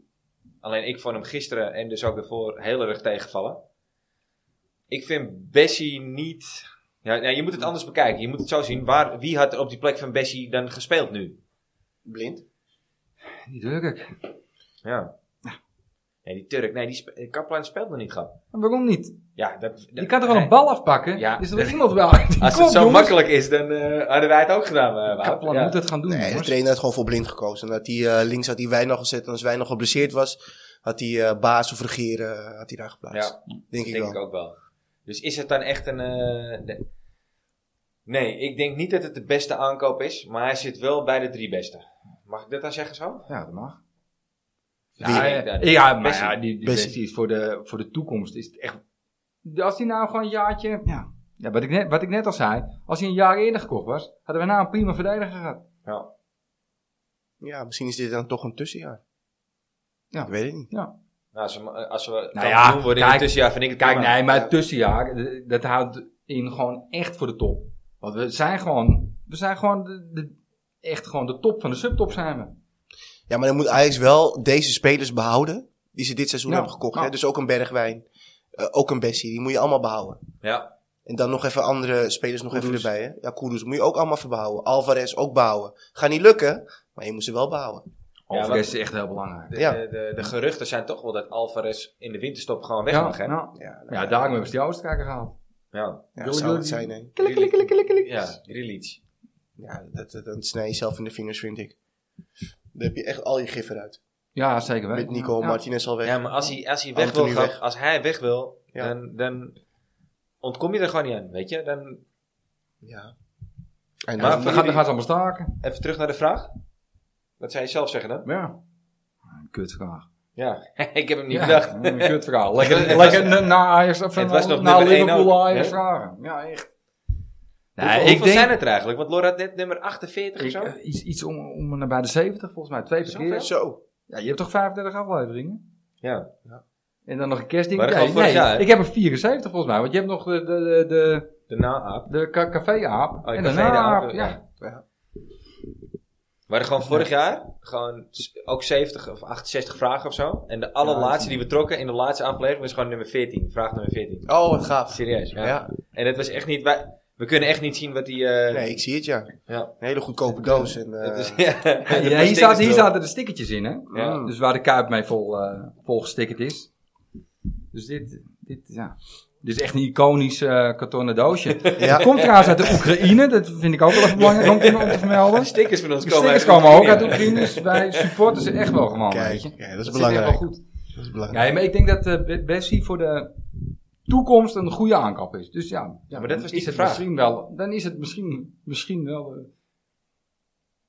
Speaker 1: Alleen ik vond hem gisteren en dus ook daarvoor heel erg tegenvallen. Ik vind Bessie niet... Ja, ja, je moet het anders bekijken. Je moet het zo zien. Waar, wie had er op die plek van Bessie dan gespeeld nu?
Speaker 3: Blind.
Speaker 2: Die Turk.
Speaker 1: Ja. Nee, die Turk. Nee, die spe eh, Kaplan speelt nog niet, gehad.
Speaker 2: En waarom niet?
Speaker 1: Ja, dat... dat-
Speaker 2: Je kan toch wel een
Speaker 1: nee.
Speaker 2: bal afpakken?
Speaker 1: Ja.
Speaker 2: Is er wel iemand wel? <laughs> Die
Speaker 1: Als
Speaker 2: komt,
Speaker 1: het zo
Speaker 2: jongens.
Speaker 1: makkelijk is, dan eh, hadden wij het ook gedaan, eh, Wout.
Speaker 2: Kaplan
Speaker 1: Ja.
Speaker 2: moet het gaan doen,
Speaker 3: Nee, de
Speaker 2: jongens.
Speaker 3: trainer had gewoon voor blind gekozen. En dat hij eh, links had hij Wijnald gezet. En als Wijnald geblesseerd was, had hij eh, baas of regeren had hij daar geplaatst.
Speaker 1: Ja,
Speaker 3: denk ik
Speaker 1: denk
Speaker 3: wel.
Speaker 1: ik ook wel. Dus is het dan echt een... eh, de- Nee, ik denk niet dat het de beste aankoop is, maar hij zit wel bij de drie beste. Mag ik dat dan zeggen zo?
Speaker 2: Ja, dat mag.
Speaker 1: Wie?
Speaker 2: Ja,
Speaker 1: Ik denk
Speaker 2: ja,
Speaker 1: dat-
Speaker 2: ja, maar
Speaker 1: Bessie.
Speaker 2: ja, die, die
Speaker 3: Bessie.
Speaker 2: Bessie is voor de, voor de toekomst. Is het echt, als hij nou gewoon een jaartje...
Speaker 3: Ja.
Speaker 2: Ja, wat, ik net, wat ik net al zei. Als hij een jaar eerder gekocht was, hadden we nou een prima verdediger gehad.
Speaker 1: Ja.
Speaker 3: Ja, misschien is dit dan toch een tussenjaar.
Speaker 2: Ja.
Speaker 3: Ik weet het niet.
Speaker 1: Nou, als we, als we kampioen
Speaker 2: Nou ja,
Speaker 1: worden in
Speaker 2: kijk-
Speaker 1: het tussenjaar, vind ik het
Speaker 2: Kijk,
Speaker 1: prima.
Speaker 2: nee, maar het tussenjaar, eh, dat houdt in gewoon echt voor de top. Want we zijn gewoon, we zijn gewoon de, de- echt gewoon de top van de subtop zijn we.
Speaker 3: Ja, maar dan moet Ajax wel deze spelers behouden. Die ze dit seizoen
Speaker 2: Ja,
Speaker 3: hebben gekocht.
Speaker 2: ja.
Speaker 3: Hè? Dus ook een Bergwijn. eh, ook een Bessie. Die moet je allemaal behouden.
Speaker 1: Ja,
Speaker 3: En dan nog even andere spelers nog even erbij. Hè? Ja, Kudus moet je ook allemaal verbehouden. Alvarez ook behouden. Gaat niet lukken, maar je moet ze wel behouden.
Speaker 1: Ja,
Speaker 2: Overigens
Speaker 1: wat-
Speaker 2: is echt heel belangrijk.
Speaker 1: de,
Speaker 3: Ja.
Speaker 1: De, de, de geruchten zijn toch wel dat Alvarez in de winterstop gewoon weg
Speaker 2: ja,
Speaker 1: mag, hè? Ja.
Speaker 2: ja.
Speaker 3: Ja, nou,
Speaker 2: ja, daarom hebben ze die Oostenrijker gehaald.
Speaker 3: ja,
Speaker 2: wil
Speaker 3: zou
Speaker 2: ik-
Speaker 3: het zijn. Hè?
Speaker 1: Ja, Grealish.
Speaker 3: Ja, dat, dat, dat snij je zelf in de vingers, vind ik. Dan heb je echt al je gif eruit.
Speaker 2: Ja, zeker weten.
Speaker 3: Met Nico
Speaker 2: ja.
Speaker 3: Martinez al weg.
Speaker 1: Ja, maar als hij, als hij weg wil,
Speaker 3: Anthony
Speaker 1: gaan,
Speaker 3: weg.
Speaker 1: als hij weg wil,
Speaker 3: Ja.
Speaker 1: dan, dan ontkom je er gewoon niet aan, weet je? Dan,
Speaker 3: Ja. En
Speaker 1: Maar
Speaker 2: Maar
Speaker 3: dan-
Speaker 2: we
Speaker 1: voor
Speaker 2: gaan, we
Speaker 1: jullie-
Speaker 2: gaan ze allemaal staken.
Speaker 1: even terug naar de vraag. Wat zou je zelf zeggen dan?
Speaker 2: Ja. Een Kutvraag.
Speaker 1: Ja, <laughs> ik heb hem niet
Speaker 2: Ja,
Speaker 1: bedacht.
Speaker 2: Een <laughs> kutvraag. Lekker,
Speaker 1: Het was-
Speaker 2: lekker na- na Ajax of
Speaker 1: het
Speaker 2: na,
Speaker 1: was nog
Speaker 2: na
Speaker 1: nummer één
Speaker 2: Liverpool
Speaker 1: ook,
Speaker 2: Ajax
Speaker 1: hè?
Speaker 2: vragen. Ja, echt.
Speaker 1: hoeveel hoeveel zijn het er eigenlijk? Want Laura had net nummer 48 of
Speaker 2: ik,
Speaker 1: zo.
Speaker 2: eh, iets, iets om, om naar bij de 70 volgens mij. Twee per keer.
Speaker 3: Zo.
Speaker 2: Ja, je hebt toch 35 afleveringen?
Speaker 1: Ja.
Speaker 2: En dan nog een kerstding?
Speaker 1: Maar dat
Speaker 2: Nee,
Speaker 1: geldt vorig
Speaker 2: nee,
Speaker 1: jaar, hè?
Speaker 2: ik heb er 74 volgens mij. Want je hebt nog de, de, de, de,
Speaker 1: De na-aap.
Speaker 2: de ka- café-aap
Speaker 1: Oh,
Speaker 2: en
Speaker 1: de
Speaker 2: de
Speaker 1: tweede
Speaker 2: na-aap.
Speaker 1: aap,
Speaker 2: Ja.
Speaker 1: We hadden gewoon vorig jaar gewoon s- ook 70 of 68 vragen of zo. En de
Speaker 2: Ja, dat
Speaker 1: allerlaatste die we trokken in de laatste aflevering was gewoon nummer 14. Vraag nummer 14.
Speaker 3: Oh, wat gaaf.
Speaker 1: Serieus, ja.
Speaker 3: Ja.
Speaker 1: En dat was echt niet... Wij, we kunnen echt niet zien wat die... eh
Speaker 3: Nee, ik zie het ja.
Speaker 1: Ja.
Speaker 3: Een hele goedkope doos. En,
Speaker 1: <laughs>
Speaker 3: eh,
Speaker 1: dat is, ja,
Speaker 2: Ja,
Speaker 1: dat
Speaker 2: hier,
Speaker 1: was
Speaker 2: zaten, hier
Speaker 1: ding-
Speaker 2: zaten de stickertjes in, hè?
Speaker 1: Ja.
Speaker 2: Dus waar de kuip mee vol, eh vol gestickerd is. Dus dit, dit, ja. dit is echt een iconisch eh kartonnen doosje.
Speaker 3: <laughs> Ja.
Speaker 2: Het komt trouwens uit de Oekraïne, dat vind ik ook wel even belangrijk om te, om te
Speaker 1: <laughs>
Speaker 2: vermelden.
Speaker 1: De stickers van ons
Speaker 2: De
Speaker 1: komen
Speaker 2: stickers
Speaker 1: uit
Speaker 2: komen ook uit
Speaker 1: Oekraïne.
Speaker 2: Oekraïne, dus wij supporten ze echt wel gewoon, weet
Speaker 3: Kijk,
Speaker 2: je.
Speaker 3: ja, dat is
Speaker 2: zit
Speaker 3: belangrijk.
Speaker 2: echt wel goed.
Speaker 3: Dat is belangrijk.
Speaker 2: Nee, maar ik denk dat eh, Be- Bessie voor de toekomst een goede aankoop is. Dus ja, ja
Speaker 1: maar dat
Speaker 2: dan
Speaker 1: was
Speaker 2: is
Speaker 1: niet de
Speaker 2: het
Speaker 1: vraag.
Speaker 2: Misschien wel, dan is het misschien, misschien wel eh,
Speaker 1: De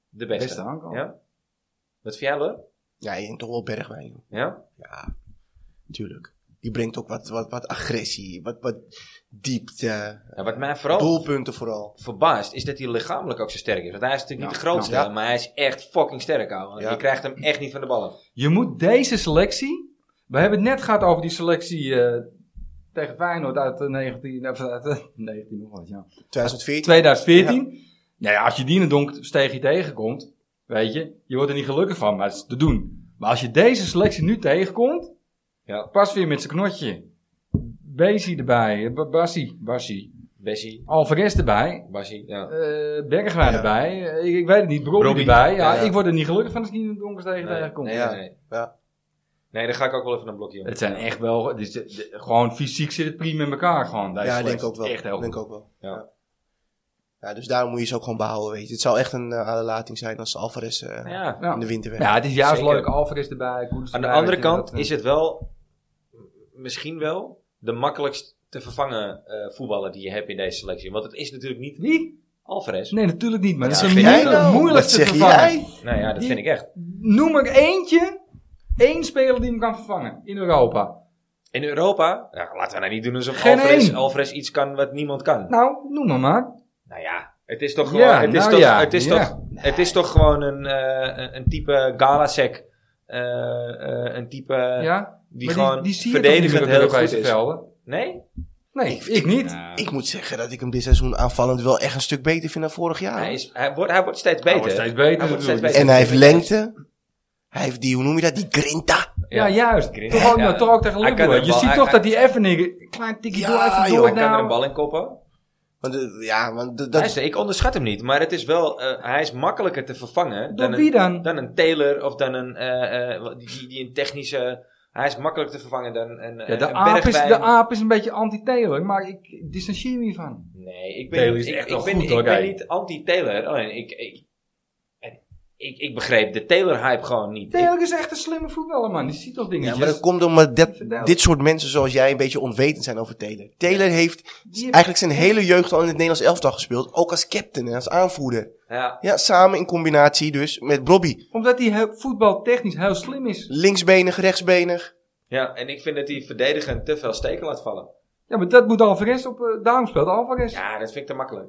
Speaker 2: de
Speaker 1: beste.
Speaker 2: beste aankoop.
Speaker 1: Ja. Wat vind jij, Lur?
Speaker 3: Ja, en toch wel Bergwijn, joh.
Speaker 1: Ja?
Speaker 3: natuurlijk. Die brengt ook wat, wat, wat agressie, wat, wat diepte,
Speaker 1: ja? Wat mij vooral
Speaker 3: doelpunten vooral.
Speaker 1: verbaast is dat hij lichamelijk ook zo sterk is. Want hij is natuurlijk niet
Speaker 2: Ja.
Speaker 1: de grootste,
Speaker 3: Ja.
Speaker 1: maar hij is echt fucking sterk, ouwe.
Speaker 3: Ja.
Speaker 1: Je krijgt hem echt niet van de ballen.
Speaker 2: Je moet deze selectie. We hebben het net gehad over die selectie eh, tegen Feyenoord uit de 19, of uit de <laughs> 19 nog wat, ja.
Speaker 3: 2014.
Speaker 2: 2014. Nou ja, als je die in het donk steegje tegenkomt, weet je, je wordt er niet gelukkig van, maar het is te doen. Maar als je deze selectie nu tegenkomt,
Speaker 1: Ja.
Speaker 2: pas weer met zijn knotje. Basie erbij, eh, Ba- Bassie, Bassie,
Speaker 1: Bessie,
Speaker 2: Alvarez erbij,
Speaker 1: Bassie, ja.
Speaker 2: eh Bergwijn
Speaker 3: Ja.
Speaker 2: erbij, eh, ik, ik weet het niet, Brobby
Speaker 1: Brobbey.
Speaker 2: erbij. Ja,
Speaker 3: Ja, ja.
Speaker 2: ik word er niet gelukkig van als ik die in het donker steegje
Speaker 1: Nee,
Speaker 2: tegenkom.
Speaker 1: nee,
Speaker 3: Ja.
Speaker 1: nee, nee.
Speaker 3: Ja.
Speaker 1: Nee, daar ga ik ook wel even een blokje om.
Speaker 2: Het zijn echt wel, het is de- de- gewoon fysiek zit het prima in elkaar gewoon. Deze
Speaker 3: Ja, ik denk
Speaker 2: selectie.
Speaker 3: ook wel.
Speaker 2: Echt heel
Speaker 3: denk
Speaker 2: goed.
Speaker 3: ook wel.
Speaker 1: Ja.
Speaker 3: Ja. Ja, dus daarom moet je ze ook gewoon behouden, weet je. Het zou echt een eh, aderlating zijn als Alvarez eh,
Speaker 1: Ja.
Speaker 2: Ja.
Speaker 3: in de winter weg.
Speaker 2: Ja, het is juist
Speaker 1: Zeker.
Speaker 2: leuk. Alvarez erbij, Koeders
Speaker 1: Aan de
Speaker 2: erbij,
Speaker 1: andere
Speaker 2: weet je,
Speaker 1: kant
Speaker 2: dat, eh,
Speaker 1: is het wel, m- misschien wel, de makkelijkst te vervangen eh, voetballer die je hebt in deze selectie. Want het is natuurlijk niet
Speaker 2: Wie?
Speaker 1: Alvarez.
Speaker 2: Nee, natuurlijk niet, maar
Speaker 1: Ja,
Speaker 2: dat is een
Speaker 1: vind jij
Speaker 2: moeilijk,
Speaker 3: nou?
Speaker 2: moeilijk
Speaker 3: Wat
Speaker 2: te
Speaker 3: zeg
Speaker 2: vervangen.
Speaker 3: jij?
Speaker 1: Nou ja, dat
Speaker 2: Die-
Speaker 1: vind ik echt.
Speaker 2: Noem er eentje, één speler die hem kan vervangen in Europa.
Speaker 1: In Europa, ja, laten we nou niet doen alsof
Speaker 2: Geen
Speaker 1: Alvarez,
Speaker 2: één.
Speaker 1: Alvarez iets kan wat niemand kan. Nou,
Speaker 2: Nou, noem maar maar.
Speaker 1: ja, het is toch
Speaker 2: Ja,
Speaker 1: gewoon, het is
Speaker 2: nou
Speaker 1: toch,
Speaker 2: ja,
Speaker 1: het is
Speaker 2: ja.
Speaker 1: toch, het is toch gewoon een, eh, een- een type Galasek. eh, eh, een type
Speaker 2: ja,
Speaker 1: die
Speaker 2: maar
Speaker 1: gewoon
Speaker 2: die zie je toch niet
Speaker 1: verdedigend
Speaker 2: meer op
Speaker 1: heel goed
Speaker 2: Europese
Speaker 1: is.
Speaker 2: velden?
Speaker 1: Nee?
Speaker 2: Nee, ik, niet.
Speaker 3: Ik moet zeggen dat ik hem dit seizoen aanvallend wel echt een stuk beter vind dan vorig jaar.
Speaker 1: Hij, is, hij, wordt, hij wordt steeds beter.
Speaker 2: Hij wordt steeds beter
Speaker 1: Hij wordt steeds
Speaker 2: natuurlijk.
Speaker 1: beter.
Speaker 3: En hij heeft lengte. Hij heeft die, hoe noem je dat, die grinta.
Speaker 2: Ja, juist.
Speaker 1: Green-
Speaker 2: Toch ook,
Speaker 1: ja.
Speaker 2: nou, toch ook tegen
Speaker 1: Hij kan
Speaker 2: Liverpool.
Speaker 1: er
Speaker 2: Je
Speaker 1: wel-
Speaker 2: ziet
Speaker 1: hij-
Speaker 2: toch
Speaker 1: hij-
Speaker 2: dat die even een klein tikje door,
Speaker 3: Ja,
Speaker 2: even
Speaker 3: Ah, joh,
Speaker 2: door
Speaker 1: Hij kan er een
Speaker 2: nou.
Speaker 1: bal in koppen.
Speaker 3: Want, eh, ja, want d-
Speaker 1: Hij
Speaker 3: dat,
Speaker 1: is, ik onderschat hem niet, maar het is wel, eh, hij is makkelijker te vervangen
Speaker 2: Door
Speaker 1: dan
Speaker 2: wie
Speaker 1: een,
Speaker 2: dan?
Speaker 1: dan een Taylor of dan een, eh, eh, wat- die, die een technische. Hij is makkelijker te vervangen dan een,
Speaker 2: Ja, de,
Speaker 1: een
Speaker 2: aap is,
Speaker 1: Bergwijn.
Speaker 2: de aap is een beetje anti-Taylor, maar ik distancieer me hiervan.
Speaker 1: Nee, ik ben,
Speaker 2: Taylor is
Speaker 1: ik,
Speaker 2: echt
Speaker 1: ik
Speaker 2: wel
Speaker 1: ben,
Speaker 2: goed,
Speaker 1: ik
Speaker 2: hoor,
Speaker 1: ben
Speaker 2: hij.
Speaker 1: niet anti-Taylor. Alleen ik, ik, en ik, ik begreep de Taylor-hype gewoon niet. Ik-
Speaker 2: Taylor is echt een slimme voetballer, man. Die ziet toch
Speaker 3: Ja,
Speaker 2: dingetjes.
Speaker 3: maar dat komt omdat dat,
Speaker 2: Verduidelijk.
Speaker 3: Nou. dit soort mensen zoals jij een beetje onwetend zijn over Taylor. Taylor heeft
Speaker 2: Die heeft-
Speaker 3: eigenlijk zijn hele jeugd al in het Nederlands elftal gespeeld. Ook als captain en als aanvoerder.
Speaker 1: ja.
Speaker 3: Ja, samen in combinatie dus met Robbie.
Speaker 2: Omdat hij heel- voetbaltechnisch heel slim is.
Speaker 3: Linksbenig, rechtsbenig.
Speaker 1: ja, en ik vind dat hij verdedigend te veel steken laat vallen.
Speaker 2: Ja, maar dat moet Alvarez op. eh, daarom speelt Alvarez. Ja.
Speaker 1: Ja, dat vind ik te makkelijk.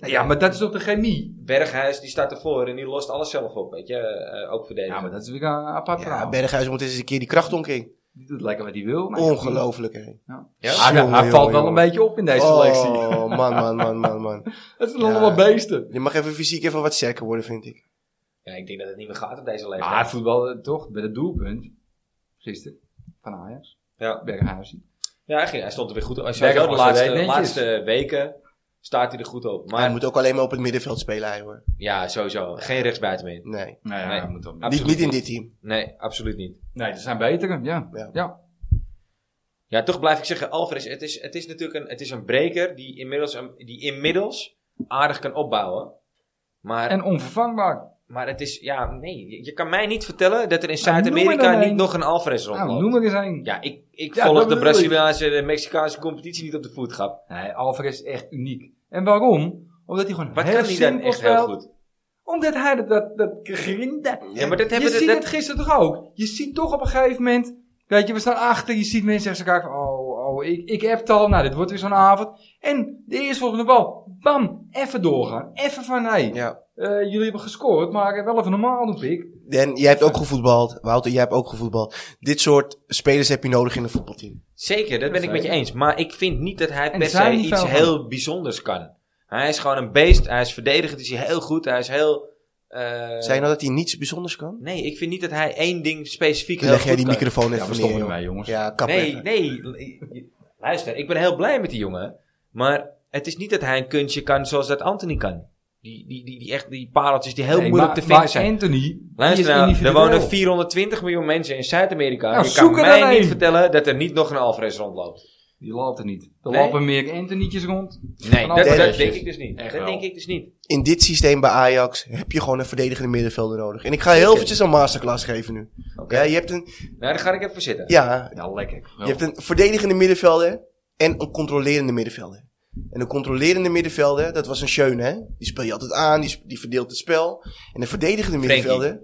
Speaker 2: ja, maar dat is toch de chemie?
Speaker 1: Berghuis, die staat ervoor en die lost alles zelf op, weet je. eh, ook verdedigend.
Speaker 2: Ja, maar dat is weer een apart verhaal.
Speaker 3: Ja, Berghuis moet eens een keer die krachtonking.
Speaker 2: Die doet lekker wat hij wil. maar-
Speaker 3: Ongelooflijk, hè.
Speaker 2: Ja.
Speaker 1: Ja?
Speaker 2: Hij, hij valt
Speaker 3: Jongen, jongen,
Speaker 2: wel een
Speaker 3: jongen.
Speaker 2: beetje op in deze selectie. <laughs>
Speaker 3: Oh, man, man, man, man, man.
Speaker 2: Het zijn
Speaker 3: Ja.
Speaker 2: allemaal beesten.
Speaker 3: Je mag even fysiek even wat sterker worden, vind ik.
Speaker 1: Ja, ik denk dat het niet meer gaat op deze leeftijd.
Speaker 2: Maar voetbal eh, toch, bij het doelpunt. Gisteren. Van Ajax.
Speaker 1: ja.
Speaker 2: Berghuis.
Speaker 1: ja hij, ging- hij stond er weer goed op. Hij zei
Speaker 2: Berghuis
Speaker 1: ook, de
Speaker 2: was
Speaker 1: laatste,
Speaker 2: netjes.
Speaker 1: laatste weken staat hij er goed op.
Speaker 3: Hij
Speaker 1: Maar
Speaker 3: moet ook alleen maar op het middenveld spelen, hij, hoor.
Speaker 1: ja, sowieso. Geen rechtsbuiten meer.
Speaker 3: Nee,
Speaker 2: Nou ja,
Speaker 1: Nee.
Speaker 2: dat moet wel.
Speaker 1: Absoluut
Speaker 3: niet, niet in
Speaker 1: niet.
Speaker 3: dit team.
Speaker 1: Nee, absoluut niet.
Speaker 2: Nee, er zijn betere. Ja.
Speaker 3: Ja.
Speaker 2: ja.
Speaker 1: Ja, toch blijf ik zeggen, Alvarez, het is, het is natuurlijk een, het is een breker die inmiddels, een- die inmiddels aardig kan opbouwen. Maar,
Speaker 2: En onvervangbaar.
Speaker 1: maar het is, ja, nee, je, je kan mij niet vertellen dat er in
Speaker 2: Nou, noem
Speaker 1: Zuid-Amerika
Speaker 2: maar dan
Speaker 1: niet
Speaker 2: een.
Speaker 1: nog een Alvarez rondloopt.
Speaker 2: Nou, noem er eens een.
Speaker 1: Ja, ik, ik
Speaker 2: Ja,
Speaker 1: volg
Speaker 2: dat
Speaker 1: de
Speaker 2: bedoel ik.
Speaker 1: Braziliaanse en de Mexicaanse competitie niet op de voetgap.
Speaker 2: Nee, Alvarez is echt uniek. En waarom? Omdat hij gewoon
Speaker 1: Wat
Speaker 2: heel
Speaker 1: kan hij dan
Speaker 2: simpel
Speaker 1: echt heel
Speaker 2: speelt.
Speaker 1: goed?
Speaker 2: Omdat hij dat, dat, dat grinda.
Speaker 1: Ja, maar dat
Speaker 2: je
Speaker 1: hebben de-
Speaker 2: ziet
Speaker 1: dat-
Speaker 2: het gisteren toch ook. Je ziet toch op een gegeven moment. Weet je, we staan achter. Je ziet mensen zeggen elkaar van, Oh, oh, ik, ik heb het al. Nou, dit wordt weer zo'n avond. En de eerstvolgende bal. Bam. Even doorgaan. Even van, hé. Hey,
Speaker 3: Ja.
Speaker 2: eh, jullie hebben gescoord, maar wel even normaal doe ik.
Speaker 3: En jij hebt ook gevoetbald. Wouter, jij hebt ook gevoetbald. Dit soort spelers heb je nodig in een voetbalteam.
Speaker 1: Zeker, dat ben ik met je eens. Maar ik vind niet dat hij
Speaker 2: En
Speaker 1: per
Speaker 2: er zijn
Speaker 1: se
Speaker 2: niet
Speaker 1: iets
Speaker 2: veel van.
Speaker 1: heel bijzonders kan. Hij is gewoon een beest. Hij is verdedigend, is hij heel goed. Hij is heel... eh,
Speaker 3: Zei je nou dat hij niets bijzonders kan?
Speaker 1: Nee, ik vind niet dat hij één ding specifiek heel
Speaker 3: Leg jij
Speaker 1: goed
Speaker 3: die
Speaker 1: kan.
Speaker 3: microfoon
Speaker 2: Ja, we
Speaker 3: even
Speaker 2: stoppen
Speaker 3: neer, joh.
Speaker 2: ermee, jongens.
Speaker 3: Ja, kap
Speaker 1: Nee,
Speaker 3: even.
Speaker 1: nee. l- Luister, ik ben heel blij met die jongen. Maar het is niet dat hij een kunstje kan zoals dat Anthony kan. Die, die, die, die, echt, die pareltjes die heel
Speaker 2: Nee,
Speaker 1: moeilijk
Speaker 2: maar-
Speaker 1: te vinden
Speaker 2: maar
Speaker 1: zijn.
Speaker 2: Anthony, die
Speaker 1: Luister
Speaker 2: is
Speaker 1: nou, er
Speaker 2: individueel.
Speaker 1: wonen 420 miljoen mensen in Zuid-Amerika.
Speaker 2: Nou,
Speaker 1: je
Speaker 2: zoek
Speaker 1: kan
Speaker 2: er
Speaker 1: mij
Speaker 2: dan
Speaker 1: niet
Speaker 2: een.
Speaker 1: vertellen dat er niet nog een Alvarez rondloopt.
Speaker 2: Die loopt er niet. Er
Speaker 1: Nee?
Speaker 2: lopen meer Antonietjes rond.
Speaker 1: Nee, dat,
Speaker 2: Alvarez
Speaker 1: dat
Speaker 2: is-
Speaker 1: denk ik dus niet.
Speaker 2: Echt
Speaker 1: dat
Speaker 2: wel.
Speaker 1: denk ik dus niet.
Speaker 3: In dit systeem bij Ajax heb je gewoon een verdedigende middenvelder nodig. En ik ga heel
Speaker 1: Zeker.
Speaker 3: eventjes een masterclass geven nu.
Speaker 1: Oké.
Speaker 3: Ja, je hebt een,
Speaker 1: Nou, daar ga ik even voor zitten.
Speaker 3: ja,
Speaker 2: Ja, lekker.
Speaker 3: Je hebt een verdedigende middenvelder en een controlerende middenvelder. En een controlerende middenvelder, dat was een Schöne, hè? Die speel je altijd aan, die, sp- die verdeelt het spel. En een verdedigende middenvelder...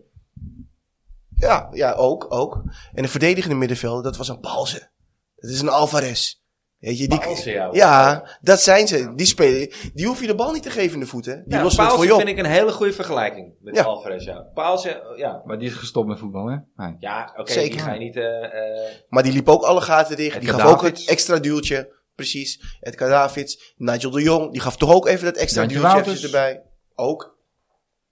Speaker 3: Ja, ja, ook, ook. En een verdedigende middenvelder, dat was een Palsen. Dat is een Alvarez. Weet je, die,
Speaker 1: Paulsen, ja. eh,
Speaker 3: Ja, dat zijn ze. Die spelen, die hoef je de bal niet te geven in de voeten. Die
Speaker 1: Ja,
Speaker 3: lossen het voor
Speaker 1: Paulsen
Speaker 3: je op.
Speaker 1: vind ik een hele goede vergelijking met
Speaker 3: Ja.
Speaker 1: Alvarez. Ja. Paulsen, ja.
Speaker 2: Maar die is gestopt met voetbal, hè? Nee.
Speaker 1: Ja, oké, die
Speaker 3: Zeker.
Speaker 1: ga je niet... eh, eh,
Speaker 3: Maar die liep ook alle gaten dicht.
Speaker 2: Het
Speaker 3: Die gaf ook
Speaker 2: Kadafiets.
Speaker 3: het extra duwtje. Precies. Het Kadavids. Nigel de Jong. Die gaf toch ook even dat extra
Speaker 2: Nigel
Speaker 3: duwtje
Speaker 2: Wouters.
Speaker 3: eventjes erbij. Ook.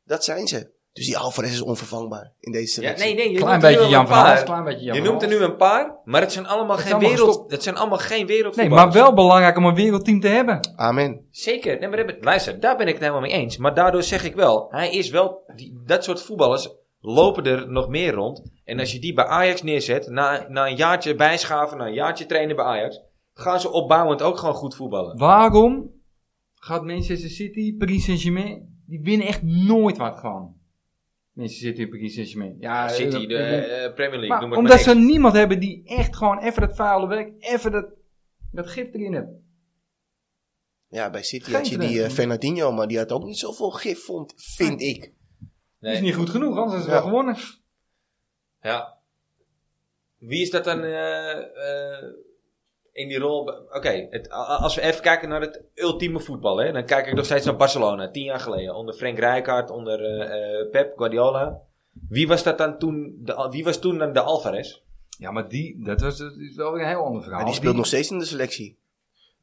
Speaker 3: Dat zijn ze. Dus die Alvarez is onvervangbaar in deze
Speaker 1: ja,
Speaker 3: selectie.
Speaker 1: nee, nee. Je
Speaker 2: Klein
Speaker 1: noemt er nu
Speaker 2: beetje
Speaker 1: een
Speaker 2: Jan van
Speaker 1: paar.
Speaker 2: Hals, klein beetje Jan
Speaker 1: Je
Speaker 2: van
Speaker 1: noemt er
Speaker 2: Hals.
Speaker 1: nu een paar, maar het zijn allemaal
Speaker 2: is
Speaker 1: geen
Speaker 2: allemaal
Speaker 1: wereld...
Speaker 2: gestopt.
Speaker 1: Het zijn allemaal geen
Speaker 2: Nee,
Speaker 1: wereldvoetballers.
Speaker 2: maar wel belangrijk om een wereldteam te hebben.
Speaker 3: Amen.
Speaker 1: Zeker. Nee, maar dat ben- luister, daar ben ik het helemaal mee eens. Maar daardoor zeg ik wel, hij is wel... Die, dat soort voetballers lopen er nog meer rond. En als je die bij Ajax neerzet, na, na een jaartje bijschaven, na een jaartje trainen bij Ajax... gaan ze opbouwend ook gewoon goed voetballen.
Speaker 2: Waarom gaat Manchester City, Paris Saint-Germain, die winnen echt nooit wat gewoon. Manchester City en Paris Saint-Germain. Ja,
Speaker 1: City,
Speaker 2: eh,
Speaker 1: de
Speaker 2: eh,
Speaker 1: eh, Premier League,
Speaker 2: maar
Speaker 1: noem het
Speaker 2: omdat
Speaker 1: maar
Speaker 2: ze niemand hebben die echt gewoon even dat vuile werk, even dat, dat gif erin heeft.
Speaker 3: Ja, bij City
Speaker 2: Geen
Speaker 3: had je die eh,
Speaker 2: verdediging.
Speaker 3: Fernandinho. Maar die had ook niet zoveel gif, vond, vind
Speaker 2: Nou,
Speaker 3: ik.
Speaker 2: Die
Speaker 1: niks.
Speaker 2: is niet goed genoeg, anders is het
Speaker 3: Ja.
Speaker 2: wel gewonnen.
Speaker 1: Ja. Wie is dat dan eh, eh, in die rol? Oké, het- a- a- als we even kijken naar het ultieme voetbal, hè, dan kijk ik nog steeds naar Barcelona, tien jaar geleden, onder Frank Rijkaard, onder eh, eh, Pep Guardiola. Wie was dat dan toen? De, al- wie was toen dan de Alvarez?
Speaker 2: Ja, maar die, dat, was, dat is wel weer een heel ander verhaal.
Speaker 3: Maar die speelt nog steeds in de selectie.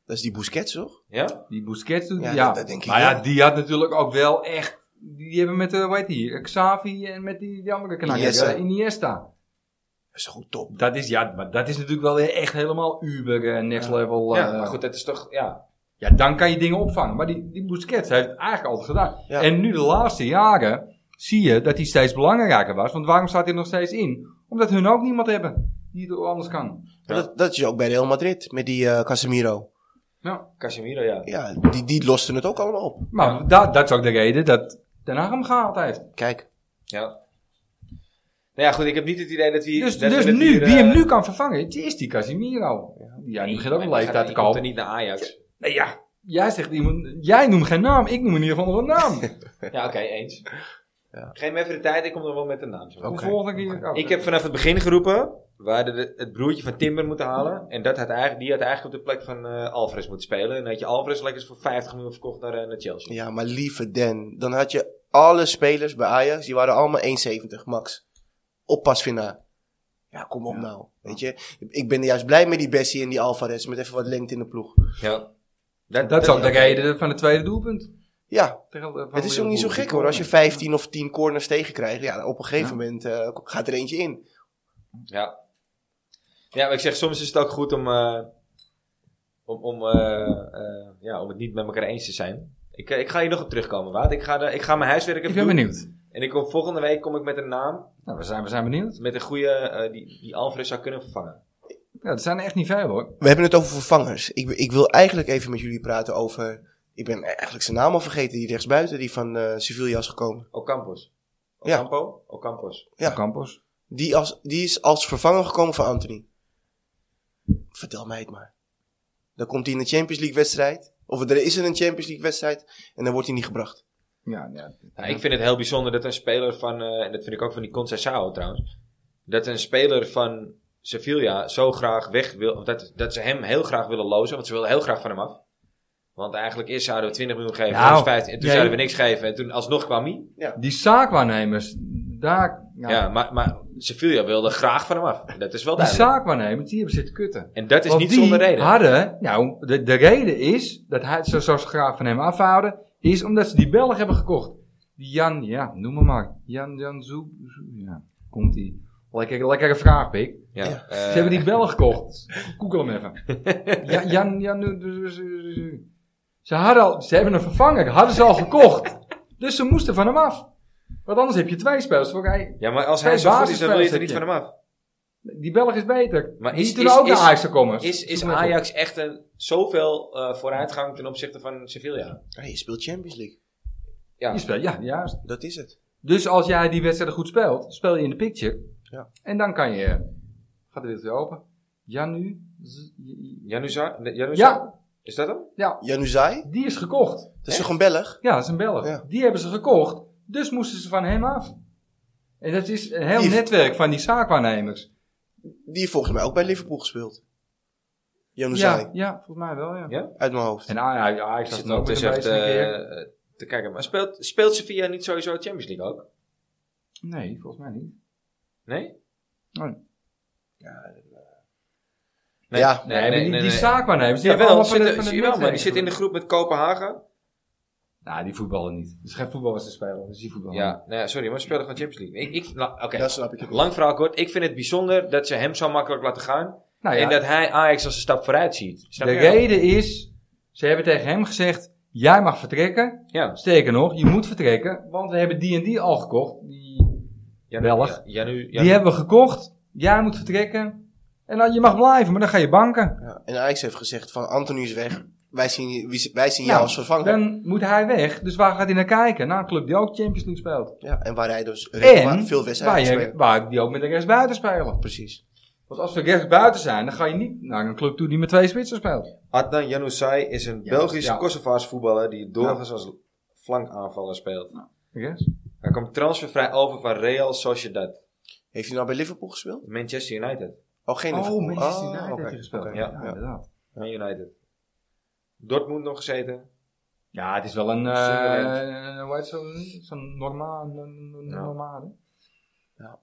Speaker 3: Dat is die Busquets, toch?
Speaker 1: Ja?
Speaker 2: Die Busquets doet
Speaker 3: Ja,
Speaker 2: ja,
Speaker 3: dat- dat denk ik
Speaker 2: Maar ja,
Speaker 3: wel.
Speaker 2: die had natuurlijk ook wel echt... Die hebben met, eh, hoe heet die, Xavi en met die, die andere kanakken,
Speaker 3: Iniesta.
Speaker 2: eh, Iniesta.
Speaker 3: Dat is goed top.
Speaker 2: Dat is, ja, maar dat is natuurlijk wel weer echt helemaal uber, eh, next level. eh,
Speaker 1: ja, maar goed, dat is toch, ja.
Speaker 2: ja, dan kan je dingen opvangen. Maar die, die Busquets heeft het eigenlijk altijd gedaan.
Speaker 3: Ja.
Speaker 2: En nu de laatste jaren zie je dat hij steeds belangrijker was. Want waarom staat hij er nog steeds in? Omdat hun ook niemand hebben die het anders kan.
Speaker 3: Maar
Speaker 1: Ja.
Speaker 3: Dat, dat is ook bij Real Madrid. Met die eh, Casemiro.
Speaker 2: Ja.
Speaker 1: Casemiro, ja.
Speaker 3: Ja, die, die losten het ook allemaal op.
Speaker 2: Maar da- dat is ook de reden dat Den Haag hem gehaald heeft.
Speaker 3: Kijk.
Speaker 1: Ja. Nou ja, goed, ik heb niet het idee dat we...
Speaker 2: Dus,
Speaker 1: dat we
Speaker 2: dus
Speaker 1: het
Speaker 2: nu,
Speaker 1: hier,
Speaker 2: wie hem
Speaker 1: eh,
Speaker 2: nu kan vervangen, die is die Casimiro. Ja, die begint ook
Speaker 1: maar
Speaker 2: een
Speaker 1: die gaat-
Speaker 2: leeftijd te
Speaker 1: die komt er
Speaker 2: komen.
Speaker 1: niet naar Ajax.
Speaker 2: Nee, ja, jij zegt iemand, jij noemt geen naam, ik noem in ieder geval nog een naam.
Speaker 1: Ja, oké, eens. Geef me even de tijd, ik kom nog wel met een naam. zo.
Speaker 2: De
Speaker 3: Oké.
Speaker 2: volgende keer. ook.
Speaker 1: Ik heb vanaf het begin geroepen, we hadden de- het broertje van Timber moeten halen.
Speaker 2: Mhm.
Speaker 1: En dat had eigenlijk, die had eigenlijk op de plek van eh, Alvarez moeten spelen. En dan had je Alvarez lekker eens voor 50 miljoen verkocht naar, eh, naar Chelsea.
Speaker 3: Ja, maar lieve Dan. Dan had je alle spelers bij Ajax, die waren allemaal 1,70 max. Op Pasvina. Ja, kom op nou. Weet je, ik ben juist blij met die Bessie en die Alvarez, met even wat lengte in de ploeg.
Speaker 1: Ja.
Speaker 2: Dat is ook de reden van het tweede doelpunt.
Speaker 3: Nou, Ja,
Speaker 2: Tegen- van
Speaker 3: het is ook
Speaker 2: Liverpool.
Speaker 3: niet zo gek hoor. Als je 15 of 10 corners tegenkrijgt, ja, op een gegeven moment eh, gaat er eentje in.
Speaker 1: Ja. Ja, maar ik zeg, soms is het ook goed om, eh, om, om, eh, eh, ja, om het niet met elkaar eens te zijn. Ik, eh, ik ga hier nog op terugkomen, Wout. Ik ga, de- ik ga mijn huiswerk even
Speaker 2: Ik ben
Speaker 1: doen.
Speaker 2: benieuwd.
Speaker 1: En ik kom, volgende week kom ik met een naam,
Speaker 2: Nou, we zijn, we zijn benieuwd.
Speaker 1: met een goede, eh, die, die Alvarez zou kunnen vervangen.
Speaker 2: Ja, dat zijn er echt niet veel hoor.
Speaker 3: We hebben het over vervangers. Ik, ik wil eigenlijk even met jullie praten over. Ik ben eigenlijk zijn naam al vergeten, die rechtsbuiten, die van eh Sevilla is gekomen.
Speaker 1: Ocampos.
Speaker 3: Ja.
Speaker 1: Ocampo? Ocampos.
Speaker 3: Ja.
Speaker 2: Campos.
Speaker 3: Die, als, die is als vervanger gekomen van Anthony. Vertel mij het maar. Dan komt hij in de Champions League wedstrijd. Of er is er een Champions League wedstrijd. En dan wordt hij niet gebracht.
Speaker 2: Ja, ja.
Speaker 1: Nou, ik vind het heel bijzonder dat een speler van, eh, en dat vind ik ook van die Conceição trouwens, dat een speler van Sevilla zo graag weg wil, of dat, dat ze hem heel graag willen lozen, want ze willen heel graag van hem af. Want eigenlijk eerst zouden we 20 miljoen geven,
Speaker 2: Nou,
Speaker 1: toen is 15, en toen
Speaker 2: jij-
Speaker 1: zouden we niks geven, en toen alsnog kwam hij.
Speaker 2: Die zaakwaarnemers, daar,
Speaker 1: Ja,
Speaker 2: nou,
Speaker 1: maar, maar Sevilla wilde graag van hem af. Dat is wel
Speaker 2: die
Speaker 1: duidelijk.
Speaker 2: zaakwaarnemers, die hebben zitten kutten.
Speaker 1: En dat is
Speaker 2: Want
Speaker 1: niet
Speaker 2: die
Speaker 1: zonder reden.
Speaker 2: hadden, nou, de, de reden is dat hij ze zo graag van hem afhouden, is omdat ze die Belg hebben gekocht. Die Jan, ja, noem hem maar. Jan, Jan Zoep, Zoep- ja, komt ie. Lekker, lekkere vraag, Pik.
Speaker 1: ja,
Speaker 3: Ja.
Speaker 1: eh,
Speaker 2: Ze hebben die Belg
Speaker 1: <laughs>
Speaker 2: gekocht. Google hem even. Ja, Jan, Jan, ze hadden al, ze hebben een vervanger, hadden ze al gekocht. Dus ze moesten van hem af. Want anders heb je twee spelers. voor elkaar.
Speaker 1: ja, maar als
Speaker 2: Twee
Speaker 1: hij zo goed is, dan wil je
Speaker 2: basisspelers
Speaker 1: er niet
Speaker 2: heb
Speaker 1: van
Speaker 2: je.
Speaker 1: hem af.
Speaker 2: Die Belg is beter.
Speaker 1: Maar
Speaker 2: die
Speaker 1: is-
Speaker 2: toen
Speaker 1: is-
Speaker 2: ook
Speaker 1: is-
Speaker 2: naar Ajax gekomen.
Speaker 1: Is, is
Speaker 2: Zoek maar even op.
Speaker 1: Ajax echt een, zoveel eh, vooruitgang ten opzichte van Sevilla?
Speaker 3: Hey, je speelt Champions League.
Speaker 1: Ja.
Speaker 2: Je speelt, ja, juist.
Speaker 3: Dat is het.
Speaker 2: Dus als jij die wedstrijd goed speelt, speel je in de picture.
Speaker 3: Ja.
Speaker 2: En dan kan je. Gaat de wereld weer open? Ja, nu. Z-
Speaker 1: Januzar? Nee, Januzar?
Speaker 2: Ja,
Speaker 1: Is dat hem?
Speaker 2: ja,
Speaker 3: Januzaj,
Speaker 2: die is gekocht.
Speaker 3: dat is toch een Belg?
Speaker 2: Ja, dat is een Belg.
Speaker 3: Ja.
Speaker 2: Die hebben ze gekocht, dus moesten ze van hem af. En dat is een heel
Speaker 3: Die-
Speaker 2: netwerk van die zaakwaarnemers.
Speaker 3: Die heeft volgens mij ook bij Liverpool gespeeld. Januzaj,
Speaker 2: Ja, ja, volgens mij wel, ja.
Speaker 1: Ja.
Speaker 3: uit mijn hoofd.
Speaker 2: En Ajax, Ajax
Speaker 1: Ik
Speaker 2: had
Speaker 1: zit
Speaker 2: het ook
Speaker 1: nog
Speaker 2: met
Speaker 1: eens
Speaker 2: een
Speaker 1: even
Speaker 2: beetje een keer.
Speaker 1: te, te kijken. eh, Maar speelt, speelt Sevilla niet sowieso Champions League ook?
Speaker 2: Nee, volgens mij niet.
Speaker 1: Nee? eh,
Speaker 2: Nee.
Speaker 3: Ja.
Speaker 2: Nee, maar die, die zaakwaarnemers, die hebben
Speaker 1: Jawel,
Speaker 2: allemaal van
Speaker 1: zit,
Speaker 2: het, van
Speaker 1: zie
Speaker 2: het
Speaker 1: je wel, maar die
Speaker 2: netwerk
Speaker 1: zit in de groep met Kopenhagen.
Speaker 2: Nou, die voetballen niet. Het is geen voetballers te spelen, dus die voetballen niet.
Speaker 1: Ja, nou ja, sorry, maar ze speelden gewoon Champions League. Ik, ik, nou, Oké,
Speaker 3: Dat snap ik. het wel.
Speaker 1: lang verhaal kort. Ik vind het bijzonder dat ze hem zo makkelijk laten gaan.
Speaker 2: Nou ja,
Speaker 1: En dat hij Ajax als een stap vooruit ziet. Snap
Speaker 2: De
Speaker 1: je?
Speaker 2: reden is, ze hebben tegen hem gezegd, jij mag vertrekken.
Speaker 1: Ja.
Speaker 2: Sterker nog, je moet vertrekken, want we hebben die en die al gekocht. Die,
Speaker 1: Janu,
Speaker 2: Belg.
Speaker 1: Ja, Janu, Janu-
Speaker 2: die hebben we gekocht, jij moet vertrekken. En dan, je mag blijven, maar dan ga je banken.
Speaker 3: Ja. En Ajax heeft gezegd van Anthony is weg. Wij zien, wie- wij zien
Speaker 2: Nou,
Speaker 3: jou als vervanger.
Speaker 2: Dan moet hij weg, dus waar gaat hij naar kijken? Naar een club die ook Champions League speelt.
Speaker 3: Ja, en waar hij dus
Speaker 2: En
Speaker 3: regelmatig veel wedstrijden
Speaker 2: waar,
Speaker 3: heeft
Speaker 2: je,
Speaker 3: gespeeld.
Speaker 2: waar die ook met de rest buiten spelen.
Speaker 3: Precies.
Speaker 2: Want als we rechts buiten zijn, dan ga je niet naar een club toe die met twee spitsen speelt.
Speaker 1: Adnan Januzaj is een
Speaker 2: Ja,
Speaker 1: Belgische
Speaker 2: ja.
Speaker 1: Kosovaars voetballer die doorgaans als flankaanvaller speelt.
Speaker 2: Rechts?
Speaker 1: Hij komt transfervrij over van Real Sociedad,
Speaker 3: Heeft hij nou bij Liverpool gespeeld?
Speaker 1: Manchester United.
Speaker 3: Oh, geen Liverpool.
Speaker 2: Oh, Manchester United heeft
Speaker 3: oké,
Speaker 2: hij gespeeld.
Speaker 3: oké,
Speaker 2: Ja,
Speaker 1: ja.
Speaker 2: inderdaad.
Speaker 1: Man United. Dortmund nog gezeten.
Speaker 2: Ja, het is wel een,
Speaker 1: Zeker.
Speaker 2: eh hoe heet zo'n zo'n normaal, een
Speaker 1: Ja.
Speaker 2: normale.
Speaker 3: Ja.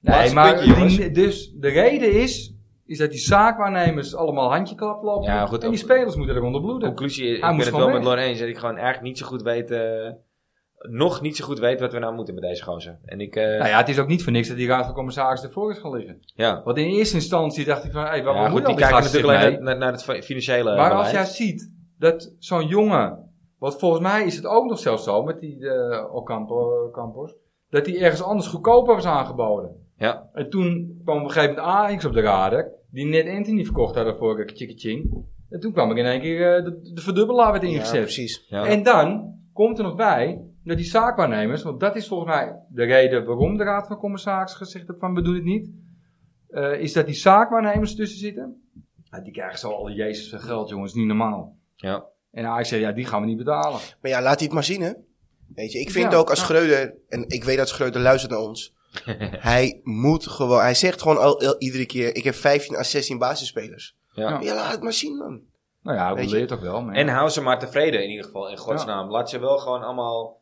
Speaker 2: Nee,
Speaker 1: Laatste
Speaker 2: maar
Speaker 1: puntje, jongens.
Speaker 2: die- dus de reden is, is dat die zaakwaarnemers allemaal handjeklap lopen.
Speaker 1: Ja, goed,
Speaker 2: en die
Speaker 1: ook-
Speaker 2: spelers moeten eronder bloeden.
Speaker 1: Conclusie, ik
Speaker 2: Hij
Speaker 1: ben
Speaker 2: moest
Speaker 1: het wel
Speaker 2: gewoon
Speaker 1: met
Speaker 2: weg.
Speaker 1: Lorraine eens dat ik gewoon eigenlijk niet zo goed weet, eh, nog niet zo goed weet wat we nou moeten met deze gozer. En ik, eh,
Speaker 2: Nou ja, het is ook niet voor niks dat die raad van commissaris ervoor is gaan liggen.
Speaker 1: ja.
Speaker 2: Want in eerste instantie dacht ik van, hé, hey,
Speaker 1: Ja,
Speaker 2: waarom moet
Speaker 1: goed, die
Speaker 2: al die
Speaker 1: kijken
Speaker 2: gasten
Speaker 1: natuurlijk alleen
Speaker 2: mee?
Speaker 1: naar, naar, naar het fi- financiële
Speaker 2: Maar als
Speaker 1: beleid.
Speaker 2: jij ziet dat zo'n jongen, want volgens mij is het ook nog zelfs zo met die eh, Ocampo, Ocampos, dat die ergens anders goedkoper was aangeboden.
Speaker 1: Ja.
Speaker 2: En toen kwam op een gegeven moment Ajax op de radar, die net Anthony verkocht hadden voor Ching. En toen kwam ik in één keer, eh, de, de verdubbelaar werd
Speaker 3: Ja,
Speaker 2: ingezet.
Speaker 3: precies.
Speaker 1: Ja.
Speaker 2: en dan komt er nog bij naar die zaakwaarnemers. Want dat is volgens mij de reden waarom de Raad van Commissarissen gezegd heeft van we doen het niet. eh, is dat die zaakwaarnemers tussen zitten. Ja, die krijgen zo al Jezus van geld jongens, niet normaal.
Speaker 1: Ja.
Speaker 2: En Ajax zegt ja die gaan we niet betalen.
Speaker 3: Maar ja, laat hij het maar zien, hè? Weet je, ik vind
Speaker 2: Ja,
Speaker 3: ook als
Speaker 2: ja.
Speaker 3: Schreuder, en ik weet dat Schreuder luistert naar ons.
Speaker 2: <laughs>
Speaker 3: hij moet gewoon, hij zegt gewoon al, al- iedere keer: ik heb 15 à 16 basisspelers.
Speaker 1: Ja.
Speaker 2: Ja.
Speaker 3: Ja, laat het maar zien, man.
Speaker 2: Nou ja,
Speaker 3: Weet
Speaker 2: we
Speaker 3: je.
Speaker 2: leert toch wel. Maar, ja.
Speaker 1: En hou ze maar tevreden in ieder geval, in godsnaam. Laat ze wel gewoon allemaal...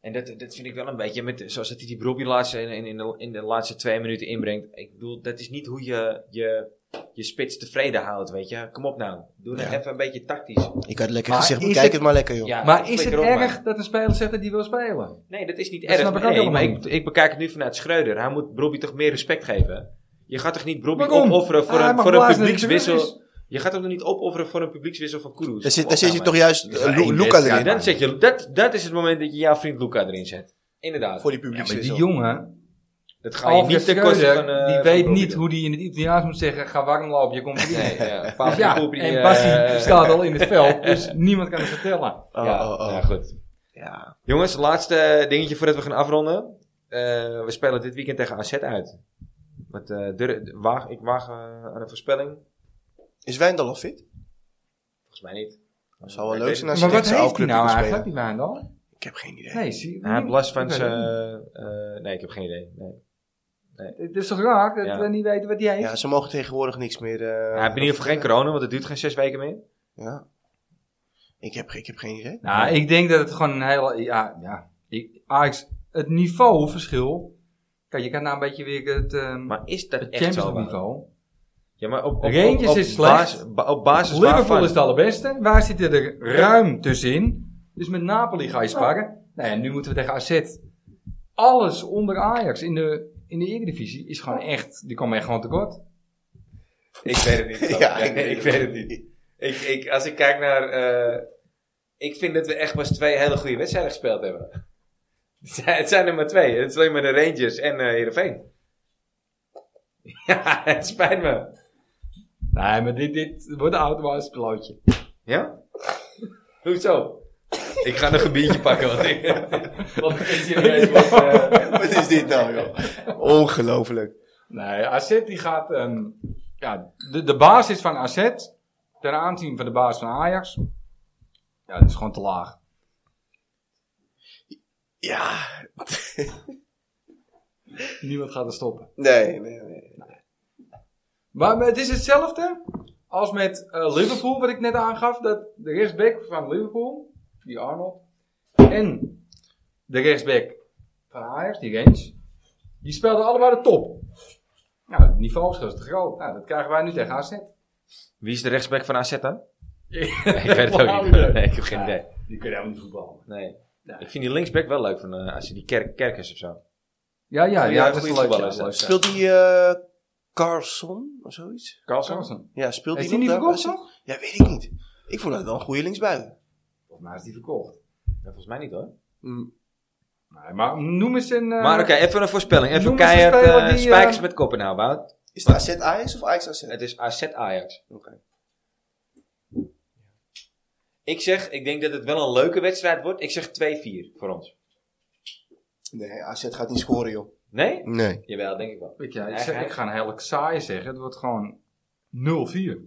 Speaker 1: En dat, dat vind ik wel een beetje, met, zoals dat hij die Brobbey laatste in, in, in, de, in de laatste twee minuten inbrengt. Ik bedoel, dat is niet hoe je je, je spits tevreden houdt, weet je. Kom op nou, doe het
Speaker 3: Ja.
Speaker 1: even een beetje tactisch.
Speaker 3: Ik had lekker
Speaker 2: Maar
Speaker 3: gezegd,
Speaker 2: is
Speaker 3: bekijk het...
Speaker 2: het-
Speaker 3: maar lekker, joh.
Speaker 1: Ja,
Speaker 2: maar is het
Speaker 1: flikker op, maar.
Speaker 2: erg dat een speler zegt dat hij wil spelen?
Speaker 1: Nee, dat is niet
Speaker 2: Dat snap
Speaker 1: erg.
Speaker 2: ik ook
Speaker 1: Nee,
Speaker 2: helemaal
Speaker 1: maar ik,
Speaker 2: niet.
Speaker 1: ik bekijk het nu vanuit Schreuder. Hij moet Brobbey toch meer respect geven. Je gaat toch niet Brobbey
Speaker 2: Waarom? Ah,
Speaker 1: opofferen voor
Speaker 2: Hij
Speaker 1: een,
Speaker 2: mag
Speaker 1: voor een
Speaker 2: blazen dat hij terug
Speaker 1: publiekswissel. Je gaat hem toch niet opofferen voor een publiekswissel van Kudus?
Speaker 3: Daar zit,
Speaker 1: Kom op
Speaker 3: daar zit
Speaker 1: nou,
Speaker 3: je
Speaker 1: man.
Speaker 3: toch juist eh,
Speaker 2: maar
Speaker 3: Lu-
Speaker 2: één
Speaker 3: Luca
Speaker 2: wedstrijd,
Speaker 3: erin.
Speaker 2: hè?
Speaker 1: Dan zet je, dat, dat is het moment dat je jouw vriend Luca erin zet. Inderdaad.
Speaker 3: Voor die
Speaker 2: Ja, maar
Speaker 3: publiekswissel.
Speaker 2: die jongen,
Speaker 1: dat ga je
Speaker 2: Alfred
Speaker 1: niet ten koste
Speaker 2: Schreuder,
Speaker 1: van, eh,
Speaker 2: die
Speaker 1: van
Speaker 2: weet
Speaker 1: Brobbey
Speaker 2: niet
Speaker 1: doen.
Speaker 2: hoe die in het Italiaans moet zeggen, ga warm lopen, je komt erin.
Speaker 1: Nee, <laughs>
Speaker 3: <laughs>
Speaker 1: ja.
Speaker 2: Ja,
Speaker 1: eh,
Speaker 2: en Bassi staat al in het
Speaker 1: <laughs>
Speaker 2: veld, dus niemand kan het vertellen.
Speaker 3: Oh,
Speaker 1: ja,
Speaker 3: oh, oh.
Speaker 1: ja, goed.
Speaker 3: Ja.
Speaker 1: Jongens, laatste dingetje voordat we gaan afronden. Eh, we spelen dit weekend tegen AZ uit. Met, eh, Dur- de- waag, ik waag eh, aan een voorspelling.
Speaker 3: Is Wijndal al fit?
Speaker 1: Volgens mij niet.
Speaker 3: Dat zou wel
Speaker 1: Ik
Speaker 3: leuk
Speaker 1: weet
Speaker 3: zijn
Speaker 1: het
Speaker 3: als
Speaker 2: maar wat
Speaker 3: hij tegen
Speaker 2: heeft hij
Speaker 3: zijn oude club
Speaker 2: nou
Speaker 3: moet gaan
Speaker 2: eigenlijk,
Speaker 3: spelen.
Speaker 2: die Wijndal?
Speaker 3: Ik heb geen idee.
Speaker 2: Nee, zie
Speaker 1: niet. Hij heeft last van
Speaker 2: ik weet
Speaker 1: zijn...
Speaker 2: het
Speaker 1: eh, nee, ik heb geen idee. Nee.
Speaker 2: niet. Het is toch raar dat
Speaker 1: Ja.
Speaker 2: we niet weten wat hij heeft?
Speaker 3: Ja, ze mogen tegenwoordig niks meer... eh,
Speaker 1: hij heeft in ieder geval geen corona, want het duurt geen zes weken meer.
Speaker 3: Ja. Ik heb, ik heb geen idee. <laughs>
Speaker 2: Nou, ik denk dat het gewoon een heel... Ja, ja. Ik, Ajax, het niveauverschil... Kijk, je kan nou een beetje weer het, ehm
Speaker 1: Maar is dat
Speaker 2: het
Speaker 1: echt zo?
Speaker 2: Champions
Speaker 1: waar?
Speaker 2: niveau.
Speaker 1: Ja, maar op, op, op,
Speaker 2: Rangers
Speaker 1: op basis-
Speaker 2: is slecht.
Speaker 1: ba- op basis
Speaker 2: Liverpool
Speaker 1: waarvan...
Speaker 2: is het allerbeste. Waar zitten er ruim tussenin? Dus met Napoli ga je sparren. Nou ja, nu moeten we tegen AZ. Alles onder Ajax in de, in de Eredivisie is gewoon echt... Die komen echt gewoon tekort.
Speaker 1: Ik weet het niet. <laughs> ja, ik, ik weet het niet. Ik, ik, als ik kijk naar... eh, ik vind dat we echt pas twee hele goede wedstrijden gespeeld hebben. <laughs> Het zijn- Het zijn er maar twee. Het is alleen maar de Rangers en eh Heerenveen. <laughs> Ja, het spijt me.
Speaker 2: Nee, maar dit, dit wordt een automatisch pilootje.
Speaker 1: Ja? Hoezo? Ik ga nog een biertje pakken, want ik... <laughs> Want ik zie
Speaker 2: <laughs>
Speaker 1: nog eens wat, eh,
Speaker 3: Wat is dit nou, joh? Ongelooflijk.
Speaker 2: Nee, AZ die gaat... ehm, ja, de, de basis van AZ ten aanzien van de basis van Ajax... Ja, dat is gewoon te laag.
Speaker 3: Ja.
Speaker 2: Niemand gaat er stoppen.
Speaker 3: Nee, nee, nee.
Speaker 2: Maar, maar het is hetzelfde als met eh, Liverpool, wat ik net aangaf. Dat de rechtsback van Liverpool, die Arnold, en de rechtsback van Ajax, die Rens, die speelden allebei de top. Nou, het niveauverschil is te groot. Nou, dat krijgen wij nu tegen AZ.
Speaker 1: Wie is de rechtsback van AZ dan?
Speaker 2: <laughs> ik
Speaker 1: Ik weet het ook niet. <laughs> Nee, ik heb geen idee.
Speaker 2: Die kunnen helemaal niet voetballen.
Speaker 1: Nee.
Speaker 2: Nee.
Speaker 1: Ik vind die linksback wel leuk van eh, als je die kerk, kerk is of zo.
Speaker 2: Ja, ja, ja,
Speaker 1: Ja,
Speaker 2: dat is
Speaker 1: goeie
Speaker 2: een leuke.
Speaker 1: voetballer is dat.
Speaker 3: Speelt die eh Carlson of zoiets?
Speaker 1: Carlson?
Speaker 2: Carlsen.
Speaker 3: Ja, speelt
Speaker 2: Is die
Speaker 3: nog
Speaker 2: niet
Speaker 3: daar?
Speaker 2: verkocht, toch?
Speaker 3: Ja, weet ik niet. Ik vond dat wel een goede linksbuiten.
Speaker 2: Volgens mij is die verkocht.
Speaker 1: Ja, Volgens mij niet hoor.
Speaker 3: Mm.
Speaker 2: Nee, maar noem eens een... eh,
Speaker 1: Maar oké, even een voorspelling. Even
Speaker 2: noem eens een
Speaker 1: keihard eh,
Speaker 2: speler die, eh,
Speaker 1: spijkers met koppen nou, Wout.
Speaker 3: Is het AZ Ajax of Ajax AZ?
Speaker 1: Het is AZ Ajax.
Speaker 3: Oké.
Speaker 1: Ik zeg, ik denk dat het wel een leuke wedstrijd wordt. Ik zeg 2-4 voor ons.
Speaker 3: Nee, AZ gaat niet scoren, joh.
Speaker 1: Nee?
Speaker 3: Nee.
Speaker 1: Jawel, denk ik wel.
Speaker 2: Weet je, ik,
Speaker 1: Eigen-
Speaker 2: zeg, ik ga een hele saai zeggen. Het wordt gewoon 0-4.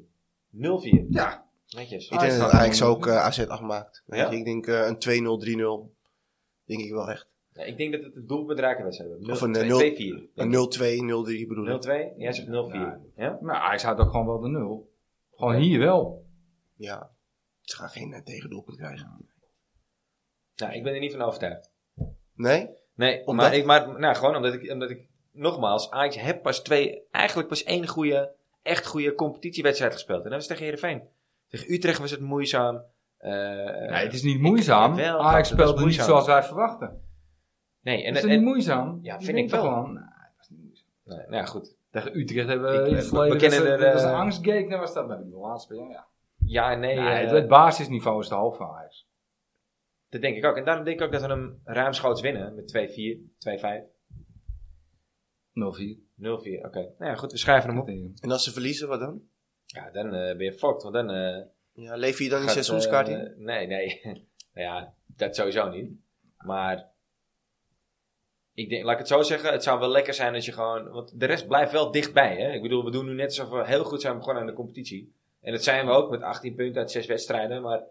Speaker 1: 0-4.
Speaker 2: Ja.
Speaker 1: Netjes.
Speaker 3: Ik denk
Speaker 2: Ajax
Speaker 3: dat
Speaker 2: gaat
Speaker 3: Ajax
Speaker 2: gewoon
Speaker 3: ook eh, AZ afmaakt. Weet
Speaker 1: Ja?
Speaker 3: je, Ik denk eh, een 2-0, 3-0. Denk ik wel echt.
Speaker 1: Ja, ik denk dat het het doelpunt raken wedstrijd wordt.
Speaker 3: Of een, eh,
Speaker 1: 0
Speaker 3: nul-
Speaker 1: 2-4.
Speaker 3: Een 0-2, 0-3 bedoel ik.
Speaker 1: 0-2? Jij zegt 0-4. Ja.
Speaker 2: Ja. Maar Ajax houdt ook gewoon wel de nul. Gewoon hier wel.
Speaker 3: Ja. Ze gaan geen eh, tegendoelpunt krijgen.
Speaker 1: Nou, ik ben er niet van overtuigd.
Speaker 3: Nee?
Speaker 1: Nee,
Speaker 3: Omdat-
Speaker 1: maar, ik, maar nou, gewoon omdat ik, omdat ik, nogmaals, Ajax heb pas twee, eigenlijk pas één goede, echt goede competitiewedstrijd gespeeld. En dat was tegen Heerenveen. Tegen Utrecht was het moeizaam. Eh,
Speaker 2: nee, het is niet moeizaam.
Speaker 1: wel, dat- dat
Speaker 2: Ajax
Speaker 1: is
Speaker 2: speelt er niet
Speaker 1: moeizaam.
Speaker 2: zoals wij verwachten.
Speaker 1: nee, en,
Speaker 2: is
Speaker 1: en,
Speaker 2: dat niet moeizaam?
Speaker 1: ja,
Speaker 2: Je
Speaker 1: vind
Speaker 2: denkt
Speaker 1: ik wel.
Speaker 2: toch gewoon, nee, dat is niet moeizaam.
Speaker 1: nee, nou ja, goed.
Speaker 2: Tegen Utrecht hebben we
Speaker 1: Ik-
Speaker 2: in het
Speaker 1: we-
Speaker 2: verleden...
Speaker 1: we kennen er,
Speaker 2: dat was, dat was
Speaker 1: eh,
Speaker 2: een angstgekner was dat. Nou, de laatste jaar, ja.
Speaker 1: Ja, en nee,
Speaker 2: Nee,
Speaker 1: eh,
Speaker 2: het, het basisniveau is te hoog voor Ajax.
Speaker 1: dat denk ik ook. En daarom denk ik ook dat we hem ruimschoots winnen met 2-4, 2-5, 0-4.
Speaker 2: 0-4.
Speaker 1: Oké, nou ja, goed, we schrijven hem op.
Speaker 3: En als ze verliezen, wat dan?
Speaker 1: Ja, dan eh, ben je fucked, want dan... eh
Speaker 3: Ja, lever je dan een
Speaker 1: gaat,
Speaker 3: seizoenskaart
Speaker 1: eh,
Speaker 3: in?
Speaker 1: <laughs> Nee, nee. nou ja, dat sowieso niet. Maar ik denk, laat ik het zo zeggen, het zou wel lekker zijn als je gewoon. Want de rest blijft wel dichtbij. Hè? Ik bedoel, we doen nu net alsof we heel goed zijn begonnen aan de competitie. En dat zijn we ook met 18 punten uit 6 wedstrijden. Maar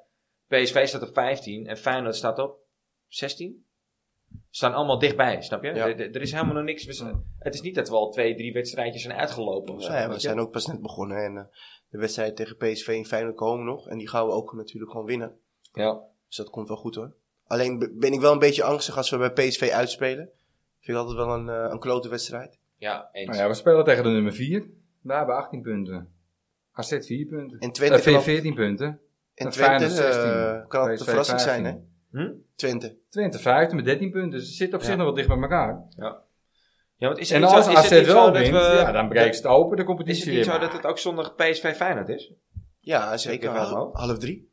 Speaker 1: PSV staat op 15 en Feyenoord staat op 16. We staan allemaal dichtbij, snap je?
Speaker 3: Ja.
Speaker 1: Er, er- er is helemaal nog niks. we zijn- het is niet dat we al twee, drie wedstrijdjes zijn uitgelopen. Of zo,
Speaker 3: Ja,
Speaker 1: weet
Speaker 3: we
Speaker 1: je?
Speaker 3: zijn ook pas net begonnen. En eh, de wedstrijd tegen PSV in Feyenoord komen nog. En die gaan we ook natuurlijk gewoon winnen.
Speaker 1: Ja.
Speaker 3: Dus dat komt wel goed hoor. Alleen be- ben ik wel een beetje angstig als we bij PSV uitspelen. Vind ik altijd wel een, eh, een klote wedstrijd.
Speaker 1: ja, eens.
Speaker 2: Nou ja, we spelen tegen de nummer 4. Daar hebben we 18 punten. AZ 4 punten.
Speaker 3: En
Speaker 2: Eh,
Speaker 3: Twente, kan,
Speaker 2: V
Speaker 3: al-
Speaker 2: 14 punten.
Speaker 3: en
Speaker 2: En
Speaker 3: Twente
Speaker 2: Feyenoord 16.
Speaker 3: eh, kan altijd
Speaker 2: PSV
Speaker 3: een verrassing zijn hè.
Speaker 2: 15.
Speaker 1: Hm?
Speaker 3: Twente.
Speaker 2: Twente 15 met 13 punten. Dus ze zitten op
Speaker 1: Ja.
Speaker 2: zich nog wel dicht bij elkaar.
Speaker 1: Ja, want is het
Speaker 2: En
Speaker 1: niet
Speaker 2: als
Speaker 1: zo, is het
Speaker 2: AZ
Speaker 1: niet zo
Speaker 2: wel
Speaker 1: dat
Speaker 2: wint,
Speaker 1: we,
Speaker 2: ja, dan breekt het open de
Speaker 1: Is het
Speaker 2: competitie
Speaker 1: niet
Speaker 2: weer.
Speaker 1: zo dat het ook zondag PSV Feyenoord is?
Speaker 3: Ja, zeker.
Speaker 1: Ik heb wel
Speaker 3: Half,
Speaker 1: hoop.
Speaker 3: half drie.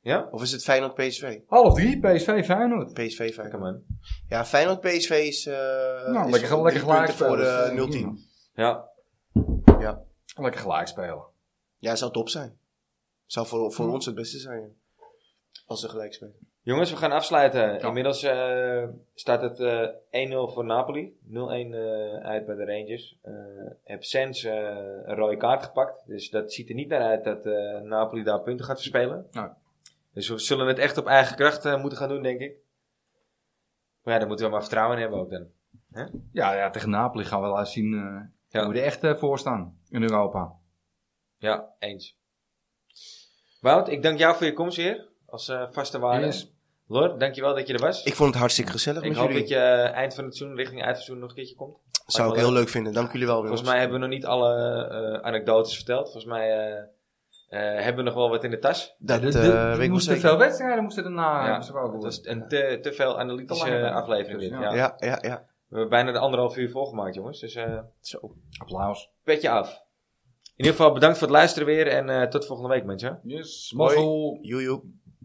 Speaker 1: Ja?
Speaker 3: Of is het Feyenoord PSV?
Speaker 2: Half drie, PSV, Feyenoord.
Speaker 3: PSV
Speaker 1: Lekker
Speaker 3: Feyenoord.
Speaker 1: man.
Speaker 3: Ja, Feyenoord PSV is, eh
Speaker 2: Nou, lekker, eh,
Speaker 3: is drie
Speaker 2: lekker
Speaker 3: punten
Speaker 2: gelijk
Speaker 3: voor eh, de
Speaker 2: spelen.
Speaker 3: 0-10.
Speaker 1: Ja.
Speaker 2: Lekker gelijk spelen.
Speaker 3: Ja, zou top zijn. Zou voor, voor ons het beste zijn. Als ze gelijk spelen.
Speaker 1: Jongens, we gaan afsluiten. Inmiddels eh, staat het eh, 1-0 voor Napoli. 0-1 eh, uit bij de Rangers. Eh heb Sens eh, een rode kaart gepakt. Dus dat ziet er niet naar uit dat eh, Napoli daar punten gaat verspelen.
Speaker 2: Nee.
Speaker 1: Dus we zullen het echt op eigen kracht eh, moeten gaan doen, denk ik. Maar ja, daar moeten we maar vertrouwen in hebben ook dan.
Speaker 2: Ja, ja, tegen Napoli gaan we laten zien eh
Speaker 1: Ja.
Speaker 2: hoe we er echt eh, voor staan in Europa.
Speaker 1: Ja, eens. Wout, ik dank jou voor je komst weer. Als eh, vaste waarde.
Speaker 2: Yes.
Speaker 1: Lord, dankjewel dat je er was.
Speaker 3: Ik vond het hartstikke gezellig
Speaker 1: Ik
Speaker 3: met
Speaker 1: hoop
Speaker 3: jullie.
Speaker 1: dat je eh, eind van het seizoen, richting eind van het seizoen, nog een keertje komt.
Speaker 3: Zou ik
Speaker 1: wel
Speaker 3: heel leuk vinden. Dank jullie wel.
Speaker 1: Volgens
Speaker 3: jongens.
Speaker 1: mij hebben we nog niet alle eh, anekdotes verteld. Volgens mij eh, eh, hebben we nog wel wat in de tas.
Speaker 3: Dat
Speaker 2: Ja, de-
Speaker 3: eh
Speaker 2: de-
Speaker 3: weet
Speaker 2: die
Speaker 3: ik wel
Speaker 2: moesten
Speaker 3: zeker.
Speaker 2: veel wedstrijden moesten daarna.
Speaker 1: Ja,
Speaker 2: Ja, ook
Speaker 1: Het
Speaker 2: gehoord.
Speaker 1: was een te, te veel analytische
Speaker 2: Te lange
Speaker 1: eh, aflevering
Speaker 2: dus,
Speaker 1: dit. Ja.
Speaker 2: ja.
Speaker 3: Ja, ja, ja.
Speaker 1: We hebben bijna de anderhalf uur volgemaakt, jongens. Dus eh
Speaker 3: Zo.
Speaker 2: Applaus.
Speaker 1: petje af. In ieder geval bedankt voor het luisteren weer. En eh, tot volgende week, mensen.
Speaker 2: Yes,
Speaker 3: Hoi.
Speaker 2: mazzel.
Speaker 3: Joe, joe.